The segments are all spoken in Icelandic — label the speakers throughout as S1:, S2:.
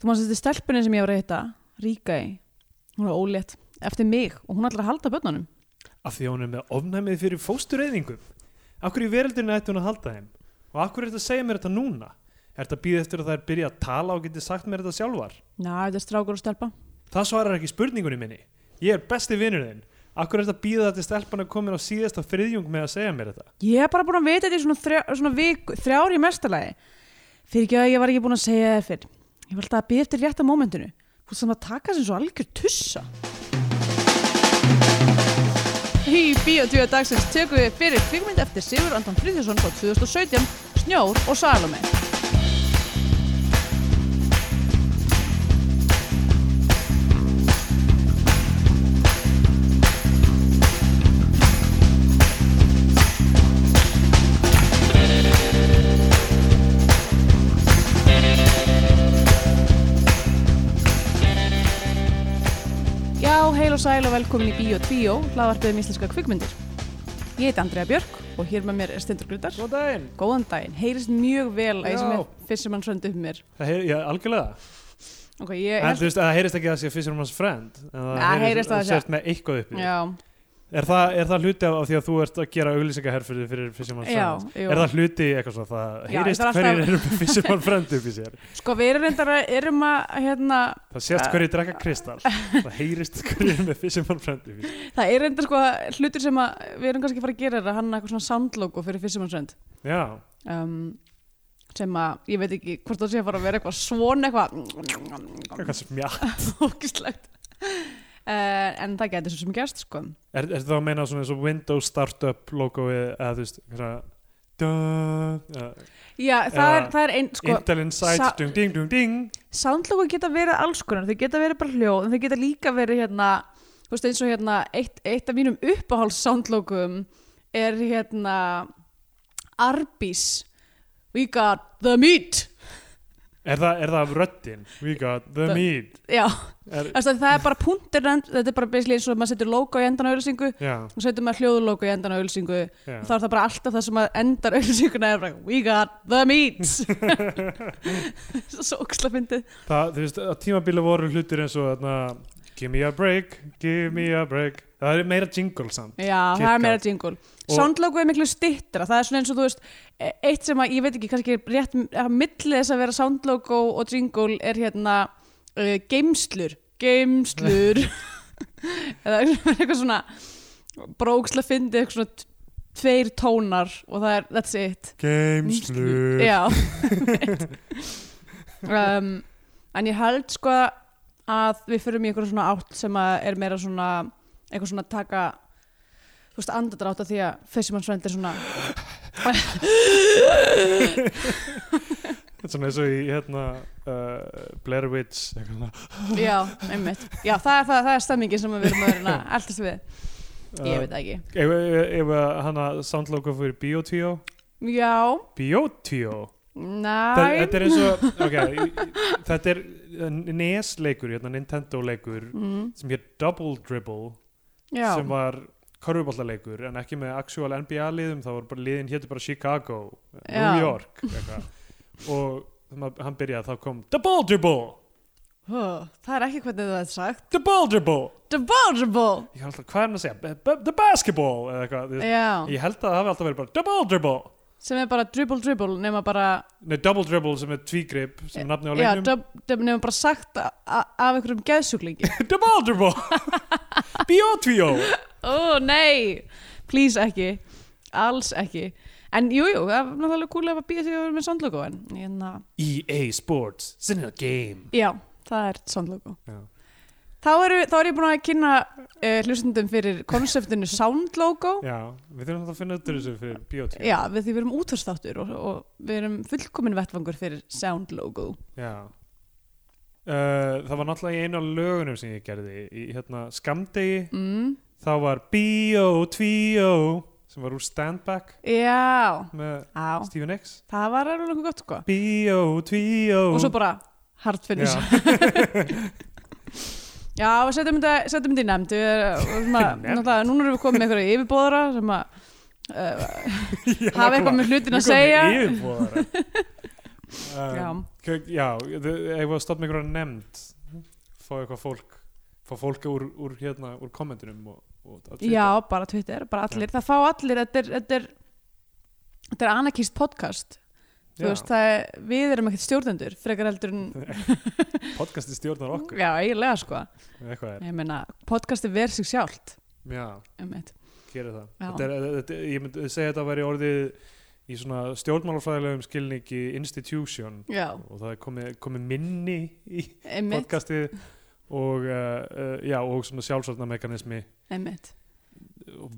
S1: þú mást þetta stelpunni sem ég var að hitta ríka í, hún var ólétt eftir mig og hún ætlar að halda börnunum
S2: af því að hún er með ofnæmið fyrir fóstureyðingum Akkur í veröldinu ætti hún að halda þeim og akkur er þetta að segja mér þetta núna Er þetta að býða eftir að það er byrja að tala og geti sagt mér þetta sjálfar
S1: Já, þetta er strákur og stelpa
S2: Það svarar ekki spurningunni minni Ég er besti vinnur þinn Akkur er þetta að býða þetta stelpan að komin á síðasta friðjung með að segja mér þetta
S1: Ég hef bara búin að vita þetta í svona, þrjá, svona viku, þrjár í mestalagi fyrir ekki að ég var ekki búin að segja þér fyrr Ég var alltaf að býða eftir rétta mómentinu Þú sem að taka sem svo algjör tussa Í Bíotvíu dagsins tökum við fyrir kvikmynd eftir Sigur Anton Friðjónsson frá 2017 Snjór og Salome Já, heil og sæl og velkomin í Bíotvíu hlaðvarpið um íslenska kvikmyndir Ég heiti Andrea Björk og hér með mér er Stendur Grudar
S2: Góð daginn
S1: Góðan daginn, heyrist mjög vel að ég sem
S2: Já.
S1: er fyrst sem hann söndi upp mér
S2: Það heyr, já, algjörlega
S1: Ok, ég
S2: En þú veist, það heyrist ekki að það sé Fisher Man's Friend en
S1: Nei, heyrist að það sé-
S2: sést með eitthvað upp í því.
S1: Já,
S2: er, það, er það hluti af af því að þú ert að gera auglýsingaherfyrði fyrir Fisher Man's
S1: já,
S2: Friend?
S1: jú.
S2: Er það hluti í eitthvað svona, það
S1: Já,
S2: heyrist
S1: það er
S2: hverjir
S1: alltaf-
S2: eru með Fisher Man's Friend upp í sér
S1: Sko við erum reyndar að, erum að hérna,
S2: Það sést
S1: Ja.
S2: hverju drekka kristall Það heyrist hverju með Fisher Mann Friendly Fish.
S1: það er reyndar sko hlutur sem að við erum kannski að fara að gera er að hanna eitthvað svona soundlogo fyrir fyrstumannsrönd
S2: Já,
S1: um, sem að ég veit ekki hvort það sé að fara að vera eitthvað svona eitthvað
S2: eitthvað sem já
S1: fókislegt uh, en það getur svo sem gerst sko
S2: Er, er það að meina svona eins og Windows startup logoið eða þú veist hverja, dö, uh,
S1: Já, það er,
S2: Eða
S1: það er ein, sko,
S2: Intel Insights
S1: sa-
S2: dung, ding, dung, ding
S1: soundlogo geta verið alls konar, þau geta verið bara hljóð en þau geta líka verið hérna þú veist eins og hérna eitt, eitt af mínum uppáhalds soundlogum er hérna Arby's We got the meat
S2: Er það, er það af röddin? We got the
S1: Það-
S2: meat
S1: Já,
S2: er,
S1: þess að það er bara punktir þetta er bara basically eins og maður setur logo í endan á ölsingu
S2: Já,
S1: og setur maður hljóðlogo í endan á ölsingu
S2: já
S1: og þá er það bara alltaf það sem maður endar ölsinguna er bara We got the meat Svo óksla fyndið
S2: Það, þú veist, á tímabili voru hlutir eins og þarna, Give me a break, give me a break Það er meira jingle samt
S1: Já,
S2: Kit
S1: það er meira
S2: Kat.
S1: jingle
S2: Og-
S1: Soundlogo er miklu stittra, það er svona eins og þú veist e- eitt sem að ég veit ekki kannski er rétt að milli þess að vera soundlogo og jingle er hérna uh, geimslur, geimslur eða eitthvað svona bróksla fyndi eitthvað svona t- tveir tónar og það er, that's it
S2: Geimslu
S1: Já um, En ég held sko að við förum í einhverja svona átt sem að er meira svona eitthvað svona taka þú veist andadrátt af því að fessimannsvend er svona
S2: Svona eins og í hérna uh, Blair Witch eitthvað svona.
S1: já, einmitt, já það er, það, það er stemmingin sem við erum að vera alltaf við, ég veit það ekki
S2: Uh, Ef, ef, ef hana soundlogo fyrir Biotvíó
S1: já,
S2: Biotvíó Það-
S1: næ
S2: Þetta er eins og okay, Þetta er uh, NES leikur hérna, Nintendo leikur
S1: mm,
S2: sem hér Double Dribble
S1: já,
S2: sem var körfuballaleikur en ekki með actual NBA liðum þá var bara liðin hétu bara Chicago
S1: Já.
S2: New York eitthvað. og þegar hann byrjaði þá kom Double Dribble
S1: Hó, það er ekki hvernig það er sagt
S2: Double Dribble
S1: debatable,
S2: Ég var alltaf, hvað er hann að segja? B- b- The Basketball eða eitthvað þú veist.
S1: já,
S2: Ég held að það hafi alltaf verið bara Double Dribble
S1: sem er bara dribble dribble nema bara
S2: Nei, Double Dribble sem er tvígrip sem er nafni á
S1: Já,
S2: leiknum
S1: döfnum hefur bara sagt a- a- af einhverjum geðsjúklingi.
S2: Double Dribble Biotvíó
S1: Ó, nei, please ekki, alls ekki. En jú, jú, það var náttúrulega kúlega að býja því að vera með soundlogo en, en
S2: EA E Sports Sinna Game
S1: já, það er soundlogo.
S2: Já.
S1: Þá, eru, þá er ég búin að kynna uh, hlustundum fyrir konseptinu soundlogo.
S2: Já, við þurfum að finna út úr þessu fyrir Biotvíó
S1: Já, við því við erum útvarstáttur og, og við erum fullkomin vettvangur fyrir soundlogo.
S2: Já uh, Það var náttúrulega í einu af lögunum sem ég gerði í hérna skamdegi
S1: Mm.
S2: þá var B.O. 2 sem var úr Stand Back
S1: Já,
S2: með
S1: á,
S2: Stephen X
S1: það var alveg nokkuð gott, sko.
S2: B.O. 2
S1: Og svo bara hard finish. Já, við setjum þetta, setjum þetta í nefnd Við erum að,
S2: Nefnd?
S1: náttúrulega, núna erum við komið með einhverja yfirbóðara sem að uh, hafa eitthvað með hlutin að
S2: Við komum
S1: segja
S2: með yfirboðara.
S1: Já.
S2: um, kök- já þau- eigum við að stoppa með einhverja nefnd fá eitthvað fólk fá fólk úr, úr, hérna, úr kommentunum og, og allt
S1: Já, bara Twitter, bara allir það fá allir, þetta er, þetta er, þetta er anarkist podcast
S2: Já.
S1: Þú veist, það er, við erum ekkert stjórnendur frekar heldur en,
S2: podcasti stjórnar okkur
S1: já, eiginlega sko
S2: eitthvað er,
S1: ég meina, podcasti verð sig sjálft
S2: já,
S1: um
S2: gera það
S1: Já.
S2: þetta er, þetta, er- ég myndi segja þetta að vera orðið í svona stjórnmálafræðilegum skilningi institution
S1: já,
S2: og það er komið, komið minni í
S1: einmitt,
S2: podcastið og, uh, uh, já, og svona sjálfsvarnamekanismi
S1: einmitt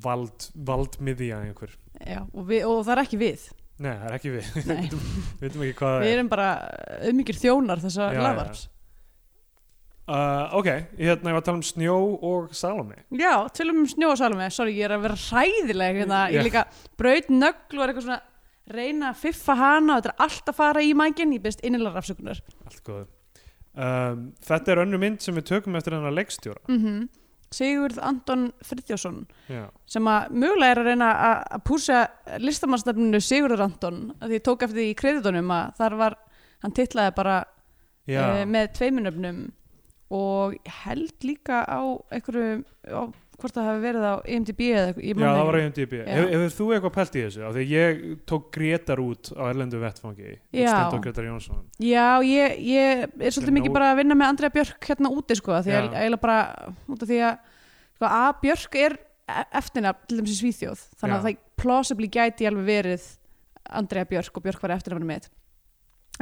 S2: vald, valdmiðja einhver
S1: já, og, við, og það er ekki við
S2: Nei, það er ekki við,
S1: Nei,
S2: við veitum ekki hvað það
S1: við erum bara umingir þjónar þessa
S2: Já, já.
S1: lafars
S2: Uh, ok, hérna ég var að tala um snjó og Salome
S1: Já, tölum um snjósalmi, sorry, ég er að vera hræðileg hérna,
S2: Já.
S1: ég líka braut nögl og er eitthvað svona reyna að fiffa hana og þetta er allt að fara í mækinn, ég byrst innilega rafsökunar
S2: Allt góður um, Þetta er önnu mynd sem við tökum eftir hennar leikstjóra
S1: mm Sigurð Anton Friðjósson
S2: Já,
S1: sem að mögulega er að reyna að að púsa listamannstefninu Sigurður Anton að því ég tók eftir því í kreditunum að þar var, hann titlaði bara
S2: já,
S1: eh, með tveimunöfnum og ég held líka á einhverju, á, hvort það hafi verið á E IMDb eða eitthvað, ég
S2: já
S1: man
S2: það var
S1: ekki.
S2: IMDb
S1: Já.
S2: Hefur hefur þú eitthvað pælt í þessu? Af því ég tók Gretar út á erlendu vettfangi
S1: Já.
S2: Stendó Gretar Jónsson
S1: Já, ég, ég er
S2: er
S1: svolítið mikið
S2: nóg-
S1: bara að vinna með Andrea Björk hérna úti sko, því að
S2: Já.
S1: eiginlega bara út af því að sko, A. Björk er eftirnafn til dæmis í Svíþjóð þannig að
S2: Já.
S1: það plausibly gæti alveg verið Andrea Björk og Björk var eftirnafnum mitt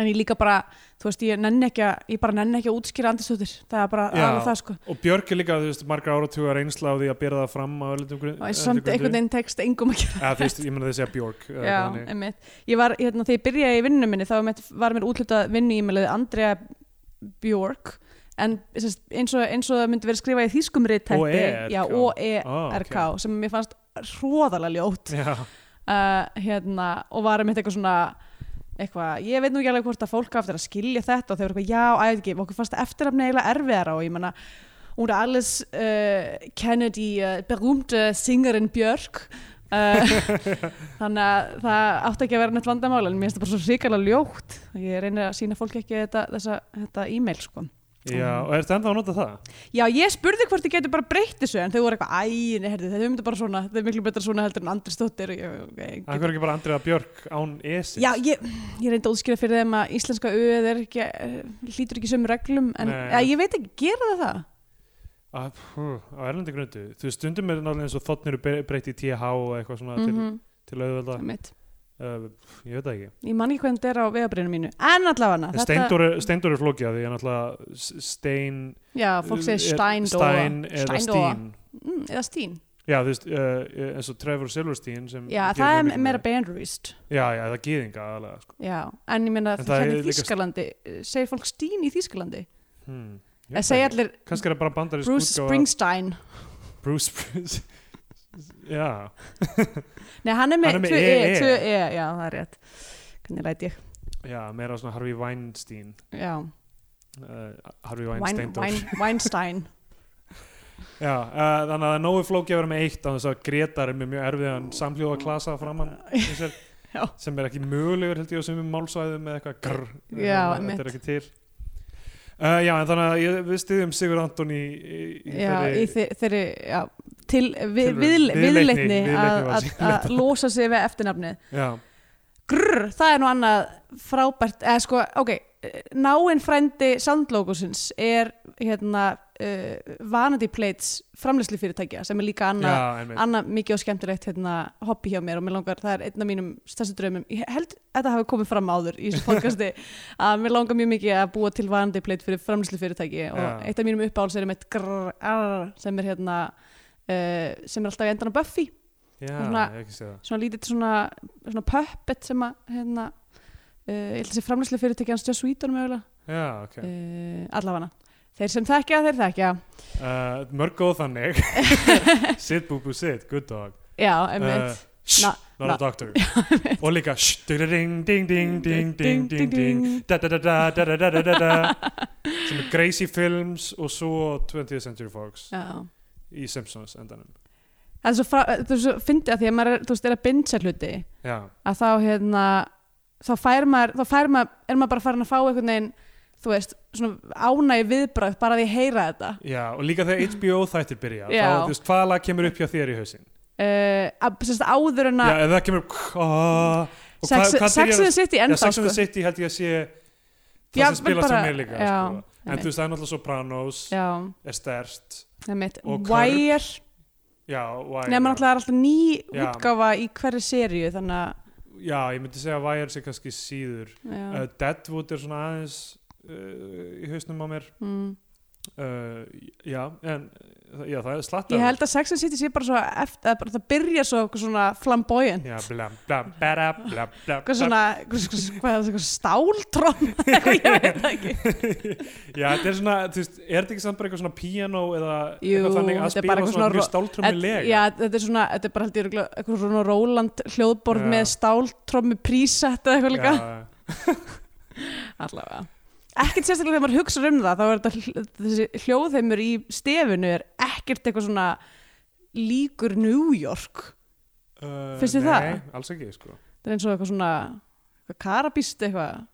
S1: en ég líka bara, þú veist, ég nenni ekki að ég bara nenni ekki að útskýra andistóttir það er bara
S2: Já.
S1: alveg það sko
S2: Og Björk er líka, þú veist, margra áratuga reynsla á því að byrja það fram á erlendu
S1: og eins og samt einhvern veginn tekst engum að gera
S2: ja, þú veist, Ég meina þau segja Björk
S1: Já,
S2: eða eitthvað þannig.
S1: einmitt. Ég var, hérna, þegar ég byrjaði í vinnunum minni þá einmitt var mér útlutað vinnu e-mailið Andrea Björk en sest, eins, og, eins og það myndi verið skrifað í þýskum riðtætti
S2: OERK.
S1: já, O-E-R-K
S2: Ó,
S1: sem mér fannst hróðalega ljótt
S2: Ah, Já,
S1: uh, hérna, og var einmitt eitthvað svona eitthvað, ég veit nú ekki alveg hvort að fólk á eftir að skilja þetta og þau voru eitthvað, já, æ, ég veit ekki, okkur fannst eftirafni eiginlega erfiðara og ég menna hún er alls uh, Kennedy uh, berúmte singerinn Björk uh, þannig að það átti ekki að vera neitt vandamál en mér finnst það bara svo hrikalega ljótt ég reynir að sína fólki ekki þetta, þessa, þetta e-mail sko.
S2: já, og ertu enda að nota það?
S1: Já, ég spurði hvort ég geti bara breytt þessu en þau voru eitthvað, æ, nei, herði, þau myndu bara svona þau er miklu betra svona heldur en Andri Stóttir og ég, okay, get-
S2: Akkur ekki bara Andriða Björk án esi
S1: Já, ég, ég reyndi að útskýra fyrir þeim að íslenska auð er ekki, eh, hlýtur ekki sömu reglum en
S2: Nei.
S1: eða, ég veit ekki, gera það það?
S2: Að, hú, á erlendi grundu þú veist, stundum er náttúrulega eins og þotnir eru breytt í TH og eitthvað svona
S1: Mhm,
S2: til, til auðvelda
S1: einmitt.
S2: uh, ég veit það ekki
S1: Ég man ekki hvernig þetta er á vegabrinu mínu en allavega
S2: En Steindór er, Steindór er flókið af því að náttúrulega s- Stein
S1: Já, fólk segir
S2: er-
S1: steindóa
S2: Stein eða Stein
S1: mm, Eða stín
S2: Já, þú veist, uh, eins og Trevor Silverstein sem
S1: Já,
S2: gerir
S1: það
S2: mikið
S1: er meira
S2: með-
S1: bandrýst
S2: Já, já, það er gýðinga aðalega sko.
S1: Já, en ég meina
S2: En það
S1: hérna
S2: er
S1: í
S2: líka-
S1: Þýskalandi eh, segir fólk stín í Þýskalandi
S2: hmm. ég
S1: eða
S2: veit
S1: segja
S2: það ekki.
S1: allir
S2: Kannski er það bara bandar
S1: Bruce Springsteen
S2: Bruce Springs Já,
S1: Nei, hann er með
S2: Hann er með E,
S1: 2E,
S2: EE.
S1: 2E, E. já, það er rétt Hvernig læt ég,
S2: já, meira svona Harvey Weinstein
S1: já
S2: uh, Harvey
S1: Wein,
S2: Weinstein
S1: Wein, Weinstein
S2: Já, uh, þannig að það er nógu flókið að vera með eitt á þess að Gretar er með mjög erfiðan samhljóða klasa framann í sér,
S1: Já.
S2: sem er ekki mögulegur held ég á sumum málsvæðum með eitthvað grr,
S1: Já,
S2: þannig að þetta er
S1: einmitt.
S2: ekki til uh, Já, en þannig að ég, við styðjum Sigurð Anton í, í, í
S1: já, í
S2: þeirri
S1: þe þeirri já, til vi,
S2: Tilraun.
S1: viðle-
S2: Viðleitni-
S1: viðleitni að-
S2: viðleitni var
S1: að
S2: síðan
S1: að losa sig við eftirnafni
S2: Já,
S1: grrr, það er nú annað frábært eða sko, ok, náinn frændi Sandlókusins er hérna uh, Vanity Plates framleyslu fyrirtækja sem er líka
S2: já,
S1: annað
S2: einmitt
S1: annað mikið og skemmtilegt hérna, hobby hjá mér og mér langar, það er einn af mínum stærstu draumum, ég held að það hafi komið fram áður í þessu podcasti, að mér langar mjög mikið að búa til vanandi pleit fyrir framlýslu fyrirtæki og
S2: Já.
S1: eitt af mínum uppáhalds er með grrr, arr, sem er hérna uh, sem er alltaf í endan á Buffy
S2: Já, ég
S1: svona-
S2: hef ekki séð það
S1: svona lítið svona, svona puppet sem að hérna, uh, ég held að þessi framlýslu fyrirtæki hans Joss Whedon mögulega
S2: Já, ok
S1: okay. allafana, þeir sem þekkja, þeir þekkja
S2: uh, Mörg góð þannig Sit bú bú sit, good dog
S1: já, emmitt,
S2: Shh,
S1: Na-
S2: not
S1: na-
S2: a doctor Og líka shh, ding ding ding ding ding ding ding da da da da da da da da da da sem er Gracie Films og svo 20th Century Fox
S1: já
S2: í Simpsons endanum
S1: Það er svo, frá, það er svo fyndið að því að maður er, þú veist, er að bindsa hluti
S2: já,
S1: að þá hérna þá fær maður, þá fær maður er maður bara farin að fá einhvern veginn þú veist, svona ánægi viðbröð bara að ég heyra þetta
S2: Já, og líka þegar HBO þættir byrja
S1: Já.
S2: þá, þú veist, hvaða lag kemur upp hjá þér í hausinn
S1: uh, að, sérst, áður en
S2: Já,
S1: að
S2: ef það kemur upp ah, og hvað-
S1: Sex
S2: hvað
S1: Sex and
S2: byrjar-
S1: the City ennþá
S2: Já, Sex and
S1: sko.
S2: the City held ég að sé það
S1: Já,
S2: sem spila
S1: vel
S2: sem
S1: bara-
S2: mér líka
S1: já,
S2: sko. en
S1: einmitt.
S2: þú veist, það er náttúrulega Sopranos
S1: Já,
S2: er stærst
S1: það er mitt
S2: Og Curb,
S1: Wire,
S2: Já, Wire
S1: nema náttúrulega er alltaf ný
S2: Já.
S1: útgáfa í hverri seríu þannig að
S2: Já, ég myndi segja að Wire sé kannski síður
S1: já,
S2: uh, Deadwood er svona aðeins uh, í hausnum á mér
S1: mm.
S2: uh, Já, en já, það er slatt
S1: ég held að Sex and the City sé bara svo eftir, bara, það byrja svo eitthvað svona flamboyant
S2: Já, blam, blam, bera, blam, blam
S1: eitthvað svona, eitthvað, eitthvað, eitthvað, eitthvað stáltrón ég veit það ekki
S2: Já, þetta er svona, þú veist, er þetta ekki samt bara eitthvað svona piano eða
S1: Jú,
S2: eitthvað þannig að
S1: þetta er bara
S2: spila
S1: eitthvað
S2: svona
S1: svona
S2: mjög
S1: ro-
S2: stáltrummilega
S1: já, þetta er svona, þetta er bara held ég örugglega eitthvað svona Róland hljóðborð
S2: Já.
S1: með stáltrón með prísett eða eitthvað líka allavega ekkert sérstaklega þegar maður hugsa um það þá er þetta hl- þessi hljóðheimur í stefinu er ekkert eitthvað svona líkur New York
S2: Uh,
S1: Finnst þér það?
S2: Nei, alls ekki, sko
S1: það er eins og eitthvað svona eitthvað karabíst eitthvað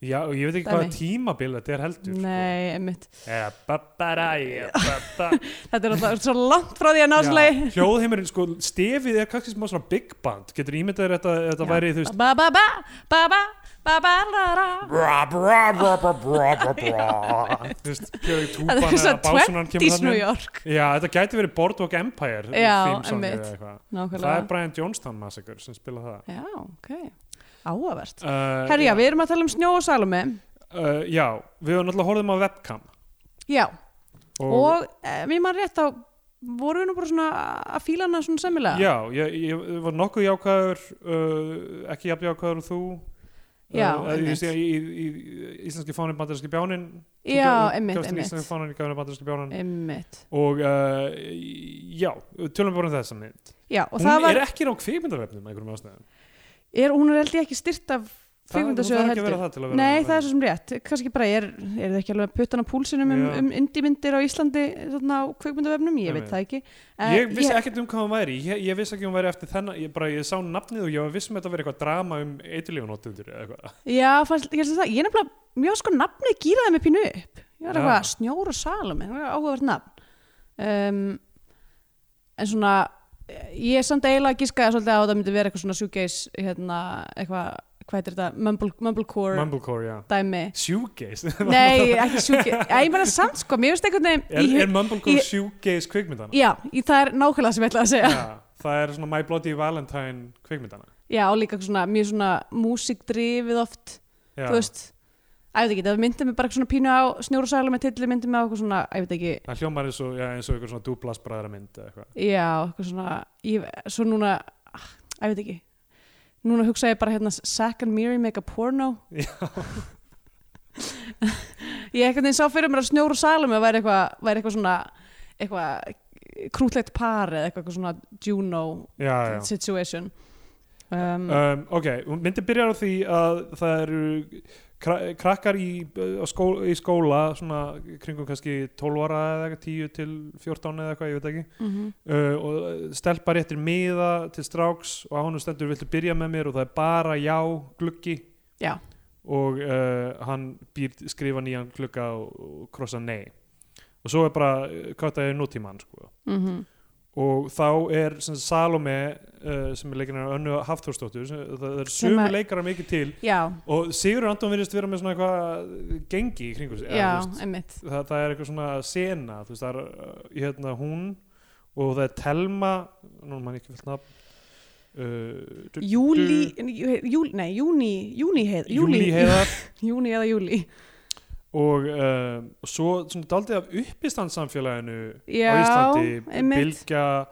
S2: Já, og ég veit ekki
S1: Dæmi.
S2: hvaða tímabil þetta er sko- heldur
S1: nei, emmitt
S2: sko. Eh, ba, ba, ra, eh, ba, ba.
S1: þetta er alltaf svo langt frá því að náðslega
S2: Já, Hljóðheimurinn, sko, stefið er kannski smá svona big band Getur ímyndað þér þetta, þetta væri, þú veist
S1: ba ba ba ba ba ba ba la la
S2: Bra, bra, bra, bra, bra, bra, bra Þú veist, hverju
S1: þetta
S2: túpan
S1: er
S2: eða
S1: svona
S2: básunan kemur
S1: 20s New
S2: þannig
S1: York
S2: Já, þetta gæti verið Boardwalk Empire
S1: Já,
S2: þímsongið
S1: einmitt.
S2: eða eitthvað. Það er
S1: nákvæmlega
S2: Brian Jonestown Massacre sem spila það
S1: já, ok, áavert
S2: Uh,
S1: herja, við erum að tala um snjó og salumi
S2: uh, Já, við höfum náttúrulega horfðum á webcam
S1: já, og eh, mér mann rétt þá vorum við nú bara svona að fíla hana svona semilega
S2: Já, ég, ég var nokkuð jákvæður uh, ekki jafn jákvæður og þú
S1: Já,
S2: uh, ég,
S1: einmitt.
S2: ég, ég, ég, Íslenski fánin bandarinski bjánin Þú
S1: Já,
S2: gaf-
S1: einmitt,
S2: gafst þér
S1: einmitt.
S2: Íslenski fánin gafur bandarinski bjánin
S1: Einmitt.
S2: og uh, já, tölum bara um þess að mynd
S1: já og
S2: Hún
S1: það var,
S2: er ekki á kvikmyndavefnum einhverjum ástæðum
S1: er, hún er held ég ekki styrt af
S2: Það- hún
S1: kvikmyndasjóðu
S2: þarf ekki að vera
S1: heldur
S2: það til að vera
S1: Nei,
S2: á
S1: það er svo
S2: vefnum.
S1: sem rétt, kannski bara er, er það ekki alveg puttan á púlsinum um,
S2: Já.
S1: um indímyndir á Íslandi þarna á kveikmyndavefnum, ég veit
S2: Einmitt.
S1: það ekki Eh,
S2: Ég vissi ekkert um hvað hún væri Ég, ég vissi ekki hún væri eftir þennan Ég, bara, ég sá nafnið og ég var vissum að þetta verið eitthvað drama um eitilífunóttundur eða eitthvað
S1: Já, fannst, ég, held að það, ég er nefnilega mjög sko nafnið gýraði mig pínu upp ég var
S2: Já.
S1: eitthvað snjór og salum áhugavert nafn um, en svona eh, ég er samt eiginlega að gíska svolítið að það myndi vera eitthvað svona sjúgeis hérna, eitthvað, hvað heitir þetta Mumble, mumblecore
S2: Mumblecore, já
S1: dæmi
S2: Shoegaze
S1: Nei, ekki sjúgeis, ég meina samt sko mér finnst einhvern
S2: Er,
S1: veginn í-
S2: er Mumblecore
S1: ég-
S2: shoegaze kvikmyndana?
S1: Já, í, það er nákvæmlega sem ég ætla að segja
S2: Já, það er svona My Bloody Valentine kvikmyndana
S1: Já, og líka svona, mjög svona músikdrifið oft
S2: Já,
S1: þú veist að ég veit ekki, það myndi mig bara eitthvað svona pínu á snjórasælu með tilli myndi mig á eitthvað svona, að ég veit ekki
S2: Það hljómar eins og, já, eins og eitthvað svona dúblast bræðra mynd eða eitthvað
S1: já, eitthvað svona, ég, svo núna ah, að ég veit ekki núna hugsa ég bara hérna Zack and Miri make a porno
S2: Já.
S1: ég eitthvað þeim sá fyrir mér að snjór og salum væri eitthvað, væri eitthvað svona eitthvað krútlegt par eða eitthvað svona Juno
S2: Já, já
S1: situation um,
S2: um, Ok, myndi byrjar á því að það eru kra krakkar í, á skó í skóla svona kringum kannski 12 ára eða eitthvað 10 til 14 eða eitthvað, ég veit ekki
S1: mm
S2: uh, og uh, stelpa réttir miða til stráks og á honum stendur viltu byrja með mér og það er bara já gluggi
S1: Já.
S2: og uh, hann býr skrifa nýjan glugga og, og krossa nei og svo er bara kvartaði nútímann sko.
S1: mhm.
S2: og þá er sem, sagt, Salome uh, sem er leikinn af önnu Hafþórsdóttur sem- það það eru
S1: Sem
S2: sömu
S1: að-
S2: leikarar mikið til
S1: já,
S2: og Sigurður Anton virðist vera með svona eitthvað gengi í kringu sig eða,
S1: já,
S2: þú veist,
S1: einmitt
S2: það, það er eitthvað svona sena þú veist, það er uh, hérna hún og það er Telma nú mann ekki fullt nafn uh, du-
S1: Júli, júli, nei, júni, júni heið, júli,
S2: Júlí heiðar
S1: júni eða júli.
S2: og um, og svo svona daldið af uppistandssamfélaginu á
S1: Já,
S2: Íslandi
S1: einmitt.
S2: Bilgja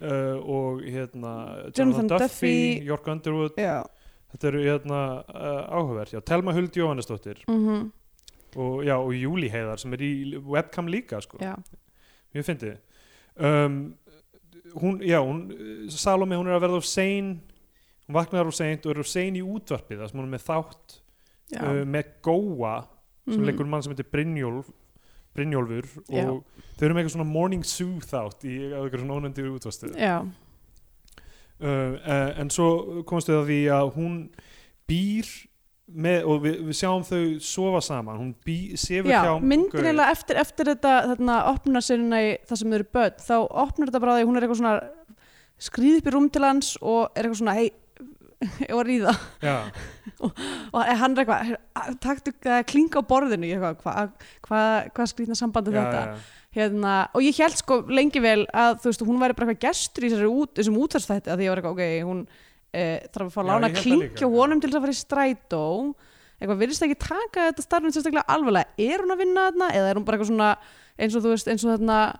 S2: uh, og hérna
S1: Jonathan Duffy.
S2: York Underwood
S1: Já.
S2: þetta eru hérna uh, áhugavert já, Telma Huld Jóhannesdóttir
S1: Mm
S2: og, já, og Júli heiðar sem er í webcam líka sko.
S1: já.
S2: Mjög fyndið. Um, hún, já, hún, Salome, hún er að verða of sein, hún vaknar of seint og er of sein í útvarpið, það sem hún er með þátt,
S1: Já.
S2: uh, með góa, sem
S1: Mhm.
S2: leikur mann sem heitir Brynjólf, Brynjólfur, og
S1: Já.
S2: þau eru með eitthvað svona morning zoo þátt í á eitthvað svona ónendur útvarpið.
S1: já.
S2: Uh, eh, en svo komast við að því að hún býr með, og við, við sjáum þau sofa saman hún bý, sefur
S1: Já,
S2: hjá
S1: myndin
S2: gaur.
S1: eiginlega eftir, eftir þetta þarna opnar sérna í það sem þau eru börn þá opnar þetta bara því að hún er eitthvað svona skrýð upp í rúm til hans og er eitthvað svona hei, ég var að ríða
S2: Já,
S1: og hann er eitthvað, "Heyrðu, að- taktu að klinga á borðinu ég eitthvað, hvað hva, hva skrýtna sambandi
S2: já,
S1: þetta
S2: já,
S1: Hérna, og ég held sko lengi vel að þú veist, hún væri bara eitthvað gestur í þessari út, þessum útvarstætti að því ég var eitthvað, ok, hún e, þarf að fá
S2: Já,
S1: að lána að
S2: ég held það
S1: klinkja
S2: líka.
S1: honum til þess að fara í strætó eitthvað, virðist ekki taka þetta starfinn sérstaklega alvarlega, er hún að vinna þarna eða er hún bara eitthvað svona, eins og þú veist eins og þarna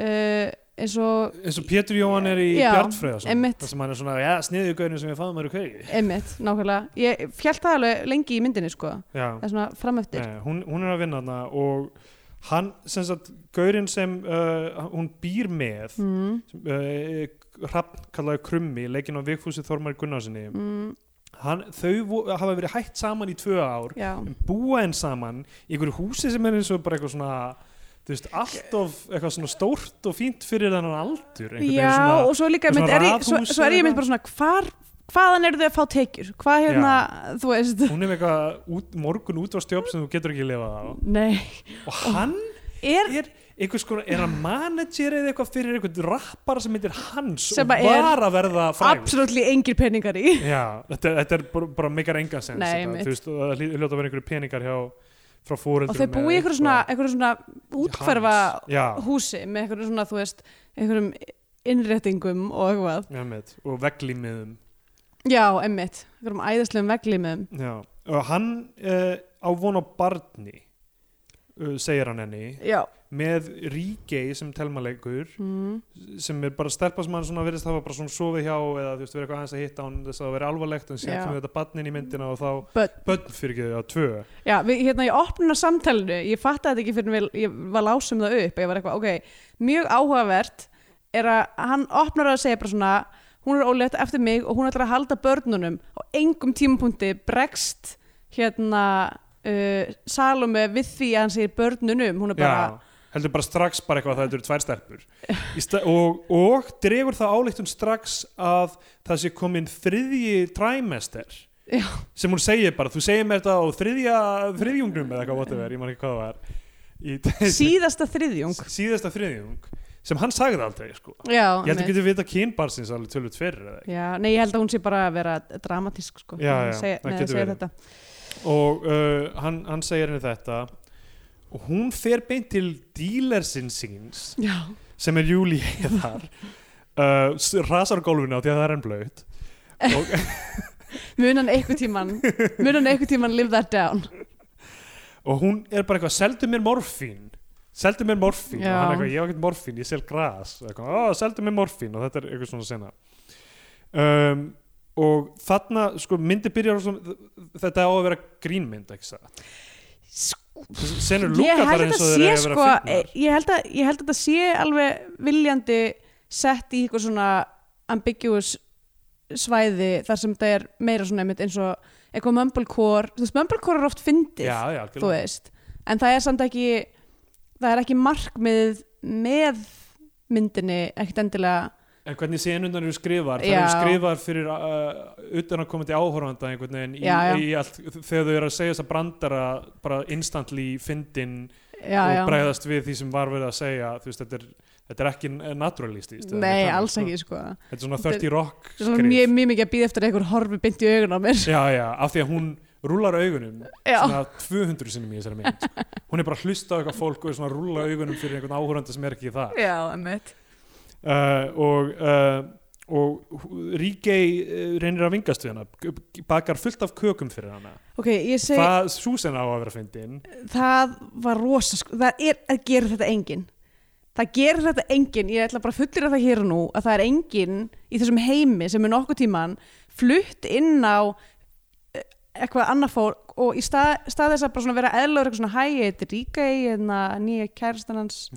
S1: e, eins og,
S2: eins og Pétur Jóhann er í
S1: Já,
S2: Bjartfröða
S1: einmitt.
S2: þar sem hann er svona, já, sniðugauðinu sem ég fáðum eru kveiki
S1: emmitt, nákvæmlega ég fjall það alveg lengi í myndinni sko
S2: Já,
S1: það er svona framöftir,
S2: nei, Eh, hún, hún er að vinna þarna og hann, sem sagt, gaurinn sem uh, hún býr með
S1: mm,
S2: sem, uh, Hrafn kallaði Krummi leikinn á Vigfúsi Þormar Gunnarsinni
S1: mm,
S2: hann, þau vo- hafa verið hætt saman í tvö ár
S1: já
S2: en búa enn saman í einhverju húsi sem er eins og bara eitthvað svona þú veist, allt of eitthvað svona stórt og fínt fyrir þennan aldur einhvern veginn
S1: Já,
S2: svona,
S1: og svo líka
S2: svona
S1: mynd, er ég, svo,
S2: raðhús
S1: svo er
S2: eða
S1: ég mynd bara svona hvar, hvaðan eru þau að fá tekjur hvað hérna, þú veist
S2: hún er með eitthvað út, morgun útvarstjóp sem þú getur ekki lifað á
S1: Nei,
S2: og hann
S1: er
S2: er einhvers konar, er hann manager eða eitthvað fyrir einhvern rappara sem heitir Hans
S1: Sem
S2: og
S1: að er
S2: var að verða frægur
S1: absolutt engir peningar í
S2: Já, þetta, þetta er bara, bara megar enga sens
S1: Nei,
S2: þetta,
S1: einmitt.
S2: þú veist, og það hlý- hljóta að vera einhverju peningar hjá frá
S1: og
S2: fóreldrum
S1: þau búi í einhverju svona, einhverju svona útkverfa
S2: Já,
S1: húsi með einhverju svona, þú veist einhverjum innréttingum og eitthvað
S2: einmitt, og veglímiðum
S1: Já, emmitt, einhverjum æðislegum veglimum
S2: Já, og hann uh, á von á barni uh, segir hann henni
S1: Já,
S2: með Ríkei sem telmaleikur
S1: mm.
S2: sem er bara stelpa sem hann svona verðist hafa bara svona sofið hjá eða þú veist verið eitthvað aðeins að hitta hann þess að það verið alvarlegt en síðan
S1: Já.
S2: kemur þetta barnin í myndina og þá
S1: Börn.
S2: börn fyrir ekki að tvö
S1: Já við, hérna ég opnuna samtalinu ég fattaði þetta ekki fyrir mig, ég var lásum það upp ég var eitthvað, ok, mjög áhugavert er að hann opnar að segja bara svona hún er ólétt eftir mig og hún ætlar að halda börnunum á engum tímapunkti bregst hérna uh, Salome við því að hann segir börnunum hún er bara,
S2: Já, heldur bara strax bara eitthvað að það eru tvær stelpur Í sta- og, og dregur það áleiktun strax að það sé komin þriðji trimester
S1: Já.
S2: sem hún segir bara, þú segir mér þetta á þriðja þriðjungnum eða eitthvað whatever, ég man ekki hvað það var í
S1: síðasta þriðjung
S2: síðasta þriðjung sem hann sagði aldrei sko.
S1: já,
S2: ég
S1: einmitt.
S2: held að geta vita kynbarsins alveg tölvut fyrir eða ekki.
S1: já, nei, ég held að hún sé bara að vera dramatísk sko,
S2: Já,
S1: þegar
S2: já,
S1: hún segir-
S2: það
S1: nei,
S2: getur
S1: segir
S2: verið.
S1: þetta.
S2: og uh, hann, hann segir henni þetta og hún fer beint til dílersinn síns
S1: já,
S2: sem er Júli Heiðar uh, s- rasar gólfinu á því að það er enn blöyt og,
S1: munan einhver tíman munan einhver tíman live that down
S2: og hún er bara eitthvað seldu mér morfín seldu mér morfín
S1: Já.
S2: og hann er eitthvað, ég hef ekkert morfín, ég sel gras Og eitthvað, "Ó, seldu mér morfín og þetta er eitthvað svona sena um, og þarna sko myndi byrjar á svona, þetta á að vera grínmynd ekki satt
S1: Sko,
S2: senur
S1: ég held
S2: lúkar
S1: að
S2: þar eins og
S1: þetta
S2: þeir
S1: sé
S2: eru að
S1: sko
S2: vera fyndnar
S1: ég held, að, ég held að þetta sé alveg viljandi sett í eitthvað svona ambiguous svæði þar sem þetta er meira svona einmitt eins og eitthvað mumblecore þú veist mumblecore er oft fyndið
S2: já, já,
S1: þú
S2: algjörlega.
S1: veist en það er samt ekki það er ekki markmið með myndinni ekkert endilega
S2: en hvernig senundan eru skrifar það
S1: Já.
S2: eru skrifar fyrir uh, utan að koma til áhorfanda einhvern veginn í,
S1: Já, já.
S2: Í allt, þegar þau eru að segja þess að brandara bara instantly fyndin
S1: já,
S2: og
S1: já.
S2: bregðast við því sem var verið að segja þú veist, þetta er, þetta er ekki naturalistist
S1: nei, alls ekki sko
S2: þetta er svona 30 rock
S1: Þetta er svona
S2: skrif
S1: mjög, mjög mikið að býða eftir að einhver horfi beint í augun á mér
S2: já, já, af því að hún rúlar augunum
S1: já,
S2: svona 200 sinnum í þessari mynd sko. hún er bara að hlusta á eitthvað fólk og er svona að rúla augunum fyrir einhvern áhorfanda sem er ekki það
S1: já, emmitt
S2: uh, og uh, og Ríkei uh, reynir að vingast við hana g- g- bakar fullt af kökum fyrir hana
S1: ok, ég segi
S2: það Susan á að vera fyndin
S1: það var rosa sko, það er að gera þetta enginn það gerir þetta enginn, ég ætla bara að fullir það hér og nú að það er enginn í þessum heimi sem er nokkuð tíman flutt inn á eh, eitthvað annað fólk og í stað, stað þess að bara svona vera eðlaur eitthvað svona hæ, ég heiti Ríkei, hérna nýja kærastan hans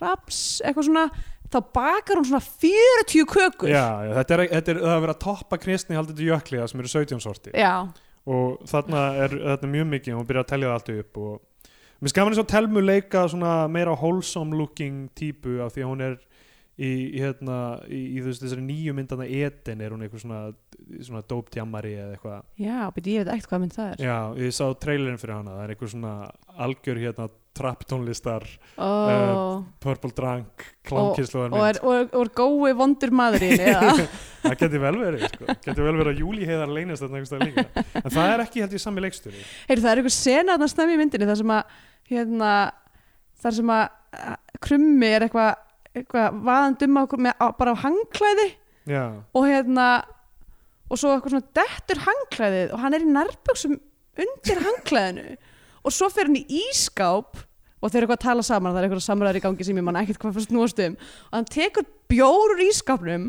S1: Raps, eitthvað svona þá bakar hún svona 40 kökur
S2: já, já, þetta er, þetta er það er að vera að toppa kristni haldið til jökliða sem eru 17 sorti
S1: já,
S2: og þarna er þetta er mjög mikið og hún byrjar að telja það allt upp og mér skaman eins og telmu leika svona meira wholesome looking típu af því að hún er í, í, hérna, í, í þú veist, þessari nýju myndana Eden er hún eitthvað svona, svona dóptjammari eða eitthvað
S1: já, beti, ég veit ekkert hvað mynd það er
S2: já, ég sá trailerin fyrir hana, það er eitthvað svona algjör hérna trap tónlistar Eh,
S1: oh.
S2: Purple Drunk,
S1: og, er,
S2: klámkynsluðar
S1: og, er, og er gói vondur maðurinn eða
S2: það geti vel verið, sko geti vel verið að Júli heiðar leynast þarna einhverstað líka en það er ekki held ég sami leikstjóri
S1: Heyrðu, það er einhver sena þarna snemmi í myndinni þar sem að hérna, þar sem að að krummi er eitthvað eitthva, vaðandi um okkur með, á, bara á hangklæði
S2: já,
S1: og hérna og svo eitthvað svona dettur hangklæðið og hann er í nærböksum undir hangklæðinu og svo fer hann í ískáp og þeir eru eitthvað að tala saman það er eitthvað samræður í gangi sem ég manna ekkert hvað fyrst núastum og hann tekur bjór úr ískápnum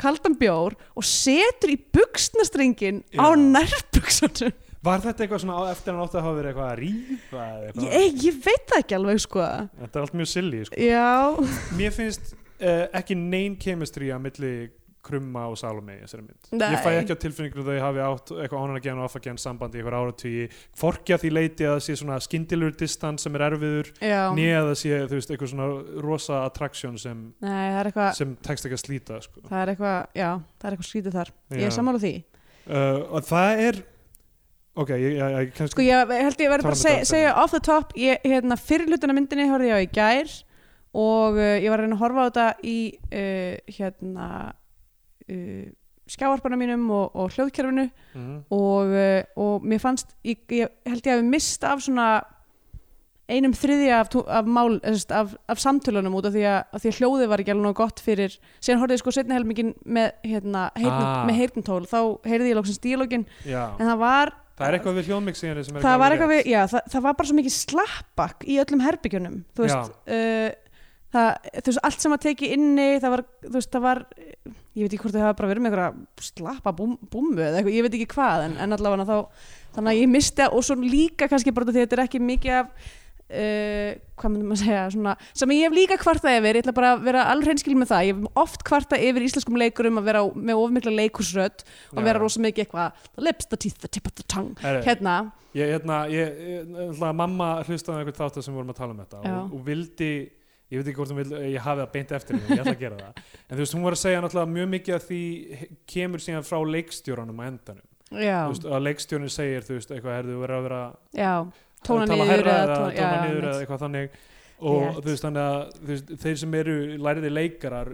S1: kaldan bjór og setur í buksnastrengin á
S2: Já.
S1: nærböksunum
S2: var þetta eitthvað svona á- eftir hann átti að hafa verið eitthvað að rífa eða eitthvað?
S1: ég, ég veit það ekki alveg sko
S2: þetta er allt mjög silly, sko
S1: Já,
S2: Mér finnst uh, ekki neyn kemistri að milli krumma og Salome í þessari mynd.
S1: Nei.
S2: Ég fæ ekki á tilfinningunum þau hafi átt eitthvað ánanagen og afagen sambandi í einhver áratví. Forkja því leiti að það sé svona skindilur distans sem er erfiður
S1: já
S2: né að það sé, þú veist, eitthvað svona rosa attraction sem,
S1: Nei, það er eitthvað,
S2: sem tekst ekki að slíta, sko.
S1: það er eitthvað, já, það er eitthvað skrítið þar Ég er
S2: Já.
S1: sammála því
S2: Uh, og það er ok, ég, ég, ég kannski
S1: Sko, ég ég held ég verið bara að
S2: Tala með
S1: segja,
S2: Dalton.
S1: segja off the top ég, hérna, Fyrir hlutuna myndinni horfði ég á í gær og uh, ég var að reyna að horfa á þetta í uh, hérna uh, skjávarpana mínum og, og hljóðkerfinu
S2: Mhm.
S1: og, uh, og mér fannst ég, ég held ég hafi mist af svona einum þriðja af, tú- af, mál, eða sem sagt, af, af samtölunum út af því að, að því að hljóðið var ekki alveg nóg gott fyrir síðan horfði ég sko setna helmingin með, hérna, heyrn,
S2: Ah.
S1: með heyrntól þá heyrði ég lóksins dílógin
S2: Já.
S1: en það var
S2: það er eitthvað við hljóðmixinu sem er
S1: það var
S2: alveg
S1: eitthvað
S2: rétt.
S1: við, já, það, það var bara svo mikið slappbakk í öllum herbyggjunum þú veist, uh, það, þú veist allt sem að teki inni það var, þú veist, það var eh, ég veit ekki hvort þau hafa bara verið með einhverja slappa búm, búmu eða eitthvað, ég veit ekki hvað en, en allavega þá, þannig að ég misti og svo líka kannski bara út af því að þetta er ekki mikið af Uh, hvað myndum að segja svona, sem ég hef líka kvartað yfir ég ætla bara að vera alveg hreinskil með það ég hef oft kvartað yfir íslenskum leikurum að vera á- með ofmikla leikursrödd og
S2: Já. Eh.
S1: vera rosa mikið eitthvað the lips, the teeth, the tip of the tongue
S2: Herru,
S1: hérna,
S2: Ég, hérna, ég, ég, náttúrulega mamma hlustaði á einhvern þáttu sem við vorum að tala um þetta
S1: Já.
S2: og, og vildi, ég veit ekki hvort hún vildi, ég hafi það beint eftir henni, ég ætla að gera það en þú veist, hún var að segja náttúrulega mjög mikið að því kemur síðan frá leikstjóranum á endanum,
S1: já
S2: þú veist, að leikstjórnin segir þú veist, eitthvað, herðu, þú verður að vera
S1: Já, tóna
S2: tala
S1: niður
S2: hærra
S1: eða
S2: eða
S1: tóna-
S2: tóna
S1: já,
S2: niður eða
S1: einmitt.
S2: eitthvað þannig og
S1: Rétt.
S2: þú veist, þannig að þú veist, þeir sem eru læriði leikarar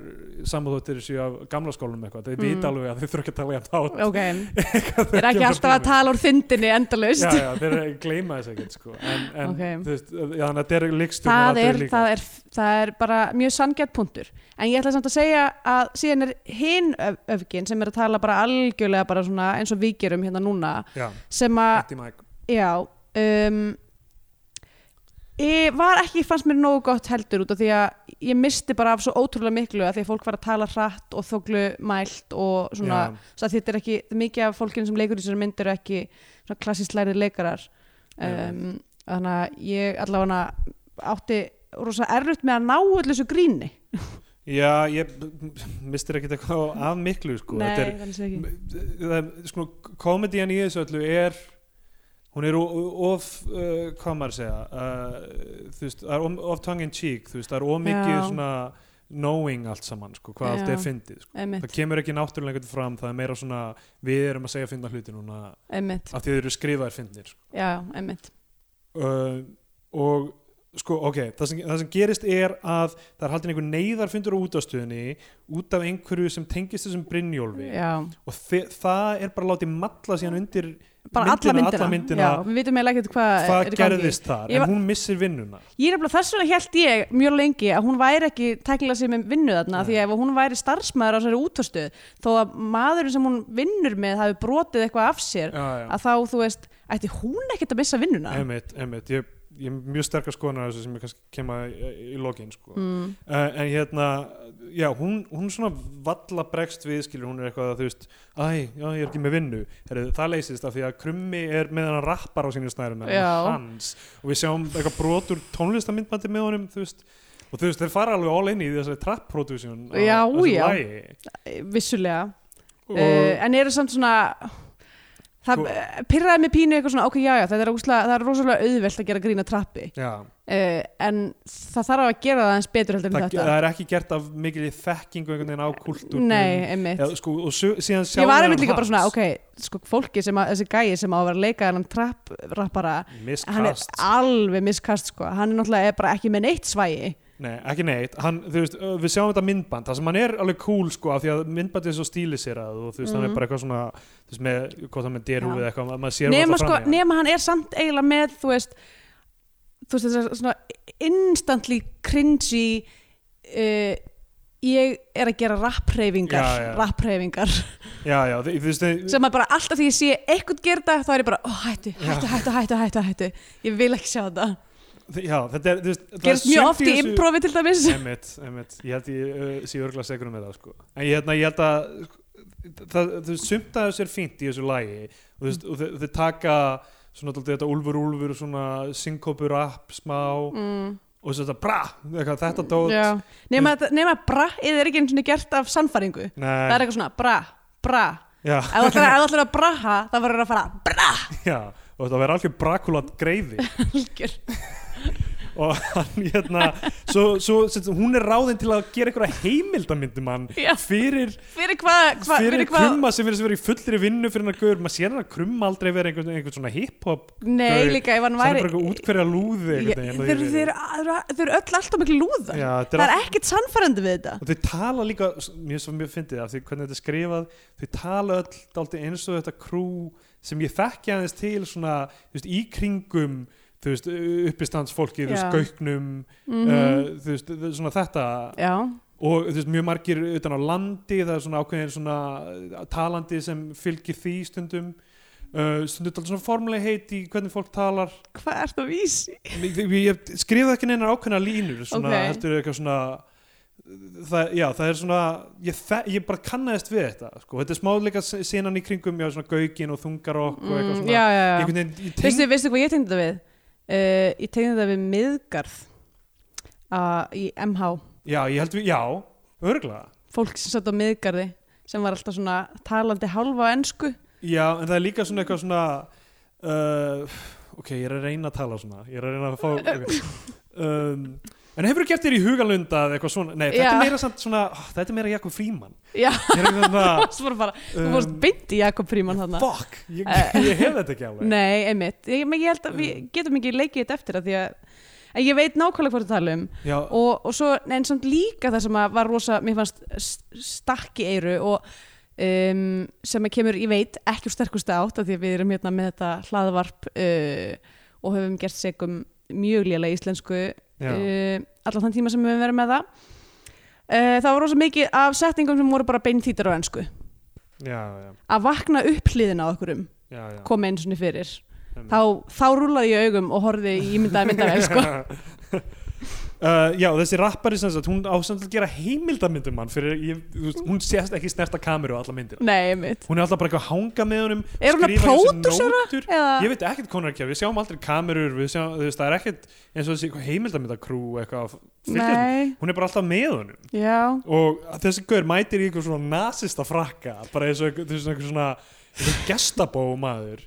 S2: samanþóttir séu af gamla skólanum eitthvað, þeir
S1: Mm.
S2: vita alveg að þeir þurfa ekki að tala jafn hátt.
S1: Ok,
S2: Þegar
S1: þeir er ekki
S2: kemur
S1: alltaf að
S2: tíminn.
S1: tala úr þyndinni endalaust
S2: já, já, þeir gleyma þess ekkert sko. en, en
S1: Ok.
S2: þú veist, já, þannig að þetta er líkstjórn
S1: það, er, það, er, það er bara mjög sangjart punktur En ég ætla samt að segja að síðan er hinn öf öfgin sem er að tala bara algjörlega bara svona eins og við gerum hérna núna
S2: já,
S1: sem að,
S2: þetta er mæk
S1: já um, Ég var ekki, fannst mér nógu gott heldur út af því að ég misti bara af svo ótrúlega miklu að því að fólk var að tala hratt og þóklu mælt og svona svo að þetta er ekki, mikið af fólkinu sem leikur í þessari mynd eru ekki svona klassist lærið leikarar um, þannig að ég allavega átti rosa erfitt með að ná öllu þessu gríni
S2: já, ég mistir ekkert eitthvað af miklu sko.
S1: Nei,
S2: þetta er,
S1: þannig sé ekki
S2: það er sko, komedian í þessu öllu er hún er o- of uh, hvað maður að segja uh, þú veist, það er of- of tongue in cheek þú veist, það er of mikið
S1: Já.
S2: svona knowing allt saman, sko, hvað allt
S1: Já.
S2: er fyndið sko. það
S1: einmitt,
S2: kemur ekki náttúrulega einhvern fram það er meira svona, við erum að segja fyndna hluti núna,
S1: einmitt,
S2: af því þau eru skrifaðir fyndnir sko.
S1: já, einmitt
S2: uh, og sko, ok, það sem, það sem gerist er að það er haldin einhver neyðarfundur á útastöðinni út af einhverju sem tengist þessum Brynjólfi
S1: já,
S2: og þi- það er bara látið matla síðan undir
S1: bara alla
S2: Myndina,
S1: myndina,
S2: alla myndina.
S1: já, við vitum eiginlega ekkert hvað
S2: hvað
S1: er í gangi.
S2: gerðist þar,
S1: Ég var-
S2: en hún missir vinnuna
S1: Ég er nefnilega þess vegna held ég mjög lengi að hún væri ekki tækilega sér með vinnu þarna
S2: Nei.
S1: því að ef hún væri starfsmæður á þessari útastöð þó að maðurinn sem hún vinnur með hafi brotið eitthvað af sér
S2: já, já.
S1: að þá, þú veist, ætti hún ekkert að missa vinnuna
S2: Einmitt, einmitt. Ég, ég er mjög sterkar skoðunar þessu sem ég kannski kem að í, í lokin sko.
S1: mm.
S2: uh, en hérna já, hún, hún svona valla bregst við skilur, hún er eitthvað að þú veist æ, já, ég er ekki með vinnu, Heru, það leysist af því að krummi er með hann rappar á sínum snærum hann er
S1: Já.
S2: hans og við sjáum eitthvað brotur tónlistamindbandi með honum þú veist og þú veist, þeir fara alveg all inni í þessari trap production á
S1: Já, Eh,
S2: þessu
S1: já.
S2: lagi
S1: Eh, vissulega
S2: og
S1: uh, en eru samt svona það
S2: Sko-
S1: eh, pirraði mig pínu eitthvað svona ok, já, já, það er, úsla, það er rosalega auðvelt að gera grína trappi
S2: Já,
S1: uh, en það þarf að gera það eins betur heldur en
S2: það,
S1: um þetta
S2: það er ekki gert af mikil þekkingu einhvern veginn á kultúr
S1: nei, einmitt
S2: Já, sko, og su- síðan
S1: ég var
S2: sjálfan
S1: einmitt líka bara
S2: hans.
S1: svona, ok, sko fólki sem að, þessi gæi sem á að vera að leika þennan trapp rappara, hann er
S2: miskast
S1: alveg miskast sko, hann er náttúrulega er bara ekki með neitt svægi
S2: Nei, ekki neitt, hann, þú veist, ö, við sjáum þetta myndband, það sem hann er alveg cool sko af því að myndbandið er svo stíli sér að og þú veist, hann er
S1: Mhm.
S2: bara eitthvað svona, þú veist, með hvort hann með derúið
S1: Já.
S2: eða eitthvað, ma- maður sér
S1: nema,
S2: varla
S1: sko,
S2: fram í hann.
S1: nema hann er samt eiginlega með þú veist, þú veist þessar svona instantly cringy uh, ég er að gera
S2: Já, já.
S1: rappreyfingar rappreyfingar
S2: Já, já, þú þú veist, þau-
S1: sem að bara alltaf því ég sé eitthvað gerða þá er ég bara, ó hættu, hættu,
S2: Já.
S1: hættu, hættu, hættu, hættu ég vil ekki sjá þetta
S2: þau- já, þetta er, þú veist það er
S1: gerst mjög
S2: sumt
S1: oft í
S2: þessu-
S1: improvi til dæmis
S2: Einmitt, einmitt, ég held ég uh, sé örgulega segur um þetta sko, en ég, hérna, ég held að það, þú veist, sumt að þessu er fínt í þessu lagi og þú veist, og þau- þau taka svona alltaf þetta úlfur úlfur og svona synkópur app smá
S1: mm,
S2: og svo þetta bra, eitthvað, þetta dót
S1: já. nema, þetta- nema að bra, eða er ekki einu svona gert af sannfæringu
S2: Nei,
S1: það er eitthvað svona bra, bra
S2: já
S1: ef þú ætlar- ef þú ætlar að braha, þá verður að fara bra
S2: Já, og þetta verður algjör brakulat greiði
S1: Algjör.
S2: og hann hérna svo, svo, sem, hún er ráðin til að gera einhverja heimildamyndum hann
S1: Já.
S2: fyrir,
S1: fyrir hvað hva,
S2: fyrir
S1: fyrir hvað
S2: krumma sem verður að vera í fullri vinnu fyrir hann að guður, maður sér hann að krumma aldrei vera einhvern, einhvern svona hip-hop
S1: nei
S2: Þau-
S1: líka ef hann
S2: sem er bara
S1: væri
S2: eitthvað útkverja lúði
S1: Ég-
S2: einhvern
S1: þeir
S2: veginn.
S1: þeir- þeir- þeir eru öll alltaf miklu lúða
S2: Já, þetta
S1: það
S2: er
S1: er
S2: allt-
S1: ekkert sannfærandi við þetta
S2: og þau tala líka, mjög svo mjög fyndið af því hvernig þetta er skrifað, þau tala öll dálítið eins og þetta krú sem ég þekki aðeins til svona þú veist, í kringum þú veist, uppistandsfólki, þú veist,
S1: Já.
S2: gauknum
S1: mm
S2: uh, þú veist, þ- svona þetta
S1: já,
S2: og þú veist, mjög margir utan á landi það er svona ákveðin svona uh, talandi sem fylgir því stundum uh, stundum alltaf svona formuleg heit í hvernig fólk talar
S1: hvað ert að vísi
S2: ég, ég, ég skrifa ekki neina ákveðna línur svona,
S1: Ókei.
S2: heldur eitthvað svona Það, já, það er svona ég, þe- ég bara kannaðist við þetta sko. þetta er smáleika senan í kringum já, svona gaukin og þungarokk og eitthvað
S1: mm,
S2: svona
S1: já, já, já
S2: einhvern veginn, ég teng...
S1: Veistu, veistu hvað ég tegndi þetta við? Uh, ég tegndi þetta við miðgarð uh, í MH
S2: já, ég held við, já, örgla
S1: fólk sem satt á miðgarði sem var alltaf svona talandi hálfa á ensku
S2: Já, en það er líka svona eitthvað svona uh, Ok, ég er að reyna að tala svona Ég er að reyna að fá okay. um, En hefur þú gert þér í hugalunda eða eitthvað svona Nei, þetta
S1: Já.
S2: er meira samt svona ó, Þetta er meira Jakob Fríman
S1: Já,
S2: Ég er eitthvað svona
S1: svo bara, þú fórst
S2: um,
S1: beint í Jakob Fríman þarna
S2: Fuck, ég,
S1: Eh.
S2: ég hef þetta ekki alveg
S1: Nei, einmitt, ég, men ég held að við getum ekki leikið þetta eftir að því að en ég veit nákvæmlega hvað það tala um
S2: Já,
S1: og, og svo, nei, en samt líka það sem að var rosa, mér fannst st- stakki eyru og um, sem að kemur, ég veit, ekki úr sterkustu átt af því að við erum hérna með þetta hlaðvarp uh, og höfum gert segum mjög lélega íslensku
S2: já,
S1: uh, allan þann tíma sem við höfum verið með það uh, það var rosa mikið af setningum sem voru bara beintítar á ennsku
S2: já, já,
S1: að vakna upp hliðin á okkurum
S2: já, já.
S1: kom eins og niður fyrir
S2: einmitt.
S1: þá, þá rúlaði ég augum og horfði í myndaði myndaði sko.
S2: Uh, já, þessi rappari sem sagt, hún á samt að gera heimildamyndum hann fyrir, ég, þú veist, hún sést ekki snerta kameru á alla myndir
S1: nei, mitt
S2: hún er alltaf bara eitthvað að hanga með honum
S1: Er hún að
S2: skrifa í þessu
S1: pródúsera?
S2: nótur.
S1: eða,
S2: ég veit ekkert konar ekki, við sjáum aldrei kamerur við sjáum, þú veist, það er ekkert eins og þessi eitthvað heimildamyndakrú eitthvað að fylgjast með.
S1: nei,
S2: hún er bara alltaf með honum
S1: já
S2: og þessi gaur mætir í eitthvað svona nasista frakka bara eins og einhver- þú veist, einhver svona einhver gestabó maður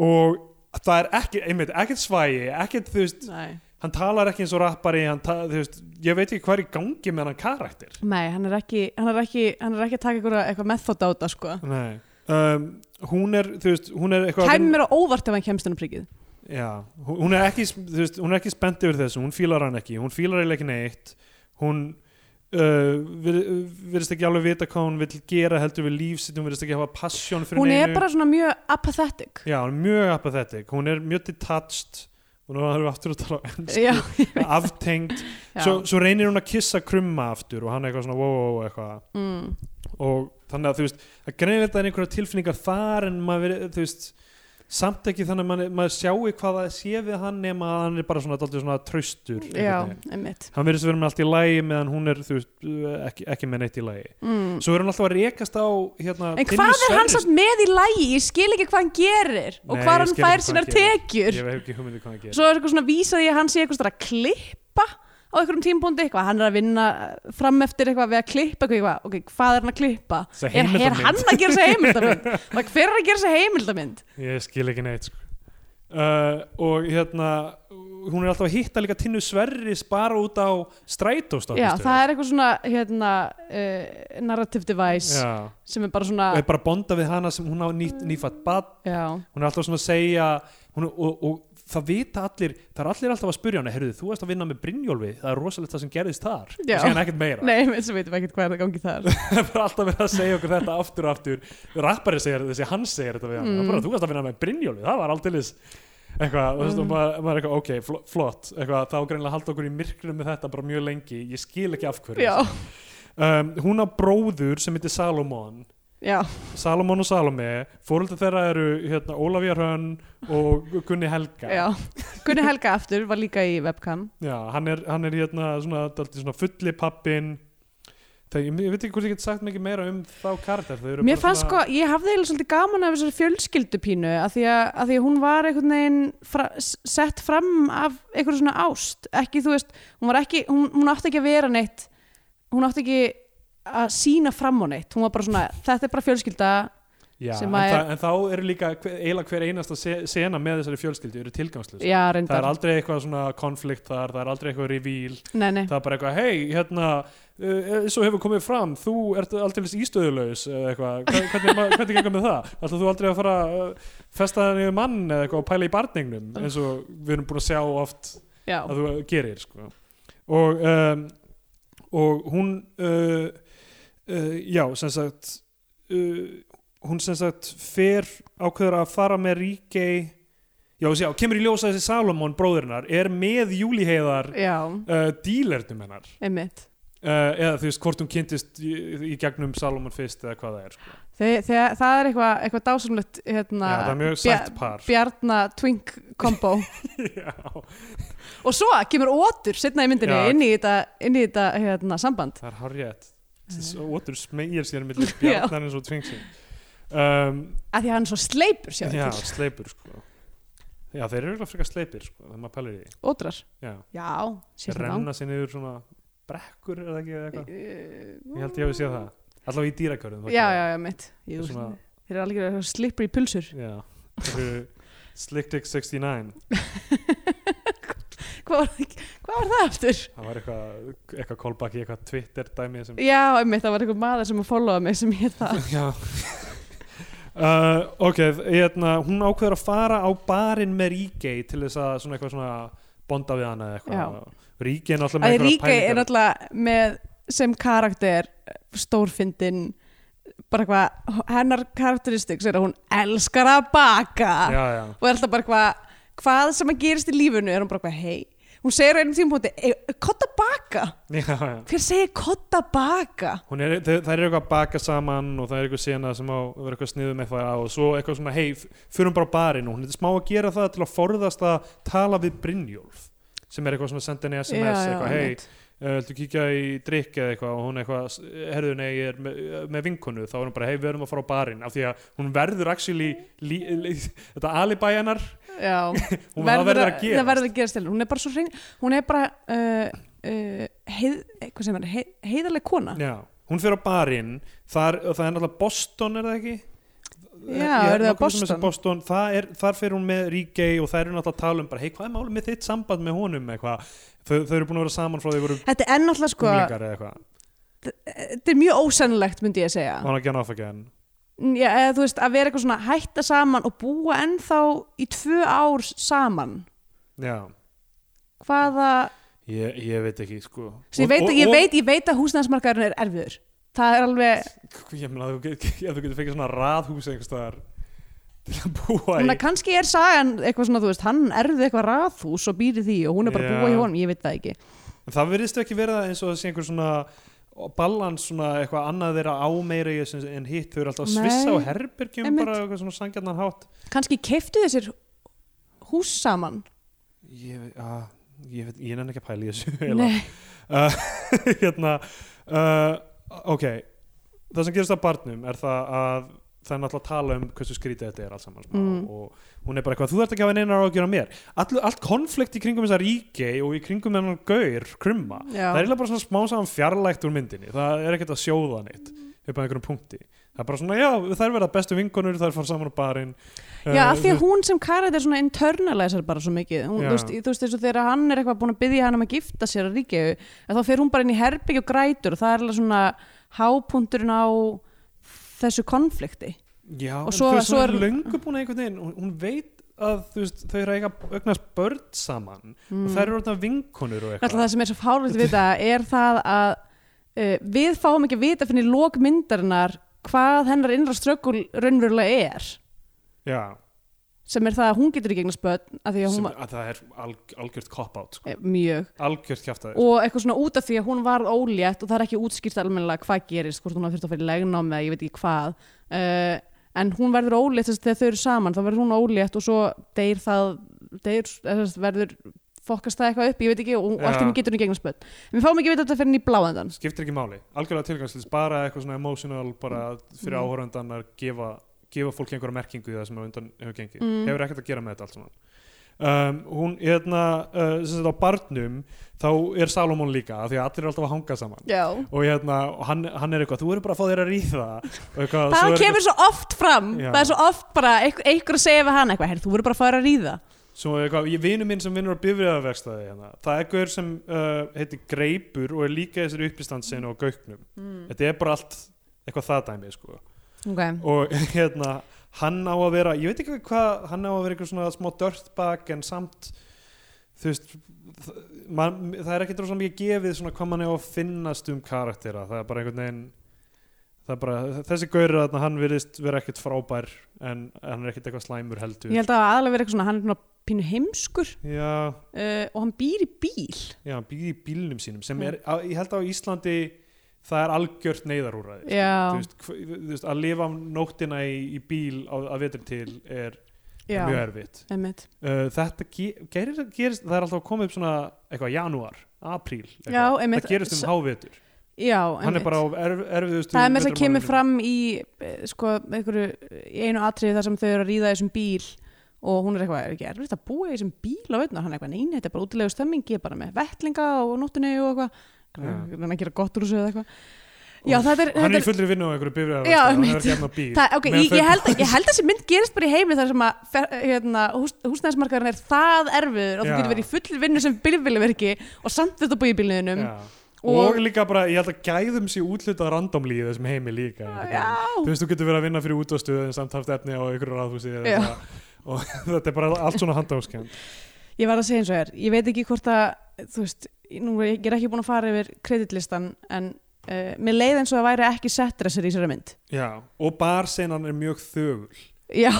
S2: og það er ekki, einmitt, ekkert svægi ekkert, þú veist,
S1: nei.
S2: hann talar ekki eins og rappari hann, ta- þú veist, ég veit ekki hvað er í gangi með hann karakter
S1: nei, hann er ekki hann er ekki, hann er ekki að taka einhverja- eitthvað method á þetta sko.
S2: Nei. um, hún er, þú veist, hún er eitthvað að
S1: kæmi
S2: vinna-
S1: mér á óvart ef hann kemst hennar príkið
S2: Já, hú- hún er ekki, þú veist, hún er ekki spennt yfir þessu, hún fílar hann ekki, hún fílar eiginlega ekki neitt, hún uh, vir- virðist ekki alveg vita hvað hún vill gera heldur við lífsitt, hún virðist ekki hafa passion fyrir
S1: hún er
S2: neinu.
S1: bara svona mjög apathetic
S2: Já, hún er mjög apathetic, hún er mjög detached, hún er aftur að tala á ensku,
S1: já,
S2: aftengt,
S1: já.
S2: svo, svo reynir hún að kissa krumma aftur og hann er eitthvað svona wow, wow, wow eitthvað
S1: mm.
S2: og þannig að þú veist að greinilegt að einhverja tilfinningar þar en maður, veri- þú veist samt ekki þannig að maður, maður sjáu hvað það sé við hann nema að hann er bara svona, dálítið svona traustur einhvern
S1: já,
S2: veginn.
S1: einmitt
S2: hann verður svo verið með allt í lægi meðan hún er þú veist, ekki, ekki með neitt í lægi
S1: mm.
S2: svo er hann alltaf að rekast á hérna,
S1: en
S2: Tinnu
S1: hvað er hann
S2: Sverris-
S1: samt með í lægi ég skil ekki hvað hann gerir og
S2: Nei,
S1: hvað
S2: ég
S1: hann
S2: skil ekki
S1: fær
S2: hvað
S1: sínar
S2: hann gerir.
S1: tekjur
S2: ég hef ekki hugmyndi um hvað hann gerir
S1: svo er eitthvað svona vísaði að hann sé eitthvað svona að klippa á einhverjum tímpóndi eitthvað, hann er að vinna eh, fram eftir eitthvað við að klippa eitthvað, ok, hvað er hann að klippa?
S2: Þessa
S1: Er, er
S2: heimildarmynd.
S1: hann að gera þessi heimildamynd? Maður, hver er að gera þessi heimildamynd?
S2: Ég skil ekki neitt sko. uh, Og hérna Hún er alltaf að hitta líka tinnu sverris bara út á strætóst
S1: Já, það er eitthvað svona hérna, uh, narrative device
S2: Já,
S1: sem er bara svona
S2: og er bara að bonda við hana sem hún á ný, nýfatt bad
S1: já,
S2: Hún er alltaf svona að segja hún, og, og það vita allir Það er allir alltaf að spurja hana Herruðu, þú varst að vinna með Brynjólfi Það er rosalegt það sem gerðist þar
S1: Já.
S2: Og síðan ekkert meira
S1: nei, sem veitum ekkert hvað er það gangi þar
S2: Það er bara alltaf verið að segja okkur þetta aftur og aftur Rappari segir þessi, hann segir þetta við hann mm.
S1: Mm.
S2: bara, Þú varst að vinna með Brynjóli, það var aldeilis eitthvað, mm. veist, og maður, maður er eitthvað, ok, fl- flott eitthvað, þá greinlega halda okkur í myrkrinu með þetta bara mjög lengi, ég skil ekki af hverju
S1: já,
S2: um, Hún á bróður sem heitir Salomon
S1: já,
S2: Salomon og Salome, fóröldi þeirra eru hérna, Ólafía Hrönn og Gunni Helga
S1: já Gunni Helga aftur var líka í webcam
S2: Já, hann er, hann er hérna svona, dálítið svona fulli pappin Þegar, ég, ég veit ekki hvort ég get sagt mikið meira um þá karakter þau eru
S1: Mér
S2: bara
S1: fannst
S2: svona-
S1: sko, ég hafði eiginlega svolítið gaman af þessari fjölskyldupínu að því að, að því að hún var einhvern veginn fra, s- sett fram af einhverju svona ást ekki, þú veist, hún var ekki hún, hún átti ekki að vera neitt hún átti ekki að sína fram á neitt hún var bara svona, þetta er bara fjölskylda
S2: Já,
S1: sem
S2: en,
S1: að
S2: það, en þá eru líka hver, eiginlega hver einasta se- sena með þessari fjölskyldu eru tilgangslust.
S1: já,
S2: Það er
S1: reyndar,
S2: aldrei eitthvað svona konflikt þar, það er aldrei eitthvað revíl,
S1: nei, nei
S2: það er bara eitthvað, hei, hérna, uh, svo hefur komið fram, þú ert aldrei ístöðulaus eða eitthvað, Hva- hvernig, ma- hvernig gengur með það? Alltaf þú aldrei að fara að uh, festa það niður mann eða eitthvað og pæla í barningnum eins og við erum búin að sjá oft
S1: já,
S2: að þú gerir sko. og, um, og hún uh, uh, já, sem sagt uh, hún sem sagt fer ákveður að fara með ríkei já, þessi- já, kemur í ljósa þessi Salomon bróðurinnar er með júliheiðar
S1: já,
S2: uh, dílernum hennar
S1: einmitt
S2: uh, eða þú veist hvort hún kynntist í, í gegnum Salomon fyrst eða hvað það er sko.
S1: Þe- þegar það er eitthvað, eitthvað dásamlegt hérna,
S2: já, það er mjög
S1: bja-
S2: sætt par
S1: bjarna twink kombo
S2: já,
S1: og svo kemur ótur setna í myndinni
S2: Já.
S1: inn í þetta, inn í þetta hérna, samband
S2: það er harrið Ótur smegir sér millir bjarnar eins og tvingsin um,
S1: að því að hann er svo sleipur sjá
S2: Já,
S1: til,
S2: sleipur sko Já, þeir eru eitthvað frekar sleipir sko þegar maður pælir í því
S1: ódrar
S2: Já,
S1: já, sér
S2: þeir renna sér niður svona brekkur eða ekki eða eitthvað Ég
S1: ég
S2: held ég hafi séð það Allavega í dýrakörðum þá
S1: Eh, já,
S2: ekki.
S1: já, já, mitt Jú,
S2: Svona,
S1: þeir eru alveg eitthvað slipper í pulsur
S2: já Þeir eru Slick Dick 69
S1: hvað var, hvað var það aftur?
S2: Það var eitthvað, eitthvað callback í eitthvað Twitter dæmi sem
S1: já, mitt, það var einhver maður sem að followa mig sem hétt það
S2: Já uh, Ok, hérna, hún ákveður að fara á barinn með Ríkei til þess að svona eitthvað svona bonda við hana eða eitthvað Ríkei er náttúrulega
S1: að
S2: með einhverjar
S1: Ríkei er
S2: pælingar.
S1: náttúrulega með sem karakter stórfindin bara eitthvað, hennar karakteristiks er að hún elskar að baka
S2: Já, já
S1: og er alltaf bara eitthvað hvað sem að gerist í lífinu er hún bara eitthvað hei hún segir á einum tímpóti, kotta baka
S2: Já, já
S1: hver segir kotta baka
S2: Hún er, þe- þær eru eitthvað að baka saman og það er eitthvað sena sem á að vera eitthvað sniðum eitthvað á og svo eitthvað svona, hei, fyrum bara á barinn og hún er smá að gera það til að forðast að tala við Brynjólf sem er eitthvað svona að senda henni SMS eitthvað, hei,
S1: einmitt.
S2: uh, viltu kíkja í drikk eða eitthvað og hún eitthvað, herðu, nei, ég er með, með vinkonu, þá er hún bara, hei, við erum að fara á barinn af því að hún verður actually lí, lí, þetta alibæjanar
S1: Já,
S2: hún verður, það verður að
S1: það
S2: gera
S1: verður að gerast til hún er bara svo hrein hún er bara uh, uh, heið, hvað sem er, heið, heiðarleg kona
S2: Já, hún fyrir á barinn þar, það er náttúrulega Boston, er það ekki?
S1: já,
S2: Ég
S1: er það
S2: nokkuð sem er sem
S1: Boston
S2: Boston það er, þar fer hún með Ríkei og þær eru náttúrulega að tala um bara, hei, hvað er málið með þitt samband með honum eitthvað, þau, þau eru búin að vera saman frá því voru
S1: þetta er ennáttúrulega sko
S2: umlingar eða eitthvað,
S1: þetta er mjög ósennilegt myndi ég að segja
S2: og hann er ekki hann áfækja en
S1: já, eða þú veist að vera eitthvað svona hætta saman og búa ennþá í tvö ár saman
S2: já,
S1: hvaða
S2: ég, ég veit ekki sko,
S1: Svo ég, veit, ég, veit, ég veit að húsnæðismarkaðurinn er erfiður það er alveg,
S2: og, ég meina, þú, get- ef þú getur fengið svona raðhús einhverstaðar til að búa
S1: hún
S2: í
S1: að kannski er sagan eitthvað svona, þú veist, hann erfið eitthvað raðhús og býr í því og hún er bara
S2: Já.
S1: að búa í honum, ég veit það ekki
S2: en það verðist ekki verið eins og það sé einhver svona balans svona eitthvað annað þeirra á meira í þessu en hitt, þau eru alltaf að svissa á
S1: Nei,
S2: herbergjum
S1: einmitt.
S2: bara á eitthvað svona sangjarnan hátt
S1: kannski keiftu þessir hús saman
S2: ég, veit- að, ég, veit- ég nenni ekki að pæla í þessu eiginlega.
S1: Nei,
S2: uh, hérna uh, ok það sem gerist á barnum er það að það er náttúrulega að tala um hversu skrítið þetta er alls saman smá
S1: Mm.
S2: og hún er bara eitthvað, þú þarft ekki að hafa neinar á að gera mér All, allt konflikt í kringum þessa ríki og í kringum hennar gaur, krumma
S1: Já.
S2: það er eiginlega bara svona smá saman fjarlægt úr myndinni það er ekkert að sjóða neitt upp að einhverjum punkti það er bara svona, já, það er verið bestu vinkonur það er fara saman á barinn
S1: Já,
S2: Eh,
S1: af því að hún sem karat er svona internalizer bara svo mikið, hún,
S2: Já.
S1: þú, veist, þú veist eins og þegar hann er eitthvað búin að byggja hann um að gifta sér að ríkju, að þá fer hún bara inn í herbyggj og grætur og það er alveg svona hápunturinn á þessu konflikti
S2: Já,
S1: Og
S2: en
S1: svo-
S2: þú veist,
S1: svo
S2: hún er
S1: er-
S2: löngu búin að einhvern veginn hún, hún veit að þú veist, þau eru að eiga augnast börn saman
S1: Mm.
S2: og það eru orðna vinkonur og
S1: Alltaf
S2: eitthvað
S1: það sem er svo fárlegt við það er það að uh, við fáum ekki að vita fyrir lókmyndarinnar hvað hennar innra ströggul raunverulega er
S2: Já,
S1: sem er það að hún getur ekki eignast börn af því að hún
S2: sem,
S1: var
S2: að það er alg, algjört cop-out sko.
S1: eh, mjög
S2: algjört kjaftaði
S1: og eitthvað svona út af því að hún varð ólétt og það er ekki útskýrt almennilega hvað gerist hvort hún hafði þurft að fyrir legnámi eða ég veit ekki hvað uh, en hún verður ólétt þess að þegar þau eru saman þá verður hún ólétt og svo deyr það deyr, þess, verður fokast það eitthvað upp, ég veit ekki og, og allt í
S2: Já.
S1: henni getur hún gegnum spöld en við fáum ekki að vita þetta fyrir henni í bláðandan
S2: sko. skiptir ekki máli, algjörlega tilgangslis bara eitthvað svona emotional bara fyrir
S1: Mm.
S2: áhörundan að gefa, gefa fólki einhverja merkingu í það sem á undan hefur gengið
S1: Mm.
S2: hefur ekkert að gera með þetta allt saman um, hún, hérna, uh, sem sagt á barnum þá er Salomon líka af því að allir eru alltaf að hanga saman
S1: Já.
S2: og hérna, og hann, hann er eitthvað, þú eru bara að fá þér að ríða og eitthvað, svo
S1: það
S2: er
S1: kemur svo oft fram
S2: Já.
S1: það er svo oft bara einhver, einhver að segja við hann eitthvað, herri þú verður bara að fara að ríða
S2: Svo eitthvað, ég vinur minn sem vinnur á bifriðarverkstæði hérna. það er gaur sem uh, heitir Greipur og er líka í þessari uppistandsinu og gauknum þetta er bara allt eitthvað það dæmi sko.
S1: okay.
S2: og hérna, hann á að vera ég veit ekki hvað, hann á að vera eitthvað svona smá dörtbak en samt þú veist það, man, það er ekki dróðslega mikið gefið svona hvað mann er að finnast um karaktera það er bara einhvern veginn það er bara, þessi gaur þarna, hann virðist vera ekkert frábær en hann er ekkert eitthvað slæmur heldur
S1: ég held að aðalega verið eitthvað svona, hann er svona pínu heimskur
S2: já,
S1: uh, og hann býr í bíl
S2: Já, hann býr í bílnum sínum sem er, á, ég held að á Íslandi það er algjört neyðarúræði sko.
S1: Já.
S2: Þú veist, hv- þú veist, að lifa á nóttina í, í bíl á, að vetur til er
S1: Já.
S2: mjög erfitt
S1: Einmitt.
S2: uh, þetta ge gerir, gerist, það er alltaf að koma upp svona eitthvað janúar, apríl eitthvað.
S1: Já, einmitt.
S2: það gerist um
S1: S-
S2: hávetur
S1: Já,
S2: hann
S1: einmitt.
S2: er bara á erf, erfiðustu
S1: það er með þess að kemur
S2: vetrarmánuðinum.
S1: fram í eh, sko, einhverju, í einu atriði þar sem þau eru að ríða í þessum bíl og hún er eitthvað, er ekki erfitt að búa í þessum bíl á veitna, hann er eitthvað, neina, þetta er bara útilegu stemming ég er bara með vettlinga og nóttinni og eitthvað
S2: Já.
S1: hann er að gera gott úr þessu eða eitthvað Já, þetta er,
S2: hann
S1: þetta
S2: er í fullri vinnu á einhverju bifræðar
S1: Já,
S2: hann er
S1: einmitt.
S2: ekki hérna á bíl
S1: Það, okay,
S2: Meðan
S1: ég,
S2: þau-
S1: ég, held, ég held að þessi mynd gerist bara í heimi þar sem að fer- hérna, hús, húsnæðismarkaðurinn er það erfiður og þú
S2: Já.
S1: getur verið í fullir vinnu sem bílvilliverki og samt þetta búið í bílniðinum
S2: Já.
S1: um. og-
S2: og líka bara, ég held að gæðum sé útlutað randomlí í þessum heimi líka einhvern veginn.
S1: Já,
S2: þú veist, þú getur verið að vinna fyrir útvastuð en samt haft efni á ykkur ráðhúsi eða
S1: Já.
S2: eitthvað. og þetta er bara allt svona handafskjönd
S1: Ég verð að segja eins og er, ég veit ekki hvort að, þú veist, nú er ég, ég er ekki búin að fara yfir kreditlistan en uh, mér leið eins og það væri ekki setdressir í sér mynd.
S2: Já, og barsenan er mjög þögul
S1: Já,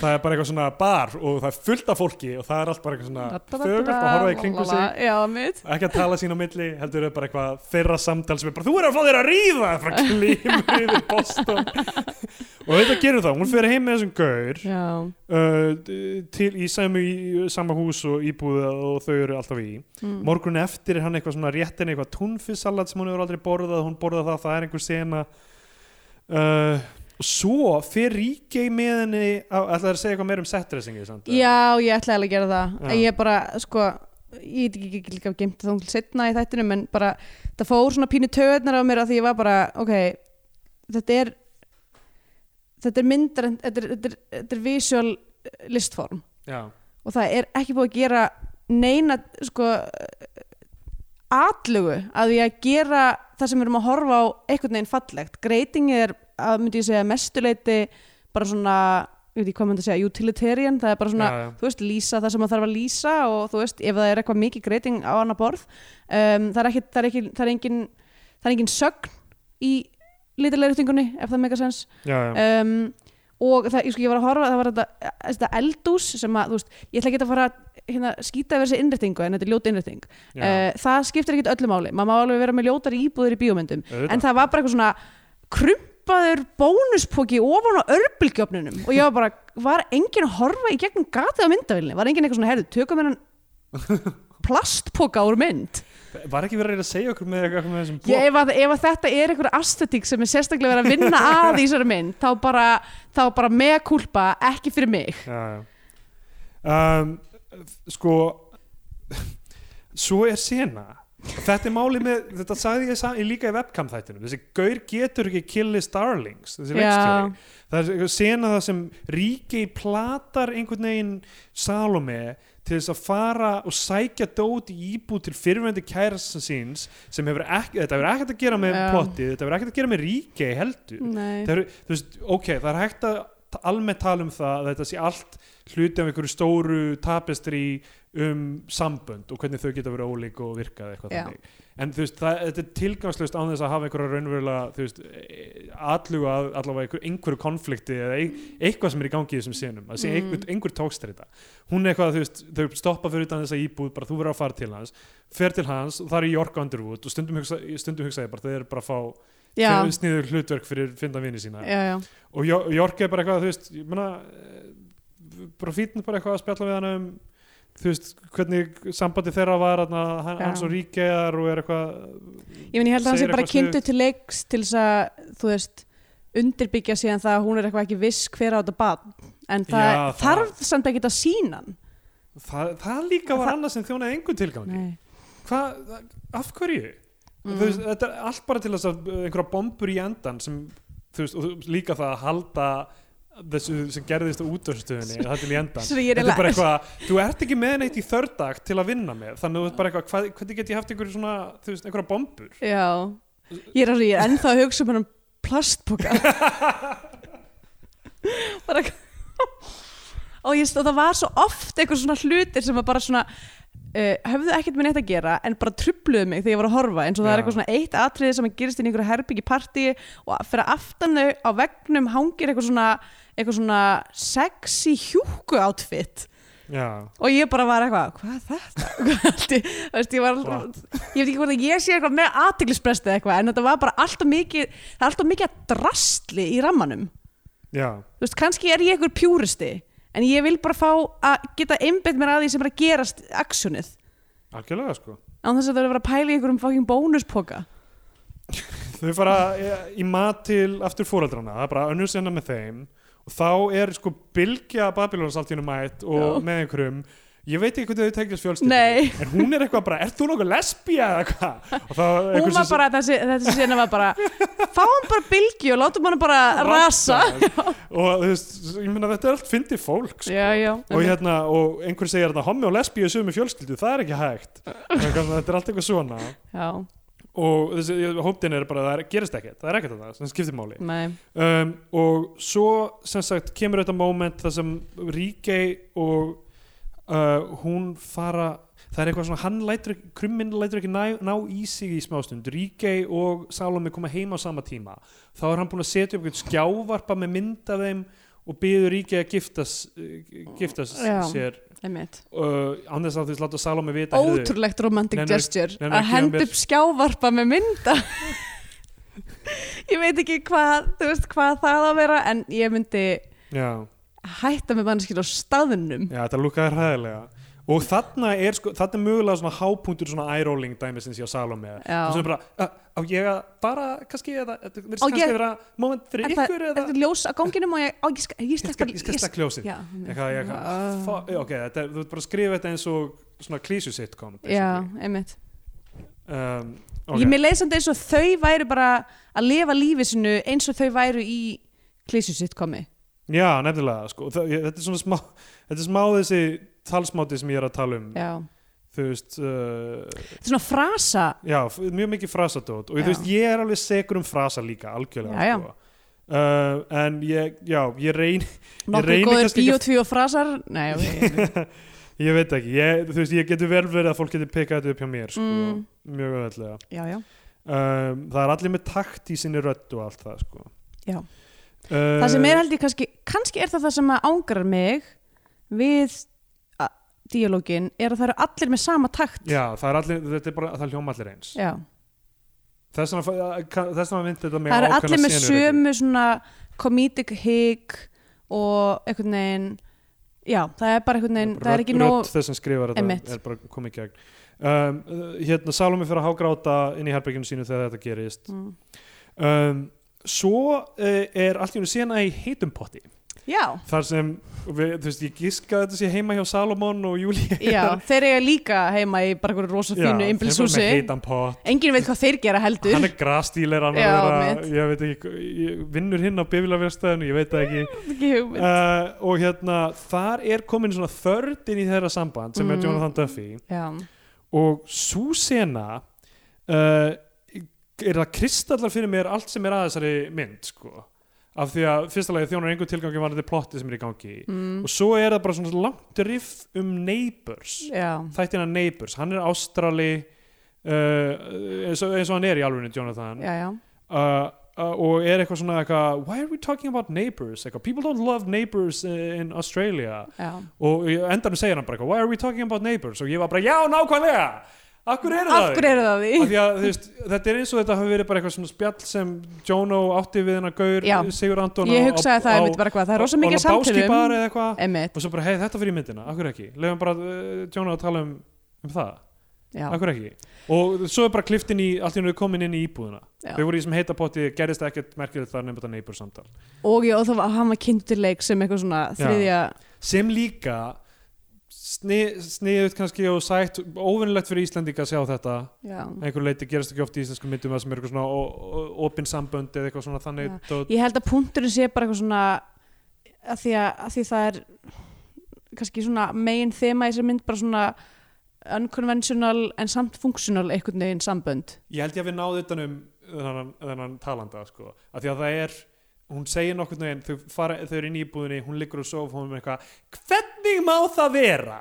S2: það er bara eitthvað svona bar og það er fullt af fólki og það er allt bara eitthvað svona þögult Ah, að horfa í kringu sig
S1: Já, mitt.
S2: ekki að tala sín á milli, heldur þau bara eitthvað þeirra samtal sem er bara, þú er að fá þér að ríða frá klímur yfir Boston og þetta gerir það, hún fer heim með þessum gaur
S1: Já,
S2: uh, d- til í samu, í sama hús og íbúða og þau eru alltaf í
S1: Mm.
S2: morgun eftir er hann eitthvað svona réttin eitthvað túnfissalat sem hún hefur aldrei borðað hún borðað það, það er einhver sena uh, svo fer Ríkei með henni á, ætlaði að segja eitthvað meir um setdressingi samt, eða?
S1: já ég ætlaði alveg að gera það.
S2: Já.
S1: Ég bara, sko, ég veit ekki ekki líka að gemta það um setna í þættinum en bara, það fór svona pínu töðnar á mér að því ég var bara, ok, þetta er, þetta er myndar, þetta er, þetta er, þetta er visual listform.
S2: já,
S1: og það er ekki búið að gera neina sko atlugu að því að gera það sem við erum að horfa á einhvern veginn fallegt greitingið er að myndi ég segja að mestuleiti bara svona ég veit ekki hvað myndi að segja, utilitarian það er bara svona,
S2: já, já.
S1: þú veist, lýsa það sem það þarf að lýsa og þú veist, ef það er eitthvað mikið greiting á annar borð um, það er ekki, það er ekki, það er engin það er engin sögn í litilegriðtingunni, ef það meika sens
S2: já, já.
S1: um, og það, ég, sko, ég var að horfa það var þetta, þetta eldús sem að, þú veist, ég ætla ekki að fara að, hérna, skýta yfir þessi innréttingu en þetta er ljót innrétting uh,
S2: já.
S1: það skiptir ekkit öllu máli, maður má alveg vera með ljótar íbúðir í bíómyndum,
S2: Auðvitað.
S1: en það var bara eitthvað svona krumpaður bónuspóki ofan á örbylgjöfnunum og ég var bara, var enginn að horfa í gegnum gatið á myndavillinni, var enginn eitthvað svona, herðu, tökum hennan plastpoka úr mynd
S2: Var ekki verið að reyna að segja okkur með eitthvað með þessum
S1: Ég, ef, að, ef að þetta er einhver astetík sem er sérstaklega verið að vinna að í þessari mynd þá bara, þá bara með kulpa ekki fyrir mig
S2: já, já. Um, sko svo er sena þetta er málið með, þetta sagði ég, sa- ég líka í webcam þættinum, þessi gaur getur ekki killi starlings, þessi
S1: Já.
S2: leikstjóri það er sena það sem ríki platar einhvern veginn Salome til þess að fara og sækja dót í íbúð til fyrirvendu kærasta síns sem hefur ekki, þetta hefur ekkert að gera með
S1: Já.
S2: plottið, þetta hefur ekkert að gera með ríki heldur,
S1: Nei,
S2: það eru, þú veist, ok, það er hægt að ta- almennt tala um það að þetta sé allt hluti af einhverju stóru tapestri um sambönd og hvernig þau geta verið ólík og virkað eitthvað
S1: Já.
S2: þannig en þú veist, það, þetta er tilgangslust án þess að hafa einhverja raunverulega þú veist, eh, atluga að allavega einhver, einhverju konflikti eða ein- eitthvað sem er í gangi í þessum senum, að sé
S1: Mm.
S2: einhver, einhver tókst þetta hún er eitthvað, þú veist, þau stoppa fyrir utan þessa íbúð, bara þú verður að fara til hans fer til hans og það er í York Underwood og stundum hugsa, stundum hugsa ég bara, þau eru bara að fá
S1: já,
S2: sniður hlutverk fyrir fynda vini sína
S1: já, já
S2: og Jo- Jork er bara eitthvað, þú veist ég meina, eh, bara fýtn bara eitthvað að spjalla við hann um þú veist, hvernig sambandi þeirra var hann, hann,
S1: Já.
S2: hann svo ríkjaðar og er eitthvað
S1: Ég meni, ég held að hann sé
S2: Segir
S1: bara
S2: eitthvað
S1: kynntu til leiks til þess að, þú veist, undirbyggja síðan það að hún er eitthvað ekki viss hver á þetta barn. En það
S2: Já, það-
S1: þarf samt ekki að sína hann.
S2: það, það líka var annað sem þjónaði engum tilgangi
S1: Nei.
S2: Hva, af hverju?
S1: Mm.
S2: Þú veist, þetta er allt bara til þess að eh, einhverja bombur í endan sem, þú veist, og þú- líka það að halda þessu sem gerðist á útörstöðunni það til í endan
S1: Svo ég er
S2: Þetta er bara
S1: eiginlega-
S2: eitthvað, þú ert ekki með neitt í þördag til að vinna með, þannig að þú ert bara eitthvað, hvað, hvernig get ég haft einhverju svona, þú veist, einhverja bombur?
S1: Já, ég er, alveg- ég er ennþá að hugsa um hennan plastpoka bara og, ég, og það var svo oft eitthvað svona hlutir sem var bara svona uh, höfðu ekkert með neitt að gera en bara trubluðu mig þegar ég var að horfa eins og það
S2: Já.
S1: er eitthvað svona eitt atriði sem gerist inn í einhverju herbyggi partí og fyrir aftan þau á vegnum hangir eitthvað svona, eitthvað svona sexy hjúku outfit
S2: Já,
S1: og ég bara var eitthvað, hvað er þetta? Hvað er allt í- Þú veist, ég, var,
S2: Hvað?
S1: ég veit ekki hvort að ég sé eitthvað með aðtiklisbresti eitthvað en þetta var bara alltaf mikið það er alltaf mikið drastli í rammanum
S2: já,
S1: þú veist, kannski er ég einhver pjúristi en ég vil bara fá að geta einbeitt mér að því sem er að gerast aksjónið
S2: algjörlega sko.
S1: án þess að það er að vera að pæla í einhverjum fucking bónuspoka
S2: Þau fara eh, í mat til aftur fóreldrana, það er bara önnur senna með þeim og þá er sko bylgja Babylons allt í hennu mætt og
S1: Já.
S2: með einhverjum Ég veit ekki hvernig þau tekjast fjölskyldu
S1: Nei.
S2: En hún er eitthvað bara, ert þú nokkuð lesbía eða hvað? Og þá er einhver
S1: hún var
S2: sem-
S1: bara, þessi, þessi sena var bara fáum bara bylgi og látum hann bara rasa
S2: Og þú veist, ég meina þetta er allt fyndið fólk sko.
S1: já, já,
S2: og hérna, og einhver segir hérna hommi og lesbíu sömu fjölskyldu, það er ekki hægt Eitthvað svona, þetta er allt eitthvað svona
S1: já,
S2: og þessi hóptin er bara, það er, gerist ekkert það er ekkert að það, sem skiptir máli
S1: nei,
S2: um, og svo, sem sagt, kemur þetta moment þar sem Ríkei og uh, hún fara það er eitthvað svona, hann lætur ekki- krummin lætur ekki ná, ná í sig í smástund Ríkei og Salome koma heim á sama tíma þá er hann búin að setja upp einhvern skjávarpa með mynd af þeim og byður Ríkei að giftast eh, giftast
S1: Já.
S2: sér
S1: einmitt
S2: uh, án þess að þú veist láta Salome vita heyrðu,
S1: ótrúlegt romantic
S2: Nennir-
S1: gesture
S2: nennir
S1: að
S2: að gefa
S1: henda
S2: mér-
S1: upp skjávarpa með mynda ég veit ekki hvað þú veist hvað það á að vera en ég myndi
S2: já,
S1: hætta með mannskil á staðnum
S2: já, þetta lúkaði hræðilega og þarna er sko, þarna er mögulega svona hápunktur svona eye-rolling dæmisins hjá Salome
S1: Já.
S2: og svona bara, uh, á ég að bara kannski, eða, þetta verðist
S1: Á
S2: kannski
S1: ég-
S2: vera moment fyrir
S1: er það
S2: ykkur
S1: er
S2: eða,
S1: það ljós á ganginum og ég, á, ég, skal, ég,
S2: ég
S1: skal,
S2: skal, ég skal stakka ljósið
S1: já,
S2: eitthvað, ég
S1: Ah.
S2: eitthvað, uh. ok, þetta er, þú ert bara að skrifa þetta eins og svona klísu sitcom
S1: já,
S2: basically.
S1: einmitt
S2: um,
S1: ég
S2: ok,
S1: með leysandi eins og þau væru bara að lifa lífi sinu eins og þau væru í klísu sitt komi
S2: já, nefnilega sko, það, ég, þetta er svona smá þetta er smá þessi talsmáti sem ég er að tala um
S1: já.
S2: þú veist uh,
S1: þetta er svona frasa
S2: Já, f- mjög mikið frasadót og
S1: Já.
S2: þú veist, ég er alveg segur um frasa líka algjörlega
S1: Já, já.
S2: Sko. Uh, en ég, já, ég reyn
S1: nokkuð
S2: reyni
S1: góður
S2: kannski ekki-
S1: bíotvíu og frasar nei, ok
S2: ég veit ekki, ég, þú veist, ég getur vel verið að fólk getur pikkað þetta upp hjá mér sko,
S1: Mm.
S2: mjög öðvöldlega
S1: já, já
S2: um, það er allir með takt í sinni rödd og allt það sko.
S1: Já.
S2: Uh,
S1: það sem er held ég kannski, kannski er það það sem að ángrar mig við a- díalógin er að það eru allir með sama takt
S2: já, það er allir, þetta er bara, það hljóma allir eins
S1: Já.
S2: þess vegna fa- kann- þess vegna myndi þetta mig
S1: það eru
S2: ákveðna
S1: allir með
S2: senur einhvern-
S1: sömu svona comedic hig og einhvern veginn já, það er bara einhvern veginn, það er
S2: Rödd-
S1: ekki nóg
S2: rödd þess sem skrifar þetta
S1: Einmitt.
S2: er bara komið gegn um, uh, hérna Salome fyrir að hágráta inn í herberginu sínu þegar þetta gerist
S1: Mm.
S2: um, svo uh, er allt í unni sena í heitum potti
S1: Já,
S2: þar sem, við, þú veist, ég giska að þetta sé heima hjá Salomon og Júlíu
S1: já, þeir eiga líka heima í bara einhverju rosa fínu
S2: með
S1: einbilshúsi
S2: heitan pott
S1: Engin veit hvað þeir gera heldur
S2: hann er grastýler hann
S1: Já,
S2: er,
S1: mitt.
S2: ég veit ekki, ég, vinnur hinn á bifilaverstæðinu, ég veit það ekki
S1: ekki hugmynd
S2: uh, og hérna þar er komin svona þörd inn í þeirra samband sem
S1: Mm.
S2: er Jonathan Duffy
S1: Já,
S2: og svo sena uh, er það kristallar fyrir mér allt sem er að þessari mynd sko. af því að fyrsta lagi þjónar einhver tilgangi var þetta plotti sem er í gangi
S1: mm,
S2: og svo er það bara svona langt riff um Neighbors
S1: já,
S2: þættina Neighbors, hann er ástrali uh, eins, og, eins og hann er í alvegni Jonathan
S1: já, já
S2: uh, uh, og er eitthvað svona eitthvað, why are we talking about neighbors eitthvað, people don't love neighbors uh, in Australia
S1: Já,
S2: og í endanum segir hann bara eitthvað, why are we talking about neighbors og ég var bara, já, nákvæmlega akkur eru það
S1: af hverju eru það
S2: Af
S1: því?
S2: því að, þú veist, þetta er eins og þetta hafi verið bara eitthvað svona spjall sem Jono átti við hennar Gaur
S1: Já.
S2: Sigur Anton
S1: Ég hugsaði það einmitt bara hvað, það er rosa um- mikið samtilum
S2: báskipar eða eitthvað
S1: Einmitt,
S2: og svo bara, hei, þetta fyrir í myndina, akkur ekki lefum bara uh, Jono að tala um, um það
S1: já,
S2: akkur ekki og svo er bara kliftin í, allt í hennu komin inn í íbúðina
S1: Já.
S2: þau voru í sem heita potti, gerðist ekkert merkilegt þar nefnir þetta neighbor samtal
S1: og já, og það var, hann var kynntileik sem eitthvað svona
S2: Já.
S1: þriðja
S2: sem líka sni, sniðut kannski og sætt óvinnlegt fyrir Íslendinga að sjá þetta
S1: Já,
S2: einhver leiti gerist ekki oft í íslensku myndum það sem er eitthvað svona ó- ó- opin sambönd eða eitthvað svona þannig
S1: Já.
S2: dót.
S1: ég held að punkturinn sé bara eitthvað svona að því að, að því það er kannski svona megin þema í þessari mynd bara svona unconventional en samt functional einhvern veginn sambönd
S2: ég held ég að við náðu þetta um þennan, þennan talanda sko. af því að það er hún segir nokkurn veginn, þau, fara, þau eru inn í íbúðinni hún liggur og sofa hún með eitthvað hvernig má það vera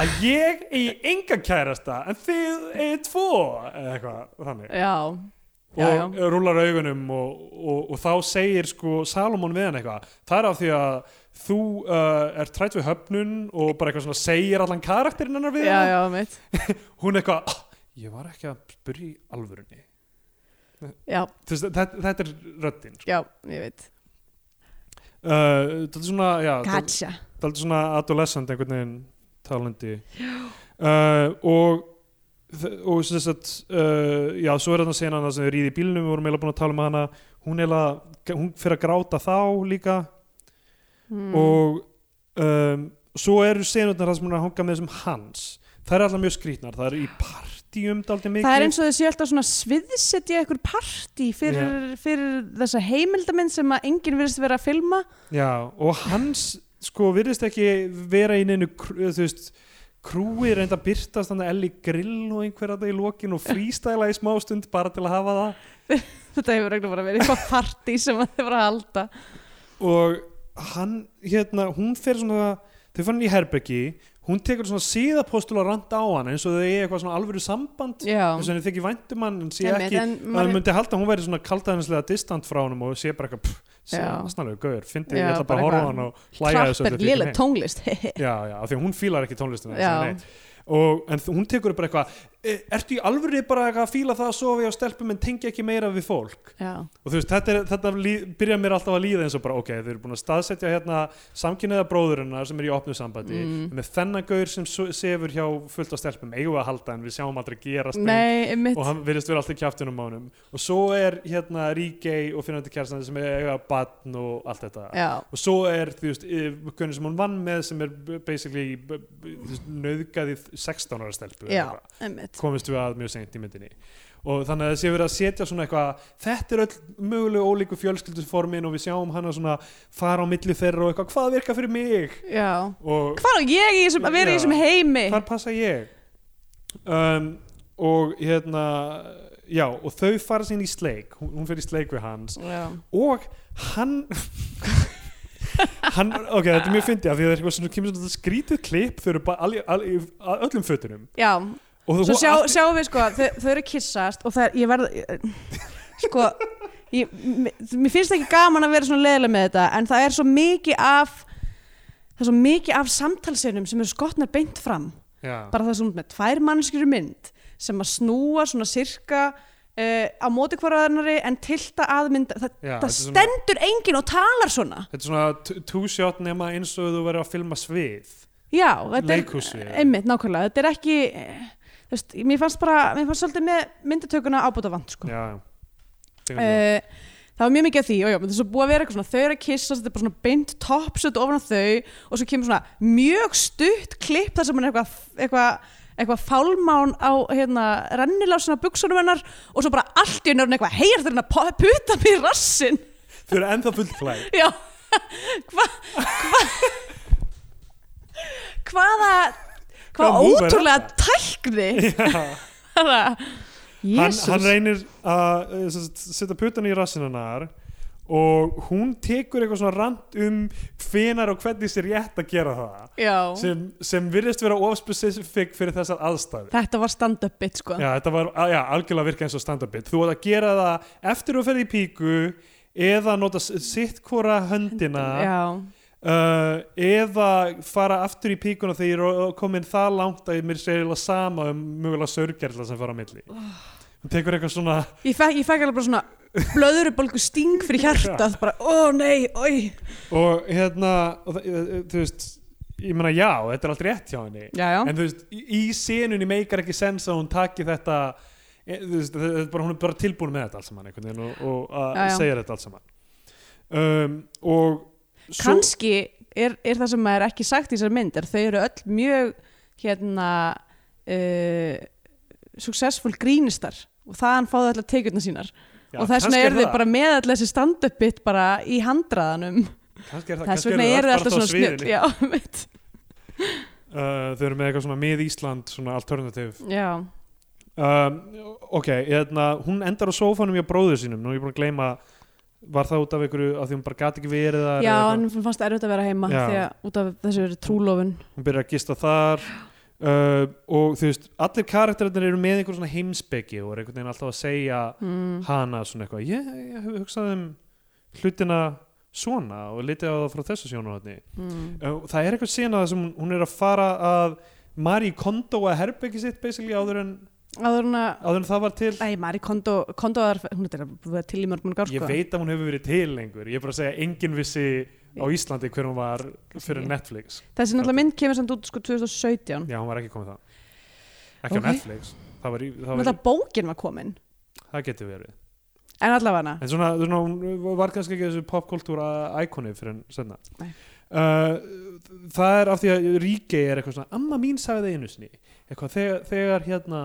S2: að ég eigi enga kærasta en þið eigi tvo eða eitthvað þannig
S1: Já, já, já,
S2: og eh, rúlar augunum og, og, og þá segir sko Salomon við hann eitthvað það er af því að þú uh, er trætt við höfnun og bara eitthvað svona segir allan karakterinn hennar við
S1: já,
S2: hana.
S1: já, mitt
S2: hún eitthvað, "Ah, ég var ekki að spyrja í alvörunni
S1: Já,
S2: Þess, þetta, þetta er röddin sko.
S1: já, ég veit
S2: uh, þetta er svona, já, þetta
S1: Gotcha
S2: er svona adolescent einhvern veginn talandi uh, og þ- og sem sagt uh, já, svo er þetta senan það sem þau ríði í bílnum við vorum eiginlega búin að tala um hana hún, eiginlega, hún fyrir að gráta þá líka
S1: mm.
S2: og um, svo eru senutnar það sem hún er að hanga með þessum hans það er alltaf mjög skrýtnar, það er í partíum daldið mikið
S1: Það er eins og þau séu alltaf svona sviðsetja einhver partí fyrir, fyrir þessa heimildamind sem að enginn virðist vera að filma
S2: Já, og hans sko virðist ekki vera í neinu krú- þú veist, krúi reynda að byrtast þannig að Ellie grill og einhverja þetta í lokin og frístæla í smá stund bara til að hafa það
S1: Þetta hefur eiginlega bara verið eitthvað partí sem að þau voru að halda
S2: og hann, hérna, hún fer svona þau fann hann í herbergi hún tekur svona síðapostul og rand á hann eins og þau er eitthvað svona alvöru samband
S1: Já,
S2: eins og henni þykir væntum hann en sé
S1: Einmitt,
S2: ekki,
S1: en
S2: að hann
S1: maður-
S2: myndi halda að hún væri svona kaldaðinslega distant frá honum og sé bara eitthvað pff, sé
S1: Já.
S2: snarlega gauður, fyndi
S1: Já,
S2: ég ætla
S1: bara
S2: bara að horfa
S1: eitthvað
S2: á hann og hlæja
S1: trapp er
S2: öllu, þykir
S1: léleg
S2: nei.
S1: tónlist
S2: já, já, af því að hún fílar ekki tónlistina
S1: Já.
S2: sem er neitt. og, en þ- hún tekur upp bara eitthvað "E, ertu í alvöru bara eitthvað að fíla það að sofa á stelpum en tengja ekki meira við fólk
S1: Já,
S2: og þú veist, þetta, er, þetta líð, byrja mér alltaf að líða eins og bara, ok, þau eru búin að staðsetja hérna samkynniða bróðurinnar sem er í opnu sambandi
S1: Mm.
S2: með þennan gaur sem so- sefur hjá fullt af stelpum, eigum við að halda en við sjáum aldrei gerast neitt
S1: nei, mitt
S2: og hann virðist vera alltaf kjaftunum á honum og svo er hérna Ríkei og finnandi kjærstandi sem er eiga batn og allt þetta
S1: Já,
S2: og svo er þú veist gönni sem hún vann með sem er b- basically b- b- þú veist, nauðgað í 16 ára stelpu eða
S1: já,
S2: eitthvað.
S1: mitt
S2: komist við að mjög seint í myndinni og þannig að það sé verið að setja svona eitthvað þetta er öll mögulegu ólíku fjölskylduformin og við sjáum hana svona fara á milli þeirra og eitthvað hvað virkar fyrir mig
S1: Já
S2: og
S1: Hvað á ég í þessum, að vera í
S2: Já.
S1: þessum heimi?
S2: hvar passa ég um, og hérna já og þau fara sín í sleik hún, hún fer í sleik við hans
S1: Já,
S2: og hann hann, ok, þetta er mjög fyndið af því að það er eitthvað svona, kemur svona skrítið klipp þau eru bara all, all, all, öllum fötunum
S1: já
S2: og
S1: Svo
S2: hún-
S1: sjá,
S2: allt-
S1: sjáum við sko, þau, þau eru að kyssast og það er, ég verð sko, ég, mér- mér finnst ekki gaman að vera svona leðileg með þetta en það er svo mikið af það er svo mikið af samtalsinum sem eru skotnar beint fram,
S2: já,
S1: bara það er svona með tvær mannskjöru mynd sem að snúa svona sirka uh, á móti hverjaðarnari en tilta að mynda það,
S2: já, þetta er
S1: það
S2: svona-
S1: stendur enginn og talar svona
S2: þetta er svona t- two shot nema eins og þú verður að filma svið
S1: Já, þetta
S2: Leikhúsi,
S1: er
S2: eða?
S1: einmitt nákvæmlega, þetta er ekki eh, þú veist, mér fannst bara, mér fannst svolítið með myndatökuna ábúta vant sko.
S2: já, já. Þegar það.
S1: uh, það var mjög mikið af því og já, það er svo búið að vera eitthvað svona þau eru að kissa, þetta er bara svona beint topsut ofan á þau og svo kemur svona mjög stutt klipp þar sem hann er eitthvað eitthvað eitthvað fálmán á hérna, rennilásuna buksunum hennar og svo bara allt í nörn eitthvað heyr þeir hérna puta mig í rassin
S2: Þau eru ennþá fullflæg
S1: Já, hva, hva, hvaða,
S2: Hvaða
S1: hvaða
S2: múf er
S1: ótrúlega tækni bara,
S2: hann,
S1: Jésús,
S2: hann reynir að eh, sem sagt, setja putan í rassinn hennar og hún tekur eitthvað svona rand um hvenar og hvernig sér rétt að gera það
S1: já,
S2: sem, sem virðist vera ofspecifik fyrir þessar aðstæður
S1: þetta var stand-up bit sko.
S2: já, þetta var að- já, algjörlega virka eins og stand-up bit þú átt að gera það eftir þú ferði í píku eða nota s- sitt hvora höndina
S1: já,
S2: uh, eða fara aftur í píkuna þegar ég er komin það langt að mér sé eiginlega sama um mögulega sörgerla sem fara á milli hún tekur eitthvað svona
S1: ég fekk, ég fekk alveg bara svona blöðurubolgu sting fyrir hjartað, bara, ó nei, oi,
S2: og hérna og, þa- eh, eh, þú veist, ég meina já, þetta er allt rétt hjá henni
S1: já, já,
S2: en þú veist, í, í senunni meikar ekki sens að hún taki þetta e, þú veist, þetta er bara, hún er bara tilbúin með þetta alls saman einhvern veginn og, og
S1: Já,
S2: að
S1: já.
S2: segja þetta alls saman um, og svo,
S1: kannski er, er það sem er ekki sagt í þessari mynd er þau eru öll mjög, hérna, uh, successful grínistar og þaðan fá þau allar tekjurnar sínar
S2: já,
S1: og þess vegna
S2: kannski
S1: eru þið bara með alltaf þessi stand-up bit bara í handraðanum
S2: kannski er það,
S1: þess
S2: kannski
S1: vegna
S2: eru
S1: eru þið
S2: öll
S1: alltaf
S2: bara
S1: svona
S2: á sviðinu.
S1: snögg já, mitt.
S2: uh, þau eru með eitthvað svona mið Ísland svona alternativ
S1: já,
S2: um, ok, hérna, hún endar á sófanum hjá bróður sínum, nú er ég búin að gleyma var það út af einhverju, af því hún bara gati ekki verið þar
S1: já
S2: eða eitthvað.
S1: en mér fannst erfitt að vera heima
S2: Já.
S1: því að út af þessu eru trúlofun
S2: hún byrjar að gista þar uh, og þú veist, allir karakterarnir eru með einhver svona heimspeki og er einhvern veginn alltaf að segja
S1: mm.
S2: hana svona eitthvað, ég, ég hugsaði um hlutina svona og litið á það frá þessu sjónarhóttni
S1: Mm.
S2: og það er eitthvað sena þar sem hún- hún er að fara að Marie Kondo að herbeki sitt basically áður en,
S1: áður hún að
S2: áður en það var til
S1: Æ, Mari Kondo, Kondo er, hún er búið til í mörg mörg ár
S2: ég
S1: sko.
S2: veit að hún hefur verið til lengur ég er bara að segja engin vissi á Íslandi hver hún var fyrir
S1: ekki.
S2: Netflix
S1: Þessi náttúrulega mynd kemur samt út sko 2017.
S2: já, hún var ekki komið það ekki
S1: Ok.
S2: á Netflix það, var, í- það, var,
S1: Náttúrulega bókin var komin,
S2: það getur verið
S1: en allavega hana.
S2: en svona, svona hún var kannski ekki þessu popkultúra íkoni fyrir en senna
S1: Nei.
S2: uh, það er af því að Ríkei er eitthvað svona amma mín sagði það einu sinni eitthvað þegar, þegar hérna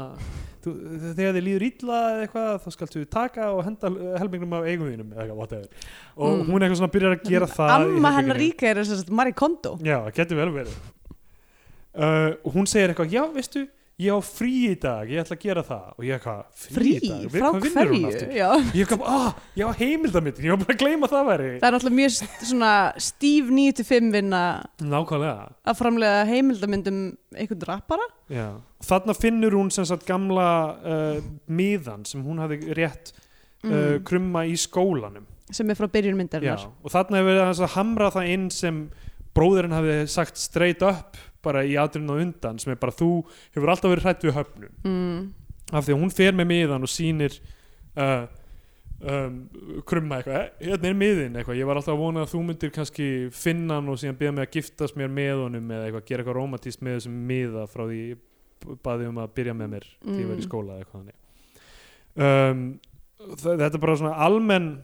S2: þú, þegar þið líður illa eða eitthvað þá skaltu taka og henda helmingnum af eigum þínum eða eitthvað whatever og
S1: Mm.
S2: hún eitthvað svona byrjar að gera það í
S1: Amma hennar
S2: herberginu.
S1: ríka er þess að Mari Kondo.
S2: Já, það getur vel verið uh, og Hún segir eitthvað, já, veistu ég á frí í dag, ég ætla að gera það og ég eitthvað, frí,
S1: Frí,
S2: í dag, Við-
S1: frá
S2: hvað vinnur hún
S1: hverju?
S2: aftur?
S1: Já.
S2: Ég eitthvað, ah, ég á heimildamitt ég var bara að gleyma að það væri
S1: Það er náttúrulega mjög st- svona stíf 9-5 vinna
S2: Nákvæmlega
S1: að framlega heimildamyndum einhvern rappara.
S2: já. Þarna finnur hún sem sagt gamla uh, miðan sem hún hafði rétt uh,
S1: Mm.
S2: krumma í skólanum
S1: sem er frá byrjun
S2: já.
S1: myndarinnar
S2: og þarna hefur verið aðeins að hamra það inn sem bróðirinn hafði sagt straight up bara í atrinu og undan sem er bara þú hefur alltaf verið hrætt við höfnun
S1: mm,
S2: af því að hún fer með miðan og sýnir uh, um, krumma eitthvað, "Eh, hérna er miðin eitthvað, ég var alltaf að vona að þú myndir kannski finna hann og síðan byrja mig að giftast mér með honum eða eitthvað, gera eitthvað romantíst með þessum miða frá því ég baði um að byrja með mér því ég var í
S1: Mm.
S2: skóla eða eitthvað þannig. um, þa- þetta er bara svona almenn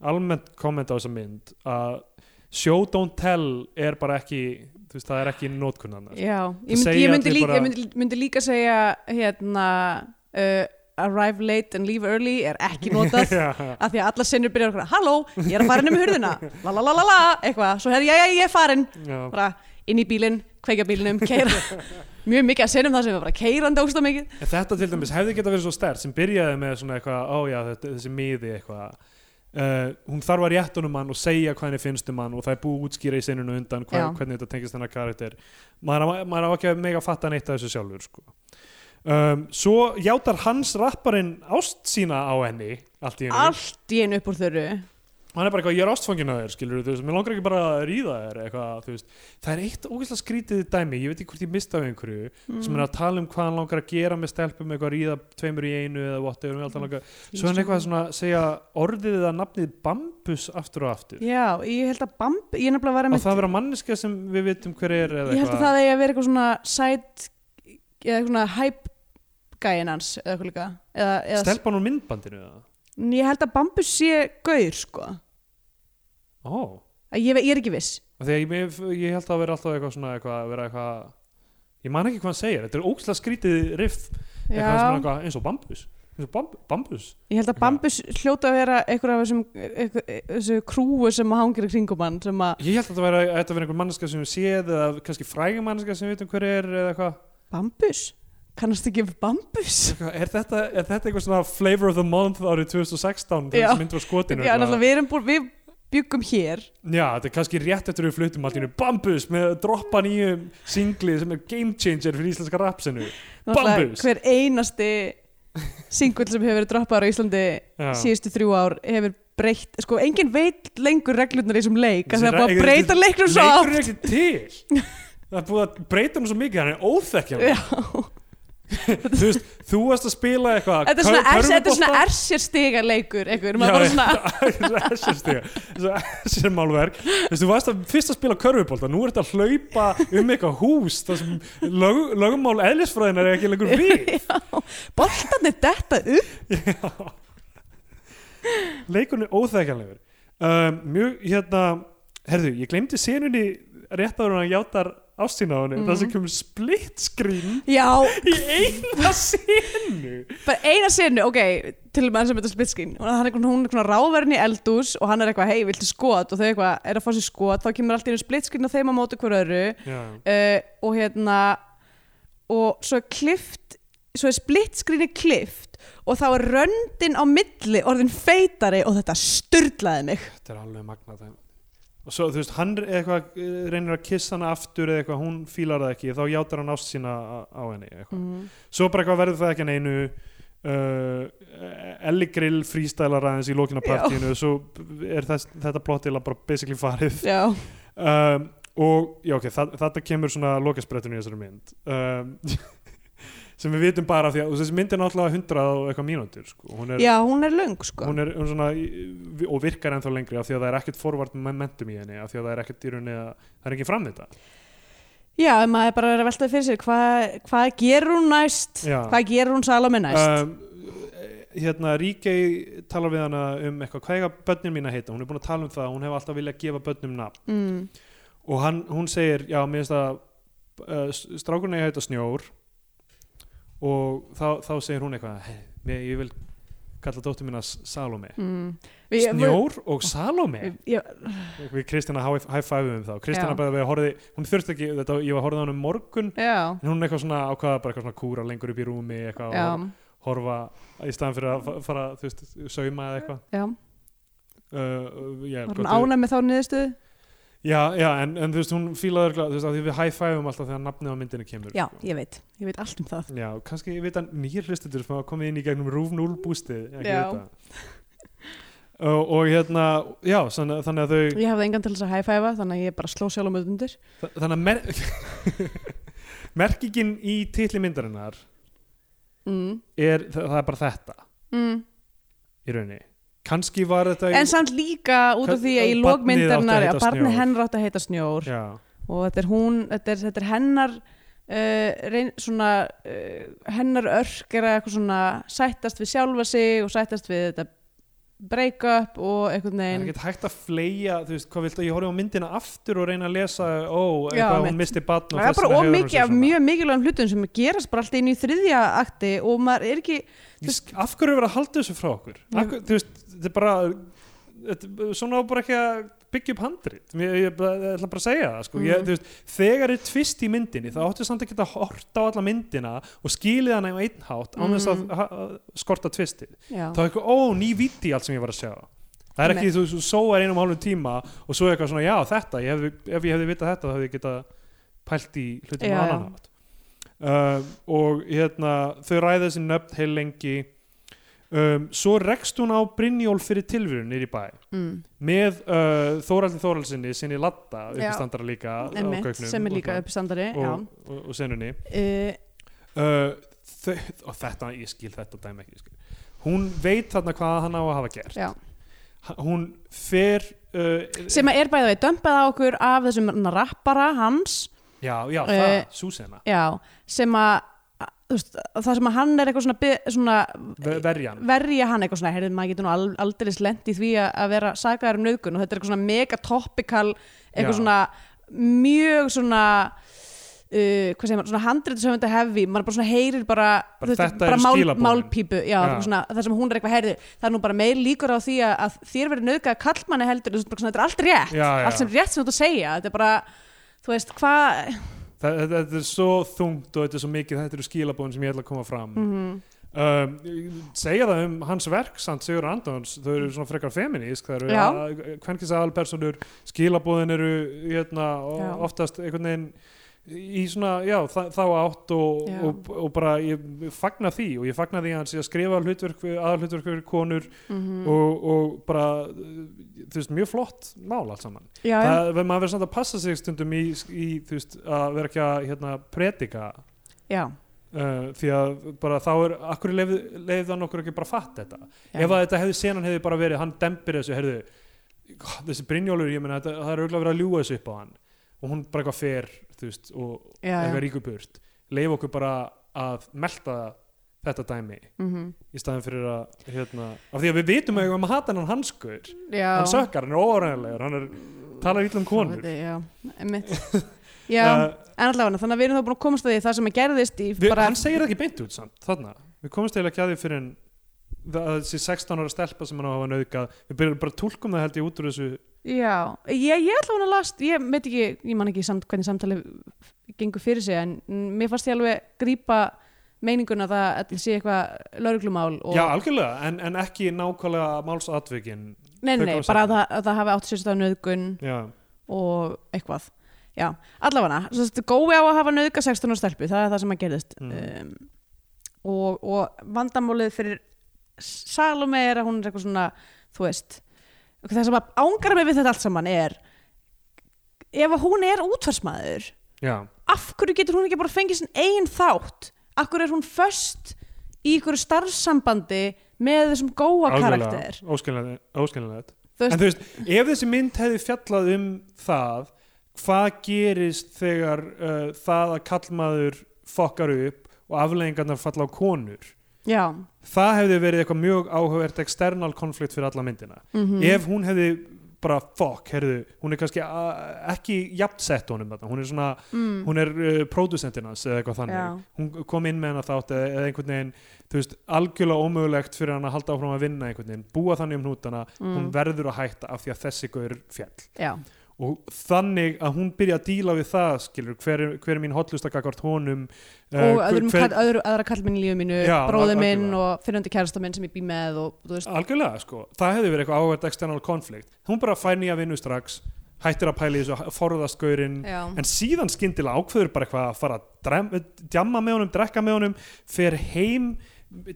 S2: almennt komment á þessa mynd að show don't tell er bara ekki þú veist, það er ekki nótkunnan
S1: já, ég
S2: Það
S1: myndi,
S2: segja
S1: ég myndi,
S2: allir
S1: líka,
S2: bara-
S1: ég myndi, myndi líka segja hérna uh, arrive late and leave early er ekki notað af því að alla sinnur byrjar okkur halló, ég er að fara inn um hurðina la la la la la, eitthvað, svo hefði, já, já, ég er farin
S2: já,
S1: bara inn í bílinn, kveikja bílinnum keira, mjög mikið að sinnum það sem er bara keirandi ógst á mikið
S2: En þetta til dæmis hefði geta verið svo stert sem byrjaði með svona eitthvað, ó já, þetta, þessi miði eitthvað uh, hún þarf að rétt honum hann og segja hvað henni finnst um hann og það er búið að útskýra í sinunu undan hva,
S1: Já.
S2: hvernig þetta tengist hennar karakter maður, á- maður á ekki að mega fatta neitt af þessu sjálfur sko. um, svo játar hans rapparinn ást sína á henni allt í henni,
S1: allt í einu upp úr þörru
S2: hann er bara eitthvað, ég er ástfangin að þér skilur þú veist, mér langar ekki bara að ríða þér eitthvað, þú veist, það er eitt ógeðslega skrítið dæmi, ég veit ekki hvort ég mista af einhverju
S1: Mm.
S2: sem er að tala um hvað hann langar að gera með stelpum eitthvað að ríða tveimur í einu eða whatever, mm. alltaf langar svo hann eitthvað svona að segja orðið eða nafnið Bambus aftur og aftur
S1: já, ég held að bamb, ég nefnilega var
S2: og
S1: einmitt-
S2: það vera manneska sem við vitum hver er eða
S1: ég held að
S2: eitthvað
S1: það eigi að vera eitthvað svona sæt eða eitthvað svona hæp gæin hans eða eitthvað líka eða, eða,
S2: Stelpan úr myndbandinu eða?
S1: N- ég held að Bambus sé gaur sko
S2: Ó,
S1: að ég, ve- ég er ekki viss
S2: Af því að ég, ég, ég held að vera alltaf eitthvað svona eitthvað, að vera eitthvað ég man ekki hvað hann segir, þetta er ókslega skrítið riff, eitthvað sem er
S1: Já,
S2: eitthvað eins og bambus eins og bamb, bambus
S1: ég held að Bambus hljóta að vera einhver af þessum einhver- þessu krúu sem hangir í kringum hann sem að
S2: ég held að þetta vera, að þetta vera einhver manneska sem við séð eða kannski frægum manneska sem við veitum hver er eða eitthvað,
S1: Bambus? kannast ekki við Bambus?
S2: Eitthvað, er þetta, er þetta eitthvað svona flavor of the month árið 2016
S1: Já.
S2: þegar þessi mynd var skotin
S1: Já, náttúrulega við erum búin, við byggum hér
S2: Já, þetta er kannski rétt eftir við fluttum allt í einu Bambus með droppa nýjum singli sem er game changer fyrir íslenska rapsinu
S1: Náttúrulega
S2: Bambus.
S1: Hver einasti singull sem hefur verið droppaður á Íslandi
S2: Já.
S1: síðustu þrjú ár hefur breytt, sko, enginn veit lengur reglurnar í þessum leik,
S2: Þessi
S1: það er búið
S2: re-
S1: að breyta leiknum svo
S2: Leikur
S1: átt
S2: er ekki til Það er búið að breyta hann svo mikið, hann er óþekkjala Þú veist, þú varst að spila eitthvað
S1: Þetta er svona, er, þetta er svona ersir stiga leikur einhver, maður bara svona
S2: svona Þessi málverk Þessi, Þú varst að fyrst að spila körfubólta Nú ertu að hlaupa um eitthvað hús Það sem lög, lögumál eðlisfræðinar er ekki lengur við
S1: boltan er detta upp
S2: Já. leikurinn er óþækjanlegur um, mjög hérna herðu, ég glemdi senunni rétt áður en hann játar ástina á henni mm. það
S1: Mhm.
S2: sem kemur split screen
S1: Já,
S2: í eina senu
S1: bara eina senu, ok, til og með hann sem þetta splitskin hún er eitthvað, hún er eitthvað ráverðin í eldús og hann er eitthvað, hei, viltu skot og þau eitthvað er að fá sér skot, þá kemur allt í einu splitskin og þeim á móti hver öðru
S2: já,
S1: uh, og hérna og svo er klift svo er splitskrinni klift og þá er röndin á milli orðin feitari og þetta styrlaði mig
S2: þetta er alveg magnað dæmi. og svo þú veist, hann er eitthvað, eh, reynir að kissa hana aftur eða eitthvað, hún fílar það ekki þá játar hann ást sína á- á henni eitthvað.
S1: Mm. Mhm.
S2: svo bara eitthvað verður það ekki að neinu uh, Ellie Grill freestylar aðeins í lókinu
S1: Já.
S2: partíinu svo er þess, þetta plottilega bara basically farið
S1: já,
S2: um, og já ok, það, þetta kemur svona lokasprettunum í þessari mynd um, sem við vitum bara af því að og þessi mynd er náttúrulega 100 og eitthvað mínútur sko. hún er,
S1: já, hún er löng sko
S2: hún er um svona í- og virkar ennþá lengri af því að það er ekkert forvart momentum í henni af því að það er ekkert í rauninni að það er ekki fram þetta
S1: já, ef maður bara er að veltaði fyrir sér hvað hva gerur hún næst
S2: Já.
S1: hvað gerur hún Salome næst
S2: um, hérna Ríkei talar við hana um eitthvað, hvað eiga börnum mín að heita hún er búin að tala um það, hún hefur alltaf viljað gefa börnum nafn
S1: mm.
S2: og hann, hún segir, já, mér finnst að uh, strákurinn eiga að heita Snjór og þá, þá segir hún eitthvað, "Hey, mér, ég vil kalla dóttur mín að Salome
S1: Mm. Við-
S2: Snjór og Salome
S1: við- Já,
S2: við Kristina high-five um þá Kristina
S1: Já.
S2: bara við horfði, hún þurfti ekki þetta, ég var horfði á hann um morgun
S1: já,
S2: en hún eitthvað svona ákvaða bara eitthvað svona kúra lengur upp í rúmi eitthvað og
S1: já,
S2: horfa í staðan fyrir að fa- fara þú veist, sauma eða eitthvað
S1: já.
S2: uh, já,
S1: Var hún
S2: gott við-
S1: ánæg með þá niðurstöðu?
S2: já, já, en, en þú veist, hún fílaður þú veist, af því við high-fiveum alltaf þegar nafnið á myndinu kemur
S1: Já,
S2: sko.
S1: ég veit, ég veit allt um það.
S2: já, kannski ég veit að nýjir hlustendur sem hafa komið inn í gegnum Rúf 0 bústið ekki
S1: Já.
S2: veit það og, og hérna, já, sann, þannig að þau
S1: Ég hafði engan til þess að hæfæfa, þannig að ég bara sló sjálf um undir.
S2: þa- þannig að mer merkingin í titli myndarinnar
S1: Mm.
S2: er, það, það er bara þetta
S1: Mm.
S2: í rauninni, kannski var þetta
S1: en samt líka út af
S2: Hvern-
S1: því að í
S2: barnið átti að
S1: lókmyndarnar
S2: heita
S1: að barni
S2: Snjór.
S1: hennar átt að heita snjór
S2: já,
S1: og þetta er hún, þetta er, þetta er hennar uh, reyn, svona uh, hennar örk er að eitthvað svona sættast við sjálfa sig og sættast við þetta break up og einhvern
S2: Það er
S1: veginn
S2: ekkert hægt að fleia, þú veist, hvað viltu að ég horfi á myndina aftur og reyna að lesa,
S1: Já,
S2: ó, eitthvað,
S1: mitt.
S2: hún misti batn og
S1: það er
S2: þess
S1: bara
S2: vegna hefur hún
S1: ómikið
S2: sig
S1: af
S2: svona.
S1: mjög mikilvægum hlutum sem gerast bara alltaf inn í þriðja akti og maður er ekki
S2: Ég sk- Af hverju er verið að halda þessu frá okkur? Af, hverju- þú veist, þetta er bara, þetta, svona á bara ekki að byggja upp handrit. Ég, ég, bara- ég ætla bara að segja það, sko. Ég, þú veist, þegar er tvist í myndinni, þá áttu samt að geta horta á alla myndina og skilið hana um einn hátt án þess að, að, að skorta tvistið.
S1: já,
S2: þá er eitthvað, ó, ný viti allt sem ég var að sjá það er ekki, þú þú sóar einum og hálfum tíma og svo er eitthvað svona, já, þetta ég hef, ef ég hefði vitað þetta, þá hefði ég getað pælt í hlutum
S1: Já,
S2: á
S1: já.
S2: annan hátt um, og hérna þau ræða þessi nöfn heil lengi um, svo rekst hún á Brynjólf fyrir tilvíðun nýr í bæ
S1: mm,
S2: með uh, Þóraldi Þóraldsinni sinni Latta
S1: Já.
S2: uppstandara líka á
S1: emitt,
S2: gauknum
S1: sem er líka
S2: og-
S1: uppstandari já.
S2: og, og, og senunni
S1: Uh,
S2: uh, þau, og þetta, ég skil þetta dæmi ekki ég skil. hún veit þarna hvað hann á að hafa gert
S1: já.
S2: Ha- hún fer uh,
S1: sem að er bæðið að dömpað á okkur af þessum rappara hans
S2: já, já,
S1: Eh,
S2: það, Susanna
S1: Já, sem að þú veist, það sem að hann er eitthvað svona, be- svona
S2: Ver- verjan
S1: verja hann eitthvað svona, heyrðu, maður getur nú al- aldrei lent í því að, að vera sagaðar um nöðgun og þetta er eitthvað svona mega topical eitthvað
S2: Já.
S1: svona mjög svona Uh, hvað segir maður, svona handrið sem þetta hefi maður bara svona heyrir bara,
S2: Bara
S1: þú
S2: þetta
S1: bara
S2: eru
S1: mál,
S2: skilaboðin.
S1: málpípu já,
S2: Já.
S1: já. Svona, það sem hún er eitthvað heyrði það er nú bara meir líkur á því að, að þér verið nöðgað kallmanni heldur, þú veist, bara svona, þetta er allt rétt
S2: Já, já.
S1: allt sem rétt sem þú ert að segja þetta er bara, þú veist, hvað
S2: Þa- þetta þetta er svo þungt og þetta er svo mikið þetta eru skilabóðin sem ég ætla að koma fram
S1: Mm. mhm,
S2: um, segja það um hans verk samt Sigur Andons, þau eru svona frekar feminísk, það eru
S1: Já.
S2: að- kvenkins aðalpersonur skilabóðin eru hérna, o-
S1: Já.
S2: oftast einhvern veginn í svona, já, þa þá átt og,
S1: Já.
S2: og, og bara ég fagna því og ég fagna því að hann sé að skrifa hlutverk aðalhlutverk fyrir konur
S1: mhm. Mm.
S2: og, og bara, uh, þú veist, mjög flott mál allt saman
S1: já, já,
S2: það, maður verður samt að passa sig stundum í, í þú veist, að vera ekki að hérna, predika
S1: já,
S2: uh, því að bara þá er akkur leiði þann okkur ekki bara að fatta þetta
S1: já.
S2: ef að þetta hefði senan hefði bara verið hann dempir þessu, herðu þessi Brynjólfur, ég meina, þetta- það er auðvitað verið að ljúga þessu upp á hann og hún bara eitthvað fer þú veist, og
S1: Já, já.
S2: eitthvað ríkuburt leif okkur bara að melta þetta dæmi
S1: Mhm.
S2: í staðin fyrir að hérna, af því að við vitum að við um að hata hann hanskur
S1: já.
S2: hann sökkar, hann er óorðanlegur hann er, talar illa um konur Eh,
S1: Þetta, já, einmitt já, en allavega þannig að við erum þá búin að komast að því það sem að gerðist í
S2: Vi,
S1: bara,
S2: hann segir það ekki beint út samt þarna. við komumst eiginlega ekki að því fyrir en það að þessi 16 ára stelpa sem hann á að hafa nauðgað við byrjum bara að túlkum það held ég út úr þessu
S1: já, ég, ég allavega að last ég veit ekki, ég man ekki samt hvernig samtali gengur fyrir sig en mér fannst ég alveg grípa meininguna að það að það sé eitthvað lauruglumál og,
S2: já algjörlega, en, en ekki nákvæmlega málsatvikin
S1: nei, nei, nei,
S2: þau komu
S1: bara að
S2: saman.
S1: það, að það hafi átt sér stað nöðgun
S2: já,
S1: og eitthvað já, allavega, svo gói á að hafa nöðga 16 ára stelpu, það er það sem að gerðist
S2: Mm.
S1: um, og, og vandamálið fyrir Salome er að hún er eitthvað svona þú veist, það sem að ángar mig við þetta allt saman er ef að hún er útvarsmaður
S2: já,
S1: af hverju getur hún ekki bara fengið sinn eigin þátt af hverju er hún föst í ykkur starfsambandi með þessum góa karakter
S2: óskiljanlega, óskiljanlega.
S1: Þú veist-
S2: en þú veist, ef þessi mynd hefði fjallað um það hvað gerist þegar uh, það að kallmaður fokkar upp og afleggingarnar falla á konur
S1: já,
S2: það hefði verið eitthvað mjög áhugavert external konflikt fyrir alla myndina
S1: Mhm.
S2: ef hún hefði bara fuck, herðu, hún er kannski a- ekki jafnsett honum þarna, hún er svona
S1: mm,
S2: hún er uh, producentin hans eða eitthvað þannig,
S1: Já.
S2: hún kom inn með hana þátt eða, eða einhvern veginn, þú veist, algjörlega ómögulegt fyrir hann að halda áfram að vinna einhvern veginn búa þannig um hnútana,
S1: Mhm.
S2: hún verður að hætta af því að þessi gaur fjall
S1: Mm. já,
S2: og þannig að hún byrja að díla við það, skilur, hver, er- hver er mín hotlustakakkart honum eh,
S1: og
S2: hver-
S1: öðrum,
S2: hver-
S1: kall, öðru, aðra kallminn í lífið mínu,
S2: Já,
S1: bróðið
S2: al-
S1: minn
S2: algjörlega.
S1: og fyrirhundi kærasta minn sem ég bý með og þú veist,
S2: algjörlega sko, það hefði verið eitthvað áhverð external konflikt, hún bara fær nýja vinnu strax hættir að pæla í þessu, forðast gaurinn
S1: já,
S2: en síðan skyndilega ákveður bara eitthvað að fara að drem, djamma með honum, drekka með honum fer heim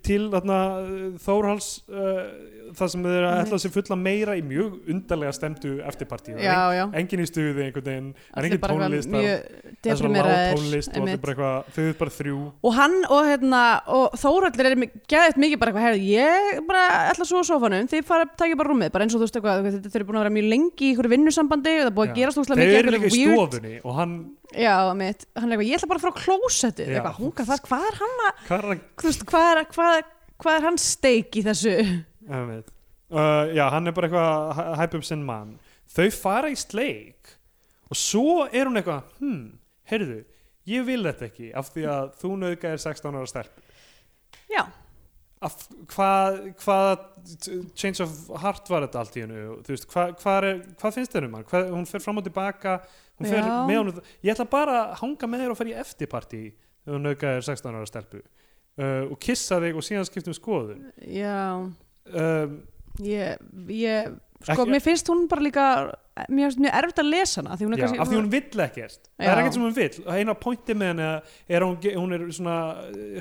S2: til þarna, Þórhals uh, það sem þeir
S1: Mhm.
S2: að ætla sér fulla meira í mjög undarlega stemdu eftirpartíð
S1: já, já
S2: engin í stuði einhvern veginn það er
S1: Allir
S2: engin
S1: bara eitthvað
S2: tónlist það-
S1: mjög
S2: það er svona lág
S1: deprimeraðir
S2: tónlist og það er
S1: einmitt.
S2: bara eitthvað, þau eru bara þrjú
S1: og hann og, hérna, og Þóraldur er geðið mikið bara eitthvað, herrðu, ég bara ætla svo á sofanum, þið fara að taka bara rúmið bara eins og þú veist eitthvað, þetta- þau eru búin að vera mjög lengi í ykkur vinnusambandi og það er búið
S2: Já.
S1: að gera
S2: þau
S1: slúkslega mikið
S2: eru líka í
S1: einhverju weird-
S2: stofunni og hann,
S1: já, mitt, hann er eitthvað, ég ætla bara að fara á klósettið
S2: Já.
S1: eitthvað, hún, hvað, hvað er hann að
S2: hvað er hann
S1: þú veist, hvað er, hvað, hvað er hans steik í þessu
S2: Einmitt. Uh, já, hann er bara eitthvað að hæpa upp sinn mann. Þau fara í sleik og svo er hún eitthvað, hmm, heyrðu, ég vil þetta ekki af því að þú nöðgæðir 16 ára stelp.
S1: já,
S2: Af, hvað, hvað change of heart var þetta allt í hennu? Þú veist, hvað, hvað, er, hvað finnst þér um hann? Hvað, hún fer fram og tilbaka, hún fer
S1: Já.
S2: með hún. Ég ætla bara að hanga með þér og fer í eftirparti þegar þú nöðgæðir 16 ára stelpu. Uh, og kissa þig og síðan skiptum skoðun.
S1: já
S2: Um,
S1: ég, ég sko,
S2: Ekki-
S1: mér finnst hún bara líka mér finnst mjög erfitt að lesa hana því hún er
S2: Já,
S1: kannski,
S2: af því hún vill ekkert það er
S1: Já.
S2: ekkert sem hún vill, eina pointi með hana er að hún, ge- hún er svona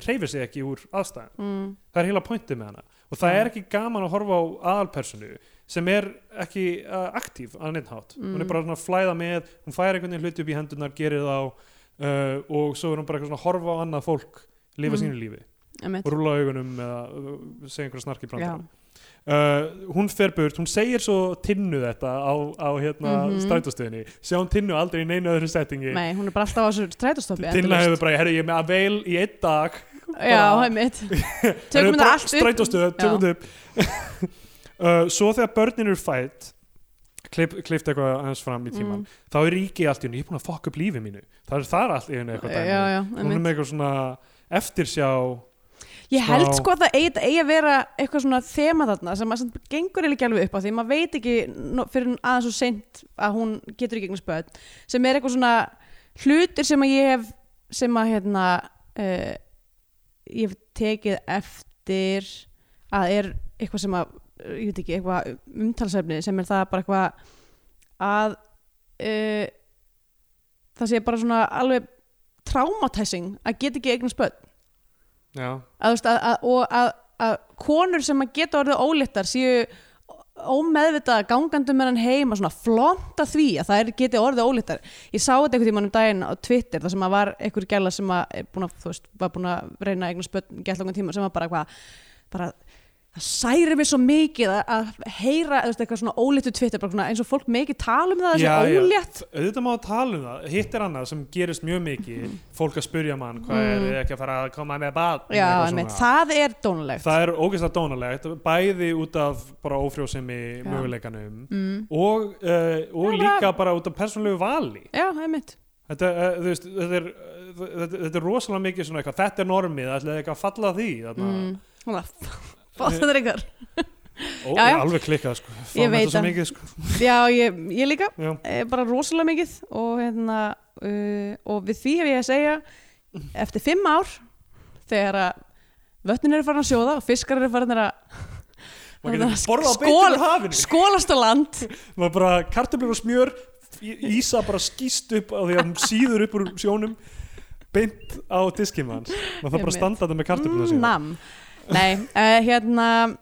S2: reyfir sig ekki úr aðstæðan,
S1: mm,
S2: það er heila pointi með hana og það er ekki gaman að horfa á aðalpersonu sem er ekki uh, aktíf að neitt hátt, hún
S1: Mm.
S2: er bara svona að flæða með, hún fær einhvern veginn hluti upp í hendunar gerir þá uh, og svo er hún bara eitthvað svona að horfa á annað fólk lifa
S1: Mm.
S2: sínu lífi
S1: einmitt.
S2: og rúla augunum eða uh, segja einhverja snarki
S1: já,
S2: brandar uh, hún fer burt, hún segir svo tinnu þetta á, á hérna mm
S1: Mhm.
S2: sjá hún tinnu aldrei í neinu öðru settingi
S1: nei, hún er bara alltaf á þessu strætastoppi
S2: Tinna hefur bara, herru, ég er með að veil í einn dag
S1: já, heimitt tökum þetta allt upp
S2: Strætóstöð, tökum þetta upp uh, Svo þegar börnin eru fætt Kleift eitthvað aðeins fram í
S1: Mm.
S2: tíman Þá er ríki allt í henni, ég er búin að fokk upp lífi mínu Það er þar allt í henni eitthvað dæmi
S1: já, já,
S2: Hún er
S1: einmitt.
S2: með eitthvað svona eftirsjá
S1: ég held
S2: smá-
S1: sko að það eigi, eigi að vera eitthvað svona þema þarna sem að sem gengur eiginlega ekki alveg upp á því maður veit ekki no- fyrir en aðeins og seint að hún getur í gegnum spöð sem er eitthvað svona hlutir sem að ég hef sem að hérna uh, ég hef tekið eftir að er eitthvað sem að eh, ég veit ekki, eitthvað umtalsefni sem er það bara eitthvað að uh, það sé bara svona alveg traumatizing að geta ekki eignan spöð
S2: Já,
S1: að, þú veist, að, að, og að, að konur sem að geta orðið óléttar séu ómeðvitað gangandi um með hann heima svona flonta því að það er geti orðið óléttar ég sá þetta einhvern tímann um daginn á Twitter þar sem að var einhver gæla sem að er búin að, þú veist, var búin að reyna eignu spötn gæla langan tíma sem var bara hvað bara það særi mig svo mikið að, að heyra þú veist, eitthvað svona óléttu Twitter bara svona, eins og fólk mikið tala um það að það
S2: Já, já.
S1: sé ólétt
S2: auðvitað má að tala um það Hitt er annað sem gerist mjög mikið Fólk að spyrja mann, hvað er þið ekki að fara að koma með bad
S1: Mm. já, einmitt, það er dónulegt
S2: Það er ógeðslega dónalegt, bæði út af bara ófrjósemi
S1: Já.
S2: möguleikanum og, uh, og
S1: Já, bara-
S2: líka bara út af persónlegu vali.
S1: já, einmitt
S2: Þetta, uh, þú veist, þetta, er, uh, þetta, þetta er rosalega mikið svona eitthvað, þetta er normið, það ætlaði eitthvað að falla að því. Þarna,
S1: mm. Hún var- Fá- þetta er eitthvað
S2: Ó,
S1: Já, já.
S2: ég alveg klikkað, sko. Fann
S1: veit
S2: þetta svo
S1: það.
S2: mikið, sko.
S1: Já, ég, ég líka,
S2: Já.
S1: eh, bara rosalega mikið og, hérna, uh, og við því hef ég að segja eftir fimm ár þegar að vötnin eru farin að sjóða og fiskar eru farin að
S2: Maður
S1: Þarna
S2: getur ekki borðað á
S1: skol-
S2: beintum úr hafinu.
S1: skólast á land
S2: Maður bara, kartöflur og smjör, í- ísa bara skýst upp á því að hún síður upp úr sjónum, beint á diskinn hans. Maður þarf bara
S1: Einmitt.
S2: að standa þetta með kartöflur og
S1: Mm, nam. Nei, uh, hérna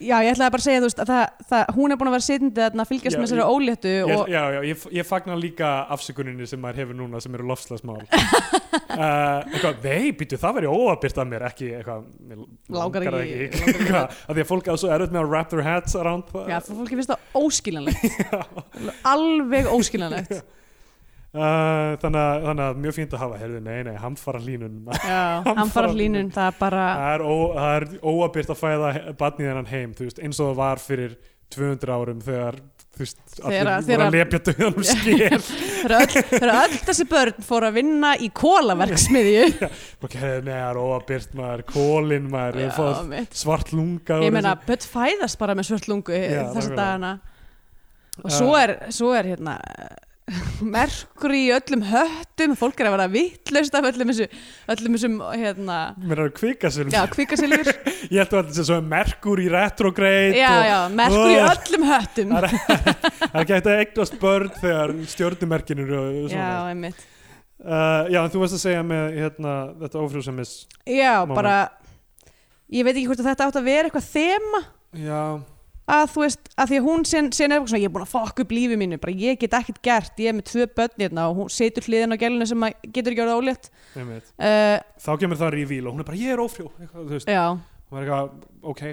S1: Já, ég ætlaði bara að segja þú veist að það, það, hún er búin að vera sitjandi þarna að fylgjast
S2: Já,
S1: með þessari
S2: ég-
S1: óléttu
S2: Ég,
S1: og,
S2: já, já, ég, ég fagna líka afsökuninni sem maður hefur núna sem eru lofslagsmál uh, eitthvað, nei, býtu, það veri óabyrt að mér ekki, eitthvað, mér
S1: Langar
S2: það
S1: ekki-
S2: ekki eitthvað, af því að fólk að svo erut með að wrap their hats around það
S1: Já, fyrir fólki finnst það óskiljanlegt Alveg óskiljanlegt
S2: uh, þannig, að- þannig að mjög fínt að hafa, heyrðu, nei, nei, hamfara línun
S1: Já, hann fara hlínun, það er bara
S2: það er, ó, það er óabyrt að fæða batnið hennan heim, þú veist, eins og það var fyrir 200 árum þegar þú veist, allir
S1: Þegar-
S2: voru
S1: þegar-
S2: að lepja döðan úr skér
S1: Þegar öll, þegar öll þessi börn fóru að vinna í kólaverksmiðju
S2: ok, nei, það er óabyrt maður, kólin maður, við fóðum
S1: mitt.
S2: svart lunga
S1: Ég
S2: úr
S1: meina,
S2: þessu.
S1: börn fæðast bara með svörtlungu
S2: Já,
S1: þessa
S2: nákvæmlega.
S1: dagana og svo er, svo er hérna merkur í öllum höttum fólk er að vera vittlaust af öllum þessu öllum þessum hérna
S2: mér er kvikasilv
S1: já, kvíkasilfur
S2: um ég held að þetta sé svo merkur í retrograde
S1: já,
S2: og
S1: já, merkur í
S2: Ugh.
S1: öllum höttum
S2: Það það er ekki hægt að eignast börn þegar stjörnumerkin eru og
S1: já,
S2: svona já,
S1: einmitt
S2: uh, já en þú varst að segja með hérna, þetta ófrjósemis
S1: já,
S2: Moment.
S1: bara ég veit ekki hvort að þetta átt að vera eitthvað þema
S2: já,
S1: að þú veist, að því að hún sen, sen er eitthvað svona, ég er búin að fokk upp lífi mínu bara ég get ekkert gert, ég er með tvö börn hérna og hún setur hliðin á gælinu sem að getur ekki orðið ólétt
S2: einmitt
S1: uh,
S2: þá kemur það revíl og hún er bara ég er ófrjó eitthvað, þú veist,
S1: já,
S2: hún er eitthvað, ok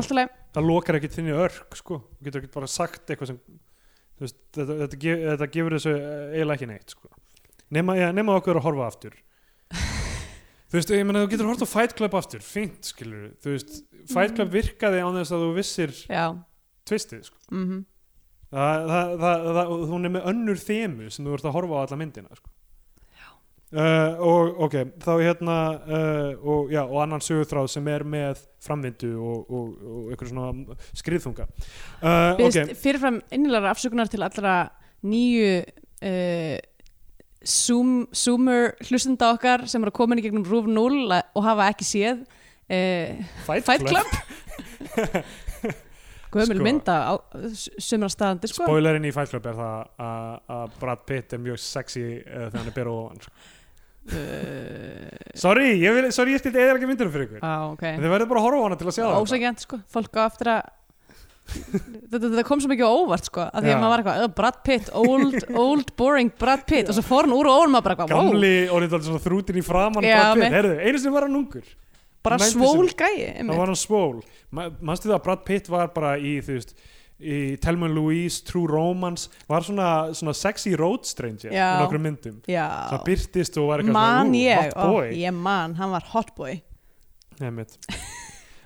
S1: allt alveg
S2: það lokar ekkert þinni örk sko, þú getur ekkert bara sagt eitthvað sem þú veist, þetta, þetta, gef, þetta gefur þessu eh, eiginlega ekki neitt sko. nema, ja, nema okkur að horfa aftur þú veist, ég meina þú getur horft á Fight Club aftur, fínt skilur þú veist, Fight Club virkaði án þess að þú vissir
S1: já,
S2: tvistið sko.
S1: mhm
S2: það, það, það, það, hún er með önnur þemu sem þú ert að horfa á alla myndina sko. Uh, og ok, þá hérna uh, og, já, og annan sögutráð sem er með framvindu og, og, og einhver svona skriðþunga uh,
S1: Byrðist
S2: ok,
S1: fyrirfram innilegra afsökunar til allra nýju uh, Zoom, Zoomer hlustenda okkar sem eru að koma inn í gegnum Rúf 0 að- og hafa ekki séð uh,
S2: Fight,
S1: Fight Club Guðmjöl
S2: Sko.
S1: mynda á sömur að staðandi sko.
S2: Spoilerinn í Fight Club er það að- að Brad Pitt er mjög sexy uh, þegar hann er byrðu ofan sko.
S1: uh,
S2: Sorry, ég, vil, sorry, ég skildi eða ekki myndunum fyrir ykkur
S1: á, ok
S2: Þið verður bara að horfa á hana til að sjá það
S1: ósækjant sko, fólk á eftir að þetta, þetta kom svo mikið á óvart sko, að því
S2: Já.
S1: að maður var eitthvað, "Ugh, Brad Pitt old, old boring Brad Pitt og svo fór hann úr og órum maður bara eitthvað, wow,
S2: Gamli og þetta er svona þrútin í framan
S1: Já,
S2: Brad Pitt,
S1: mitt.
S2: herðu, einu sem var hann ungur
S1: bara
S2: 90s.
S1: svól gæi
S2: Það
S1: einmitt.
S2: var hann svól Ma- Manstu það að Brad Pitt var bara í þú veist í Thelma and Louise, True Romance var svona, svona sexy road stranger
S1: Já.
S2: í nokkrum myndum
S1: já
S2: það byrtist og var eitthvað
S1: man
S2: svona,
S1: ég,
S2: hot
S1: ó,
S2: boy
S1: ég man hann var hot boy
S2: Einmitt.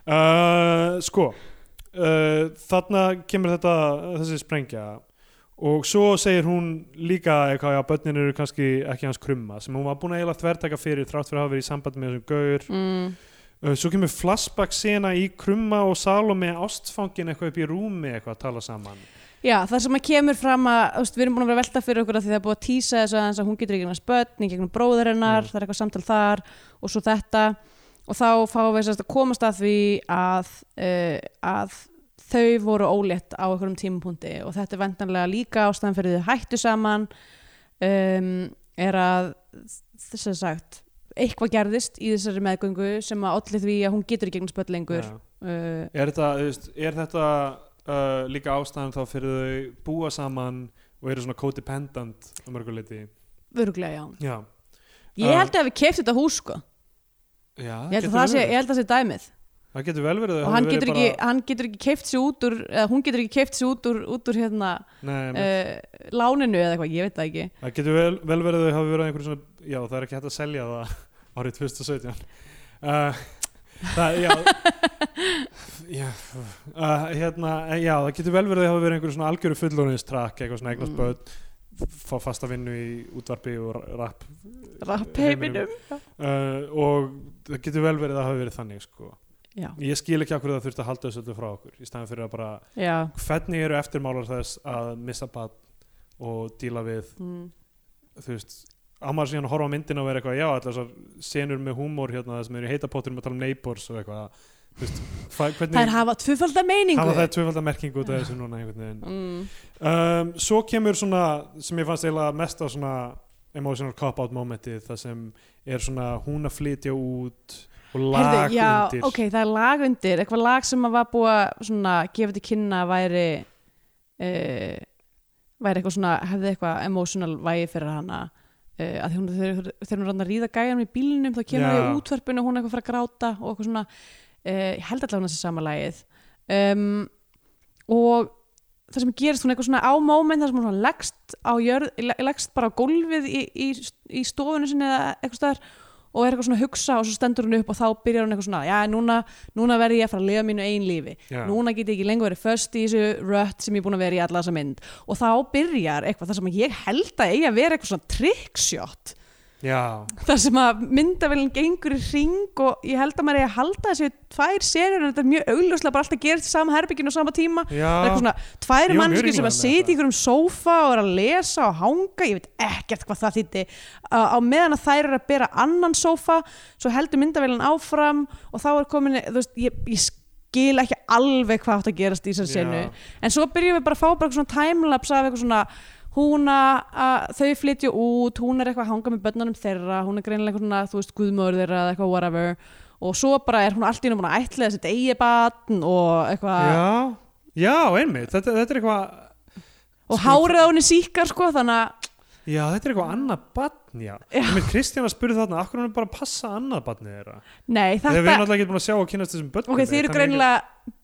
S2: uh, sko uh, þarna kemur þetta þessi sprengja og svo segir hún líka eitthvað að börnin eru kannski ekki hans krumma sem hún var búin að eiginlega þvertaka fyrir þrátt fyrir að hafa verið í sambandi með þessum gaur
S1: mm.
S2: uh, svo kemur flashback sena í krumma og Salome ástfangin eitthvað upp í rúmi eitthvað að tala saman
S1: já, það sem að kemur fram að þú veist, við erum búin að vera að velta fyrir okkur að því það er búið að tísa þess aðeins að hún getur ekki næst börn í gegnum bróður hennar,
S2: Mm.
S1: það er eitthvað samtal þar og svo þetta og þá fáum við sérst að komast að því að, uh, að þau voru ólétt á einhverjum tímapunkti og þetta er vendanlega líka ástæðan fyrir þau hættu saman um, er að þess að sagt eitthvað gerðist í þessari meðgöngu sem að olli því að hún getur ekki eignast börn lengur
S2: Já.
S1: uh,
S2: Eh, Er þetta, þú veist, er þetta uh, líka ástæðan þá fyrir þau búa saman og eru svona codependent á mörguleiti?
S1: vöruglega já
S2: Já.
S1: Ég
S2: Uh,
S1: held að við keift þetta hús sko
S2: Já,
S1: Ég held
S2: Ah, getur
S1: að það sé,
S2: verið.
S1: ég held að það sé dæmið
S2: Það getur vel verið. að
S1: og
S2: það
S1: hann
S2: hafi
S1: getur,
S2: verið
S1: ekki, hann getur ekki keift sér út úr eða hún getur ekki keift sér út úr, út úr hérna
S2: Nei, nei,
S1: uh, láninu eða eitthvað, ég veit það ekki
S2: það getur vel, vel verið að þau hafi verið einhverjum svona, já, það er ekki hægt að selja það árið 2017. Uh, það, já, já, uh, hérna, en já, það getur vel verið að þau hafi verið einhverjum svona algjöru fullónistrakk, eitthvað svona eignast
S1: Mm.
S2: börn, fá fasta vinnu í útvarpi og rapp
S1: Rappheiminum
S2: uh, og það getur vel verið að hafa verið þannig sko.
S1: Já,
S2: ég skil ekki okkur það þurfti að halda þessu öllu frá okkur í staðan fyrir að bara,
S1: já
S2: hvernig eru eftirmálar þess að missa bad og díla við,
S1: mm.
S2: þú veist ámar síðan að horfa á myndina og vera eitthvað já, allar þessar senur með húmór hérna það sem eru í heitapottunum að tala um neighbors og eitthvað þú veist, hva-
S1: Þær
S2: hvernig
S1: hafa tvöfalda meiningu
S2: hafa það tvöfaldar merkingu út af þessu núna einhvern veginn
S1: mm.
S2: um, svo kemur svona sem ég fannst eiginlega mest á svona emotional cop-out momentið það sem er svona hún að flytja út og lag
S1: Heyrðu, já,
S2: undir
S1: ok, það er lag undir eitthvað lag sem að var búið að svona, gefa til kynna að væri uh, væri eitthvað svona hefði eitthvað emotional vægi fyrir hana uh, að því hún, þegar, þegar hún rann að ríða gæjanum í bílnum þá kemur
S2: Já.
S1: það í útverfinu og hún er eitthvað að fara að gráta og eitthvað svona uh, ég held allavega hún þessi sama lagið um, og það sem gerist hún eitthvað svona á moment þar sem hún svona leggst á jörð, le- leggst bara á gólfið í, í, í stofunni sinni eða eitthvað staðar og er eitthvað svona að hugsa og svo stendur hún upp og þá byrjar hún eitthvað svona, já núna, núna verði ég að fara að lifa mínu einn lífi,
S2: Já.
S1: núna get ég ekki lengur verið först í þessu rött sem ég er búin að vera í alla þessa mynd og þá byrjar eitthvað þar sem ég held að eigi að vera eitthvað svona trickshot
S2: já,
S1: þar sem að myndavillin gengur í ring og ég held að maður eigi að halda þessu tvær serjur en þetta er mjög augljóslega bara alltaf gerist í sama herbygginu á sama tíma Það
S2: já
S1: er eitthvað svona tvær
S2: Jú, mjög
S1: mannskir sem
S2: ringlaðar
S1: að
S2: með
S1: sitja í
S2: þetta.
S1: einhverjum sófa og er að lesa og hanga, ég veit ekkert hvað það þýtti uh, á meðan að þær eru að bera annan sófa, svo heldur myndavélun áfram og þá er komin þú veist, ég, ég skil ekki alveg hvað átt að gerast í þessar
S2: Já.
S1: senu en svo byrjum við bara að fá bara eitthvað svona timelapse af eitthvað svona hún að, að þau flytja út, hún er eitthvað að hanga með börnunum þeirra, hún er greinilega eitthvað svona, þú veist, guðmóður þeirra eða eitthvað whatever og svo bara er hún allt í henni búin að ætla þessi eigi batn og eitthvað
S2: já, já, einmitt, þetta, þetta er eitthvað
S1: og hárið á henni síkar sko þannig að
S2: já, þetta er eitthvað annað badn, já, einmitt Kristjana spurði þarna, akkur hún er bara að passa annað badnið þeirra,
S1: nei
S2: þegar við
S1: þetta
S2: erum alltaf ekki búin að sjá og kynast þessum börnum
S1: ok þið eru greinilega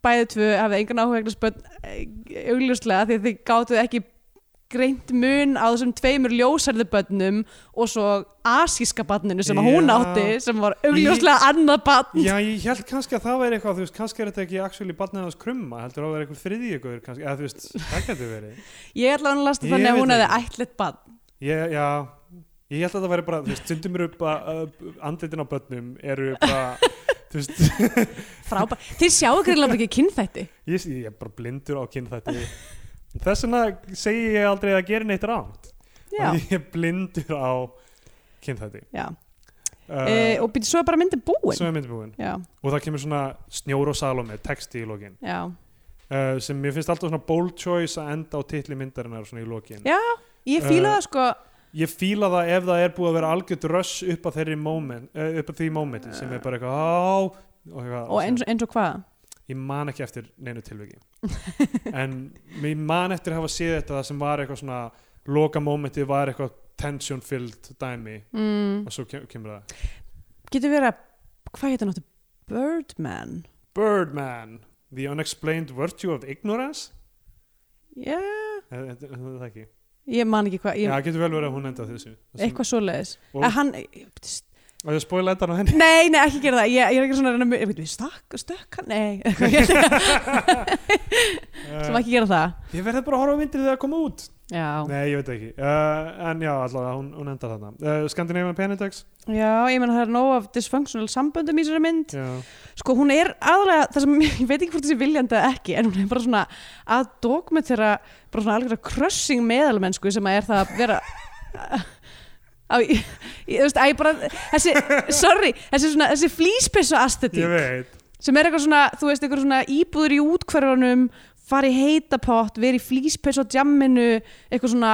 S1: bæði tvö hafið engan áhugnast bönn eh, augljóslega því að þið gátuð ekki greint mun á þessum tveimur ljósarðu bönnum og svo asíska bönninu sem að hún
S2: Já.
S1: átti sem var augljóslega annað bönn
S2: Já, ég held kannski að það væri eitthvað, þú veist, kannski er þetta ekki actually barnið hans krumma, heldur að það væri eitthvað þriðjögur kannski, eða þú veist, það getur verið.
S1: ég ætla að hann lasta
S2: Ég
S1: þannig að
S2: veit
S1: hún hefði
S2: ekki.
S1: ætlit bönn
S2: Ég, já, ég held að það væri bara, þú veist, stundum eru bara, uh, andlitin á börnum eru bara, þú veist,
S1: frábært, þið sjáu greinlega bara ekki kynþætti
S2: ég, ég er bara blindur á kynþætti. Þess vegna segi ég aldrei að gera neitt rámt.
S1: já,
S2: Ég er blindur á kynþætti.
S1: já,
S2: Uh,
S1: e, og býttu svo er bara myndin búin
S2: Sem er myndbúin.
S1: já,
S2: Og það kemur svona Snjór og Salome, texti í lokin.
S1: já,
S2: Uh, sem mér finnst alltaf svona bold choice að enda á titli myndarinnar svona í lokin.
S1: ég fíla
S2: Eh,
S1: það sko
S2: ég fíla það ef það er búið að vera algjört röss upp að þeirri moment eh, upp að því momenti sem er bara eitthvað á og, eitthvað,
S1: og eins, eins og hvað
S2: ég man ekki eftir neinu tilviki en ég man eftir að hafa séð þetta það sem var eitthvað svona loka momenti var eitthvað tension filled dæmi
S1: mm.
S2: og svo kem, kemur það
S1: getur verið að hvað heitir náttúrulega Birdman
S2: Birdman, the unexplained virtue of ignorance
S1: já,
S2: Eh, eh, það ekki
S1: ég man ekki hvað
S2: Já,
S1: ég,
S2: það getur vel verið að hún enda þessu
S1: eitthvað svoleiðis
S2: Og-
S1: að hann,
S2: Það er spóla endan á henni
S1: nei, nei, ekki gera það ég, ég er ekki svona, að reyna að- ég veit, við stakk, stökk hann nei, eitthvað, ég ætla- sem
S2: uh,
S1: ekki gera það
S2: Ég verði bara að horfa á myndir þegar það koma út
S1: já,
S2: Nei, ég veit ekki uh, En já, allavega, hún, hún endar þarna uh, Scandinavian Penitex
S1: já, ég meina það er nóg af dysfunctional samböndum í sér mynd
S2: Já,
S1: sko, hún er aðalega, það sem ég veit ekki hvort þessi viljandi eða ekki, en hún er bara svona að dokumentera, bara svona algjörða crushing meðalmennsku sem að er það að vera á, ég, ég, þú veist, að ég bara þessi, sorry, þessi svona, þessi flýspessu astetík
S2: ég veit
S1: sem er eitthvað svona, þú veist, eitthvað svona íbúður í útkverfunum, fara í heitapott vera í flýspess á djamminu eitthvað svona,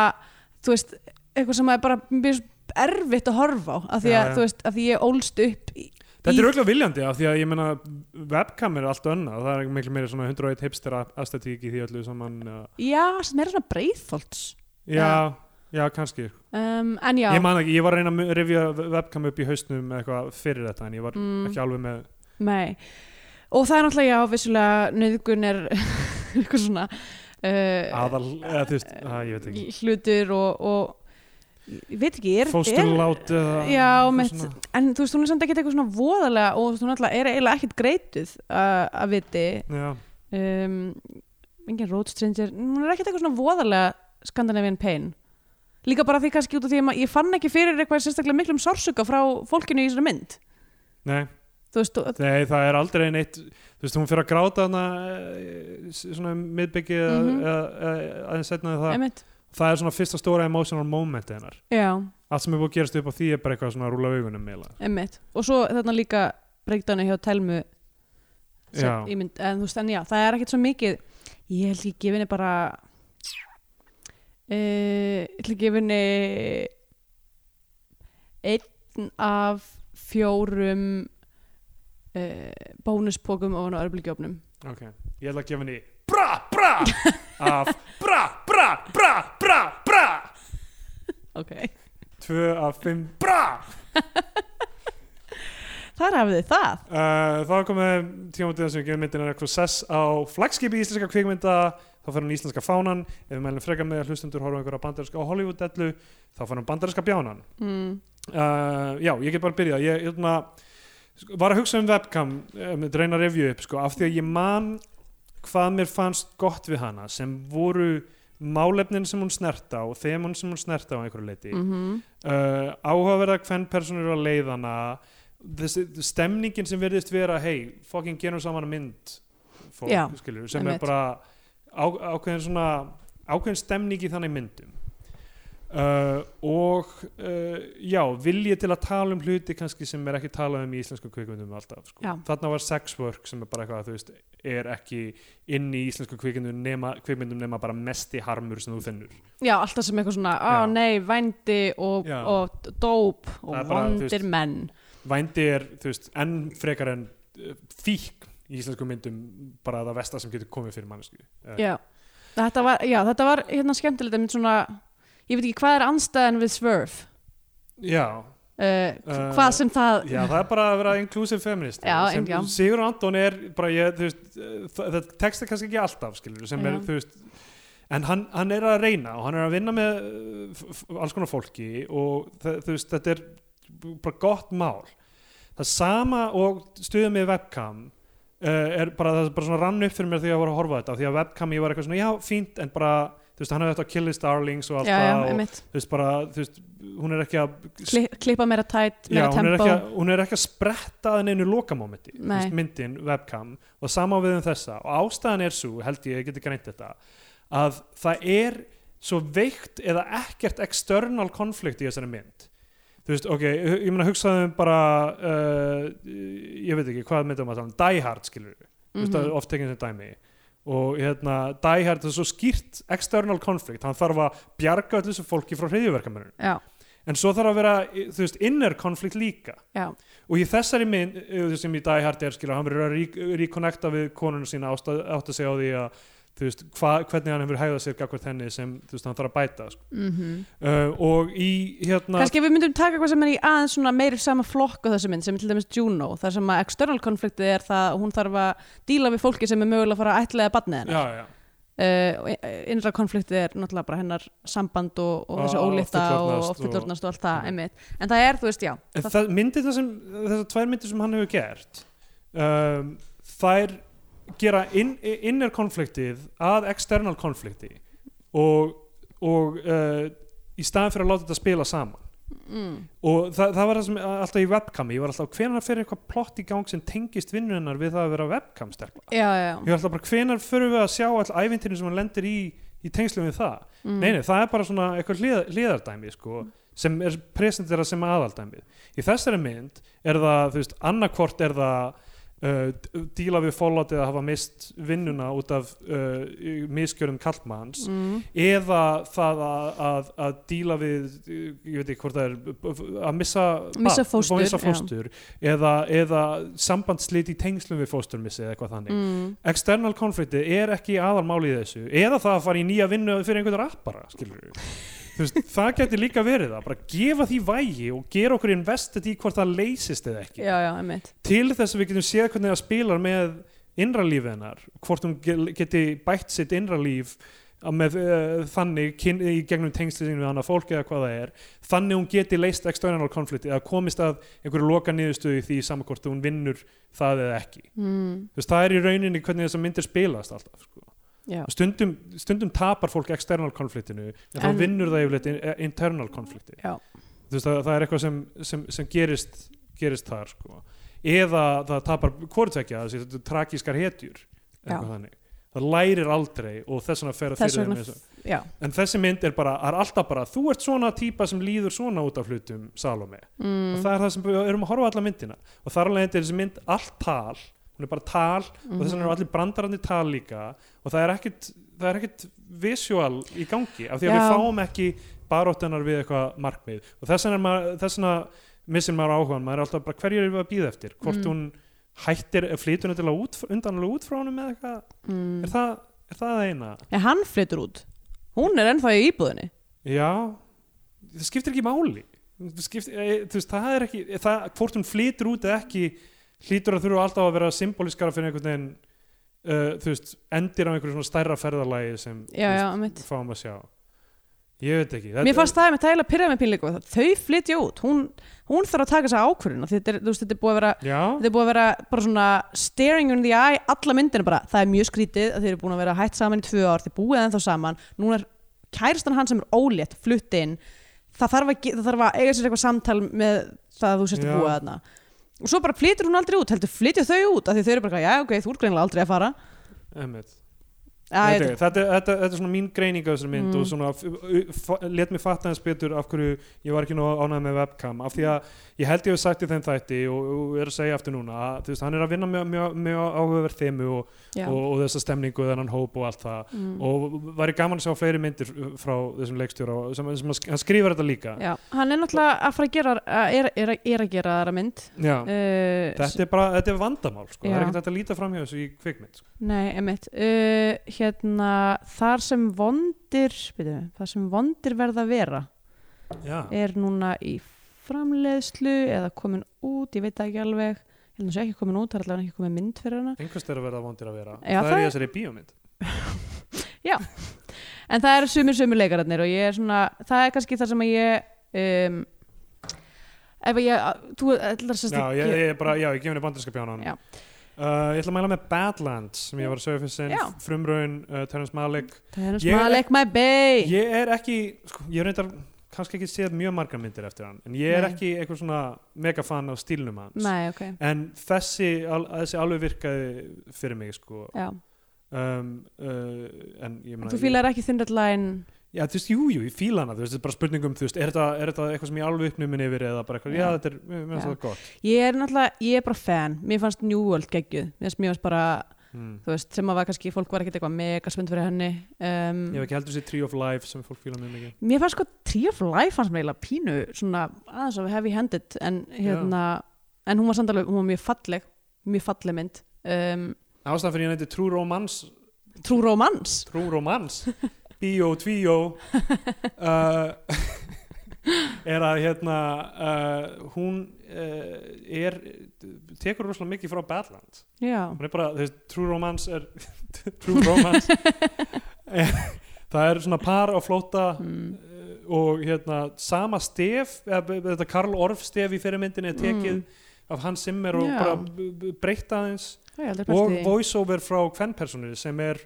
S1: þú veist eitthvað sem er bara mjög erfitt að horfa á, af því
S2: Já,
S1: að,
S2: já.
S1: þú veist, af því ég ólst upp í,
S2: Þetta
S1: í-
S2: er auðvitað viljandi af því að ég meina webcam er allt önnað það er miklu meiri svona 101 hipster aesthetík í því öllu saman uh,
S1: já, sem er svona breiðfolds
S2: Já, já, kannski
S1: um, en já,
S2: Ég man ekki, ég var að reyna að rifja webcam upp í haustnum eitthvað fyrir þetta en ég var
S1: Mm.
S2: ekki alveg með
S1: nei og það er náttúrulega, já, vissulega nöðgun er eitthvað svona uh,
S2: aðal, eða þú veist, að, ég veit ekki
S1: hlutur og, og ég veit ekki, er, er
S2: Fóstulát eða
S1: Já,
S2: eitthvað
S1: mitt,
S2: svona.
S1: en þú veist, hún er samt ekkert eitthvað svona voðalega og þú veist, hún alltaf er eiginlega ekkert greituð að að viti
S2: Já,
S1: um, engin road stranger, hún er ekkert eitthvað svona voðalega Scandinavian pain líka bara því kannski út af því að ma- ég fann ekki fyrir eitthvað sérstaklega miklum sársuga frá fólkinu í þessari mynd
S2: nei
S1: þú veist, og-
S2: Nei, það er aldrei neitt þú veist, hún fyrir að gráta hana eh, s- svona miðbyggið eða
S1: Mhm.
S2: eða- eða aðeins setna það
S1: einmitt
S2: það er svona fyrsta stóra emotional moment hennar
S1: já,
S2: allt sem er búið að gerast upp á því er bara eitthvað svona að rúla augunum meila
S1: einmitt, og svo þarna líka breykdánu hjá Telmu sem
S2: Já.
S1: ég mynd, en þú veist, en já, það er ekkert svo mikið ég held ég gefinni bara uh, ég held ég gefinni einn af fjórum uh, bónuspokum ofan á örbulgjófnum
S2: ok, ég ætla að gefa henni bra, bra af bra, bra, bra, bra, bra
S1: ok,
S2: tvö af fimm bra
S1: þar hafið þið það
S2: uh, þá komið tímamótið sem við gefum myndin er eitthvað sess á flagskipi íslenska kvikmynda þá fer hann í íslenska fánan ef við mælum frekar með að hlustundur horfum einhverja bandarinska á Hollywood-dellu þá fer hann bandarinska bjánan
S1: mm.
S2: uh, já, ég get bara að byrja ég, ég hérna, sko, var að hugsa um webcam um, reyna að revju upp sko, af því að ég man hvað mér fannst gott við hana sem voru málefnin sem hún snerta og þemun sem hún snerta á einhverju leiti
S1: Mm
S2: uh, áhugaverða hvern personur að leiðana þessi stemningin sem verðist vera hei, fucking gerum saman mynd fólk,
S1: Já,
S2: skilur, sem
S1: einmitt.
S2: er bara á, ákveðin svona ákveðin stemning í þannig myndum uh, og uh, já, vilji til að tala um hluti kannski sem er ekki talað um í íslensku kvikmyndum alltaf, sko.
S1: Já.
S2: þarna var sex work sem er bara eitthvað, þú veist, er ekki inn í íslensku kvikmyndum nema, kvikmyndum nema bara mesti harmur sem þú finnur
S1: já, alltaf sem eitthvað svona á
S2: Já.
S1: nei, vændi og,
S2: Já.
S1: og dóp
S2: Það er
S1: og
S2: bara, þú veist,
S1: vondir menn
S2: vændi er þú veist, enn frekar en uh, fík í íslensku myndum bara það vestar sem getur komið fyrir mannesku uh,
S1: já. Þetta var, já, þetta var hérna skemmtilegt einmitt svona, ég veit ekki hvað er anstæðan við Swerve
S2: já,
S1: uh,
S2: Uh,
S1: hvað sem það
S2: já, það er bara að vera inclusive feminist
S1: Já,
S2: sem,
S1: en- já.
S2: Sigur Anton er bara ég, þú veist, uh, það, það texta kannski ekki alltaf skilur, sem
S1: Já.
S2: er, þú veist en hann, hann er að reyna og hann er að vinna með uh, f- f- alls konar fólki og það, þú veist, þetta er bara gott mál það sama og stuðið með webcam uh, er bara, það er bara svona rann upp fyrir mér þegar ég var að horfa á þetta af því að webcam ég var eitthvað svona, já, fínt en bara, þú veist, hann hefði þetta að killis darlings og allt
S1: já, já,
S2: það og
S1: einmitt,
S2: þú veist bara, þú veist, hún er ekki að
S1: Kli, klippa meira tætt,
S2: já,
S1: meira
S2: hún er,
S1: tempo
S2: ekki að, hún er ekki að spretta að neinu lokamomenti, þú
S1: Nei.
S2: veist, myndin, webcam og sama á við um þessa og ástæðan er svo, held ég, ég geti greint þetta að það er svo veikt eða ekkert external konflikt í þessari mynd þú veist, ok, hu- ég meina hugsaðum bara uh, ég veit ekki, hvað myndum að tala um Die Hard skilur við, mm
S1: Mhm.
S2: -hmm. oft tekinn sem dæmi og hérna, Die Hard er svo skýrt external konflikt, hann þarf að bjarga öllu þessu fólki frá hriðjuverkamennunum
S1: Mhm. já,
S2: en svo þarf að vera, þú veist, inner konflikt líka
S1: já,
S2: og í þessari mynd eh, sem í Die Hard er skilur, hann verður að re- reconnecta við konuna sína átt að segja á því að þú veist, hva, hvernig hann hefur hægðað sér gagvart henni sem, þú veist, hann þarf að bæta sko.
S1: mhm
S2: uh, og í hérna
S1: kannski ef við myndum taka eitthvað sem er í aðeins svona meiri sama flokk á þessu mynd sem er til dæmis Juno þar sem að external konfliktið er það að hún þarf að díla við fólki sem er mögulega að fara að ætlaða barnið hennar
S2: já, já.
S1: uh, innra konfliktið er náttúrulega bara hennar samband og, og
S2: Og-
S1: þessi
S2: og
S1: ólita og,
S2: fullorðnast
S1: og fullorðnast og allt
S2: og-
S1: það, einmitt en það er, þú veist, já
S2: En
S1: það,
S2: það, myndir það sem, þessar tvær myndir sem hann hefur gert um, þær gera inn, inner konfliktið að external konflikti og, og uh, í staðan fyrir að láta þetta spila saman
S1: mm,
S2: og það, það var það sem alltaf í webcami ég var alltaf hvenar fyrir eitthvað plott í gang sem tengist vinnu hennar við það að vera webcam stelpa
S1: já, já,
S2: ég var alltaf bara hvenar fyrir við að sjá all ævintinu sem hann lendir í í tengslum við það
S1: já mm,
S2: Nei, nei, það er bara svona eitthvað hlið, hliðardæmi sko, sem er presentera sem aðaldæmið í þessari mynd er það þú veist, annarkvort er það uh, d- díla við fólát eða hafa mist vinnuna út af uh, miskjörum kallmanns
S1: mm,
S2: eða það að, að, að díla við uh, ég veit ekki hvort það er b- b- að missa,
S1: Missa
S2: barn,
S1: fóstur,
S2: missa
S1: já.
S2: fóstur eða, eða sambandslit í tengslum við fósturmissi eða eitthvað þannig
S1: mm,
S2: external konflikti er ekki aðalmáli í þessu eða það að fara í nýja vinnu fyrir einhvern rappara skilur veist, það geti líka verið það, bara gefa því vægi og gera okkur investið í hvort það leysist eða ekki
S1: já, já, einmitt
S2: til þess að við getum séð hvernig það spilar með innra lífi hennar hvort hún ge- geti bætt sitt innra líf að með uh, þannig kyn, í gegnum tengslisinn við annað fólk eða hvað það er þannig hún geti leist external konflikti eða komist að einhverju loka niðurstöðu í því samakvort hún vinnur það eða ekki
S1: mm,
S2: Þú veist, það er í rauninni hvernig þessar myndir spilast alltaf sko.
S1: já,
S2: stundum, stundum tapar fólk external konfliktinu en þá
S1: En-
S2: vinnur það yfirleitt in- eh, internal konflikti
S1: Já.
S2: Þú veist, það, það er eitthvað sem, sem, sem gerist, gerist þar sko. eða það tapar hvortvekja, þessi þetta eru tragískar hetjur
S1: Já.
S2: eitthvað þannig. það lærir aldrei og þess vegna fer að
S1: Þess
S2: fyrir
S1: vegna-
S2: þeim eins og-
S1: já
S2: en þessi mynd er bara, er alltaf bara þú ert svona típa sem líður svona út af hlutum Salome og
S1: mm,
S2: það er það sem við erum að horfa á alla myndina og þar alveg er þessi mynd allt tal hún er bara tal og þess
S1: Mhm.
S2: vegna eru allir brandarandi tal líka og það er ekkit, það er ekkit visual í gangi af því að
S1: Já.
S2: við fáum ekki baróttunar við eitthvað markmið og þess vegna, er maður- þess vegna missir maður áhugan maður er alltaf bara hverju erum við að býða eftir hvort
S1: Mm.
S2: hún hættir, flytur hún til að út, undanlega út frá honum eða eitthvað
S1: mm.
S2: er það, er það það eina?
S1: en hann flyttur út hún er ennþá í íbúðinni
S2: Já, það skiptir ekki máli það, skiptir, e, þú veist, það er ekki það, hvort hún flytur út eða ekki hlýtur að þurfa alltaf að vera symbolískara fyrir einhvern veginn uh, þú veist, endir á einhverju svona stærra ferðalagi sem
S1: já, já,
S2: þú
S1: einmitt
S2: fáum að sjá ég veit ekki
S1: Mér fannst það með tæla að pyrra með pínleiku þau flytja út, hún, hún þarf að taka þessa ákvörðina þetta er, þú veist, þetta er búið að vera
S2: já,
S1: þetta er búið að vera bara svona staring in the eye alla myndina bara, það er mjög skrítið að þeir eru búin að vera hætt saman í tvö ár, þeir búið ennþá saman núna er kærastan hann sem er ólétt flutt inn, það þarf að, ge- það þarf að eiga sér eitthvað samtal með það að þú sérst
S2: Já.
S1: að búa þarna og svo bara flytur hún aldrei út, heldur flytja þau út af því þau eru bara, eitthvað, já ok, þú ert greinlega aldrei að fara
S2: emmitt
S1: Æ,
S2: þetta,
S1: þetta,
S2: þetta, þetta, þetta, þetta er svona mín greining á þessari mynd
S1: Mm.
S2: og svona f- f- let mér fatta hans betur af hverju ég var ekki nú ánægð með webcam af því að ég held ég hef sagt í þeim þætti og, og er að segja aftur núna að þú veist, hann er að vinna mjög, mjög, mjög áhugaverð þeimu og,
S1: já,
S2: og, og þessa stemningu þennan hóp og allt það
S1: mm,
S2: og væri gaman að sjá fleiri myndir uh, frá þessum leikstjóra og sem, sem hann sk- hann skrifar þetta líka
S1: já, hann er náttúrulega að fara að gera að- er, er, er að gera þaðra mynd
S2: Já.
S1: uh,
S2: þetta er bara, þetta er vandamál sko. það
S1: Já.
S2: er ekkert hægt að líta framhjá þessu í kvikmynd sko.
S1: Nei, emitt. Uh, hérna, þar sem vondir, byrju, þar sem vondir verða að vera
S2: Já.
S1: er núna í framleiðslu eða komin út, ég veit það ekki alveg. Ég held að hún sé ekki komin út, það er allavega ekki komin mynd fyrir hana.
S2: einhvers þeirra verða vondir að vera
S1: Já,
S2: það,
S1: það
S2: er í
S1: er-
S2: þessari bíómynd
S1: En það eru sumir sumir leikararnir og ég er svona, það er kannski það sem að ég, um, ef ég, þú ætlar sérst
S2: Já, ég, ég, bara, já, ég gef henni bandarinska pjánan
S1: Já.
S2: Uh, Ég ætla að mæla með Badlands sem ég var að segja fyrir sinn,
S1: Já.
S2: frumraun uh, Terrence Malick.
S1: það er
S2: ég er-
S1: svona leik my bay.
S2: Ég er ekki, sko, ég er reyndar kannski ekki séð mjög margar myndir eftir hann en ég er
S1: Nei.
S2: ekki eitthvað svona megafan af stílnum hans
S1: Nei, ok,
S2: en þessi, al, þessi alveg virkaði fyrir mig sko
S1: já.
S2: um, uh, en ég meina
S1: Þú
S2: ég-
S1: fílar ekki Thunderline,
S2: Já, þú veist, jú, jú, ég fíla hana, þú veist, þetta er bara spurningum, þú veist, er þetta, er þetta eitthvað sem ég alveg uppnumin yfir eða bara eitthvað, já,
S1: Já.
S2: þetta er, mér mér finnst
S1: Já.
S2: það gott.
S1: ég er náttúrulega, ég er bara fan, mér fannst New World geggjuð, mér fannst- mér fannst bara
S2: Mm.
S1: þú veist, sem að var kannski, fólk var ekkert eitthvað mega spennt fyrir henni um,
S2: Ég hef ekki heldur þessi Tree of Life sem fólk fíla mjög mikið.
S1: mér fannst sko Tree of Life fannst mér eiginlega pínu svona aðeins of heavy handed en hérna, en hún var samt alveg hún var mjög falleg, mjög falleg mynd um,
S2: Ástæðan fyrir ég nefndi True Romance
S1: Trú Romance
S2: True Romance Bíó, tvíó uh, er að hérna uh, hún uh, er tekur rosalega mikið frá Badland
S1: já,
S2: hún er bara, þú veist, True Romance er True Romance það er svona par á flóta
S1: Mm.
S2: og hérna sama stef eða, b- b- þetta Karl Orff stef í fyrirmyndinni er tekið af Hans Zimmer og
S1: Mm. Já.
S2: bara b- b- breytt aðeins
S1: Það er aldrei pælt
S2: og
S1: í því.
S2: voiceover frá kvennpersonir sem er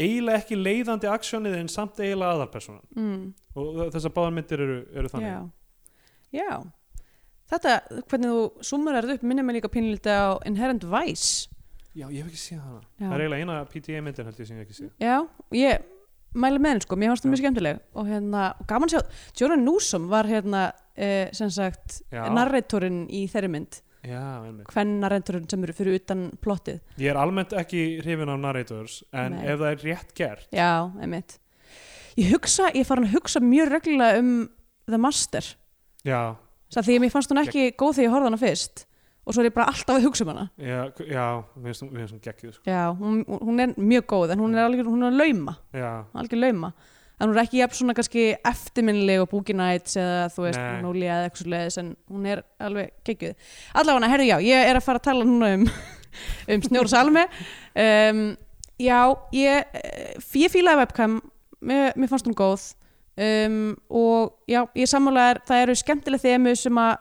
S2: eiginlega ekki leiðandi aksjónið en samt eiginlega aðalpersonan
S1: Mm.
S2: og þessar báðar myndir eru, eru þannig
S1: Já. Já. Þetta, hvernig þú summarar upp, minnir mig líka pínlítið á Inherent Vice.
S2: Já, ég hef ekki séð hana
S1: Já.
S2: Það er eiginlega eina PTA myndin held ég sem ég hef ekki séð
S1: Já, og ég mæli með henni sko, mér fannst það
S2: Já.
S1: mjög skemmtileg og hérna, og gaman að sjá, Jordan Newsom var hérna, eh, sem sagt
S2: Já.
S1: narratorinn í þeirri mynd
S2: Já, einmitt
S1: hvern narratorinn sem eru fyrir utan plottið,
S2: Ég er almennt ekki hrifin af narrators en
S1: Nei.
S2: ef það er rétt gert
S1: já, einmitt ég hugsa, ég fara að hugsa mjög reglulega um The Master
S2: Já,
S1: það því að mér fannst hún ekki góð þegar ég horfði á hana fyrst og svo er ég bara alltaf að hugsa um hana
S2: já, já við erum svona, svona geggjuð sko.
S1: já, hún, hún er mjög góð en hún er algjör, hún er að lauma
S2: Já,
S1: algjör lauma en hún er ekki jafn svona kannski eftirminnileg og Boogie Nights eða þú veist
S2: Nei.
S1: Nóli eða eitthvað svo leiðis en hún er alveg geggjuð allavega, herri já, ég er að fara að tala núna um um Snjór Salme um, já, ég eh, ég fílaði webcam mér, mér fannst hún góð um, og já, ég sammálaðar það eru skemmtileg þemu sem að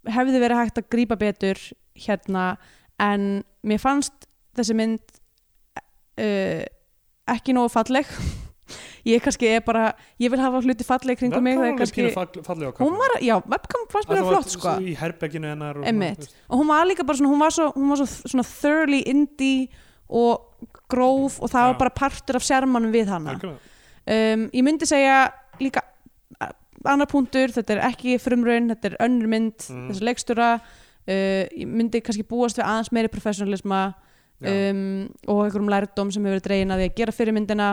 S1: hefði verið hægt að grípa betur hérna en mér fannst þessi mynd uh, ekki nógu falleg ég kannski er bara ég vil hafa hluti falleg kringum mig það er
S2: kannski...
S1: kannski,
S2: pínu fall, fallið á
S1: hún
S2: kaffinu
S1: var, já, webcam fannst mér flott sko
S2: Í herberginu hennar og svona,
S1: Einmitt.
S2: þú veist.
S1: og hún var líka bara svona hún var svo, hún var svo svona thoroughly indie og gróf og það
S2: Já.
S1: var bara partur af sérmanum við hana
S2: Algjörlega.
S1: um, ég myndi segja líka a- annar punktur, þetta er ekki frumraun þetta er önnur mynd,
S2: Mhm.
S1: þessi leikstjóra uh, ég myndi kannski búast við aðeins meiri professionalisma
S2: Já.
S1: um, og einhverjum lærdóm sem hefur verið dregin að því að gera fyrirmyndina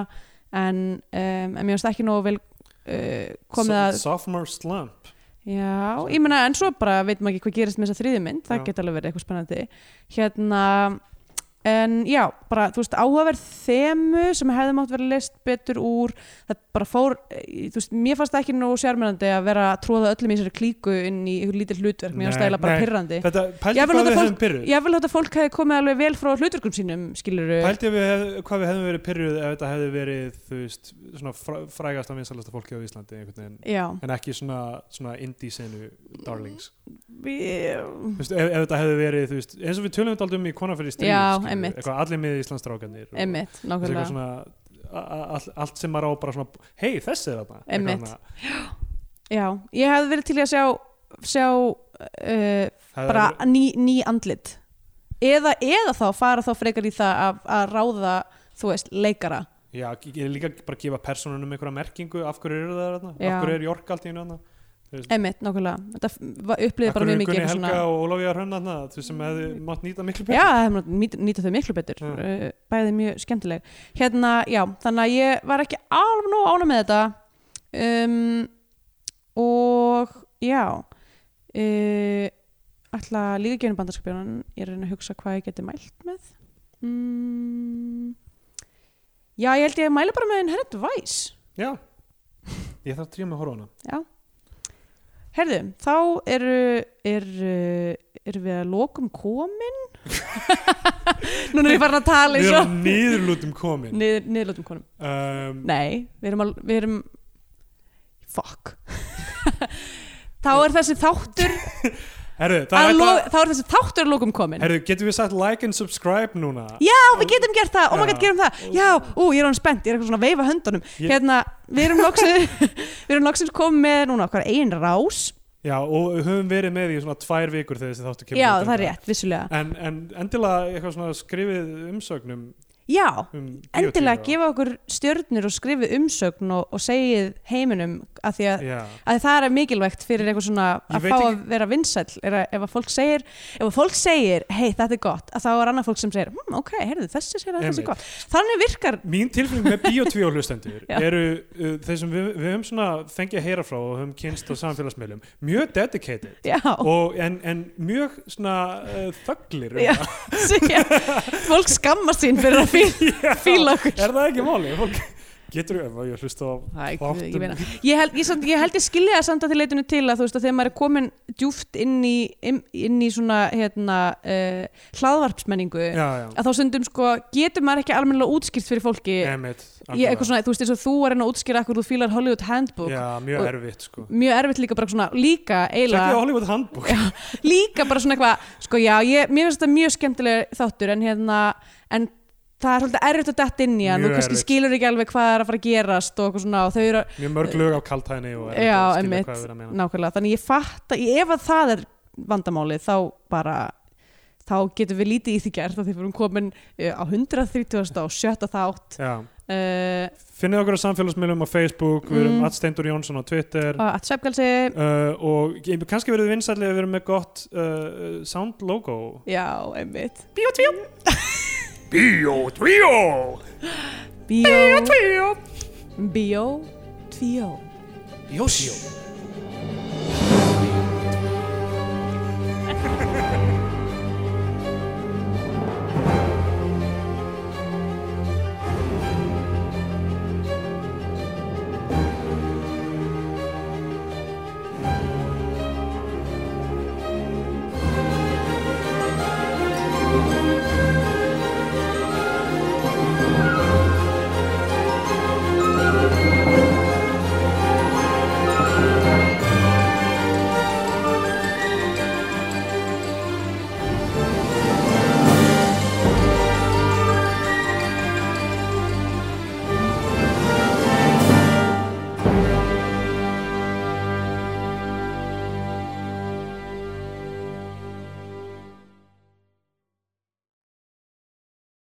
S1: en, um, en mér finnst ekki nógu vel uh, komið
S2: So-
S1: að
S2: Sophomore slump
S1: já, ég meina en svo bara veit maður ekki hvað gerist með þessa þriðjumynd, það
S2: Já.
S1: geti alveg verið eitthvað spennandi hérna en já, bara þú veist áhugaverð þemu sem hefði mátt verið list betur úr það bara fór, eh, þú veist, mér fannst það ekki nógu sérmennandi að vera að tróða öllum í þessari klíku inn í ykkur lítill hlutverk, mér fannst
S2: Nei,
S1: það eiginlega bara
S2: nei.
S1: pyrrandi
S2: Þetta, pældi
S1: Ég vil
S2: hvað
S1: láta
S2: við
S1: fólk-
S2: hefum pyrruð
S1: ég vil þetta fólk hefði komið alveg vel frá hlutverkum sínum, skiluru
S2: Pældi við hef, hvað við hefum verið pyrruð ef þetta hefði verið, þú veist, svona fræ, frægast að vinsalasta fólki á Íslandi einhvern veginn
S1: já,
S2: en ekki svona, svona indie senu darlings
S1: Við-
S2: þú veist, ef, ef þetta hefði verið þú veist, eins og við tölum þetta aldrei um í kona fyrir stríð
S1: Já,
S2: skilur,
S1: einmitt.
S2: eitthvað allir miðið Íslandsdrákanir og
S1: einmitt,
S2: þessi eitthvað
S1: nákvæmlega
S2: svona a- a- all, allt sem maður á bara svona hei þessi er þarna Eitthvað
S1: Einmitt.
S2: svona.
S1: já, ég hefði verið til í að sjá sjá uh,
S2: Það
S1: bara
S2: er-
S1: ný, ný andlit eða, eða þá fara þá frekar í það að, að ráða þú veist, leikara
S2: já, ég er líka bara að gefa personunum einhverja merkingu af hverju eru það þarna
S1: Já.
S2: af hverju er Jork allt í einu þarna Þú veist,
S1: einmitt, nákvæmlega, þetta f- var- upplifði
S2: af
S1: bara
S2: hverju
S1: mjög
S2: er
S1: mikið
S2: Gunni
S1: eitthvað
S2: Helga og Ólafía Hrönn þarna þú veist, sem hefði mátt nýta miklu
S1: já,
S2: betur
S1: það hefði maður nýt- nýta þau miklu betur
S2: Já.
S1: uh, bæði mjög skemmtileg hérna, já, þannig að ég var ekki alveg nóg ána með þetta um, og já uh, ætla líka gefinu bandarskapjónan ég er að reyna að hugsa hvað ég geti mælt með mm, já, ég held ég mæla bara með Inherent Vice
S2: já, ég þarf að tríma að horfa á hana
S1: Herðu, þá eru, eru, eru við að lokum komin Núna er ég farin að tala
S2: við
S1: eins og
S2: erum nýðurlútum komin
S1: Niður, niðurlótum konum
S2: um,
S1: Nei, við erum, al, við erum Fuck Þá er þessi þáttur
S2: herru, það
S1: að
S2: er
S1: lo,
S2: eitthvað
S1: Þá er þessi þáttur að lokum komin
S2: Herru, getum við sagt like and subscribe núna?
S1: Já, við getum gert það, oh my god,
S2: Já.
S1: gerum það Já, ú, ég er hann spennt, ég er eitthvað svona að veifa höndunum
S2: Ég-
S1: Hérna, við erum loksins Við erum loksins komin með núna okkar eigin rás
S2: Já, og við höfum verið með í svona tvær vikur þegar þessi þáttu kemur.
S1: Já,
S2: út
S1: það er
S2: enda.
S1: rétt, vissulega
S2: En, en endilega eitthvað svona skrifið umsögnum
S1: Já,
S2: um
S1: endilega
S2: bíótíu
S1: gefa okkur stjörnir og skrifi umsögn og, og segið heiminum að því að,
S2: og- Já,
S1: að það er mikilvægt fyrir eitthvað svona
S2: Ég
S1: að
S2: veit
S1: fá
S2: ekki-
S1: að vera vinsæll er að, ef að fólk segir, ef að fólk segir hei þetta er gott, að þá er annað fólk sem segir hm, ok, heyrðu, þessi segir að þessi
S2: Einmitt.
S1: er gott þannig virkar,
S2: mín tilfinning með Bíotvíó hlustendur
S1: Já.
S2: eru uh, þeir sem við, við höfum svona fengið að heyra frá og höfum kynst á samfélagsmiðlum mjög dedicated
S1: já,
S2: og en, en mjög svona uh, þögglir um
S1: Já.
S2: það.
S1: segja, fólk skammast sín fyrir að fíla, fíla okkur
S2: Er það ekki máli? Fólk getur ef að ég hlusta á
S1: Það er ekki, ég
S2: þáttum
S1: meina. Ég held ég, samt, ég, held ég skilja það samt að til leitinu til að þú veist að þegar maður er komin djúft inn í, inn, inn í svona hérna, uh, hlaðvarpsmenningu
S2: já, já,
S1: að þá stundum sko getur maður ekki almennilega útskýrt fyrir fólki
S2: emitt
S1: ég, eitthvað svona, þú veist eins og þú var einn að útskýra akkur þú fílar Hollywood Handbook
S2: já,
S1: Og-
S2: mjög erfitt sko
S1: mjög erfitt líka bara svona líka
S2: Sækja á
S1: eiginlega
S2: Hollywood handbúk
S1: líka bara svona eitthvað sko já, ég, mér finnst þetta mjög skemmtilega þáttur en hérna en það er svolítið erfitt að detta inn í hann
S2: Mjög
S1: og kannski
S2: erfitt.
S1: skilur ekki alveg hvað er að fara að gerast og, eitthvað svona, og þau eru
S2: mjög mörg lög af kaltæðinni og erfitt
S1: Já,
S2: að skilja
S1: einmitt.
S2: hvað er verið að meina.
S1: nákvæmlega þannig ég fatta, ég- ef að það er vandamálið þá bara þá getum við lítið í því gert að því við erum komin eh, á 130. og sjötta þátt
S2: Já.
S1: uh,
S2: finnið okkur á samfélagsmiðlum á Facebook við erum
S1: Mm. Ah.
S2: mm. Steindur Jónsson á Twitter
S1: að svefgalsi
S2: uh, og ég- kannski verðum við vinsætli að við erum með gott uh, sound logo
S1: já, einmitt bíó, tvíó
S2: Bíó, tvíó
S1: bíó,
S2: Tvíó
S1: bíó, tvíó
S2: Bíó, tvíó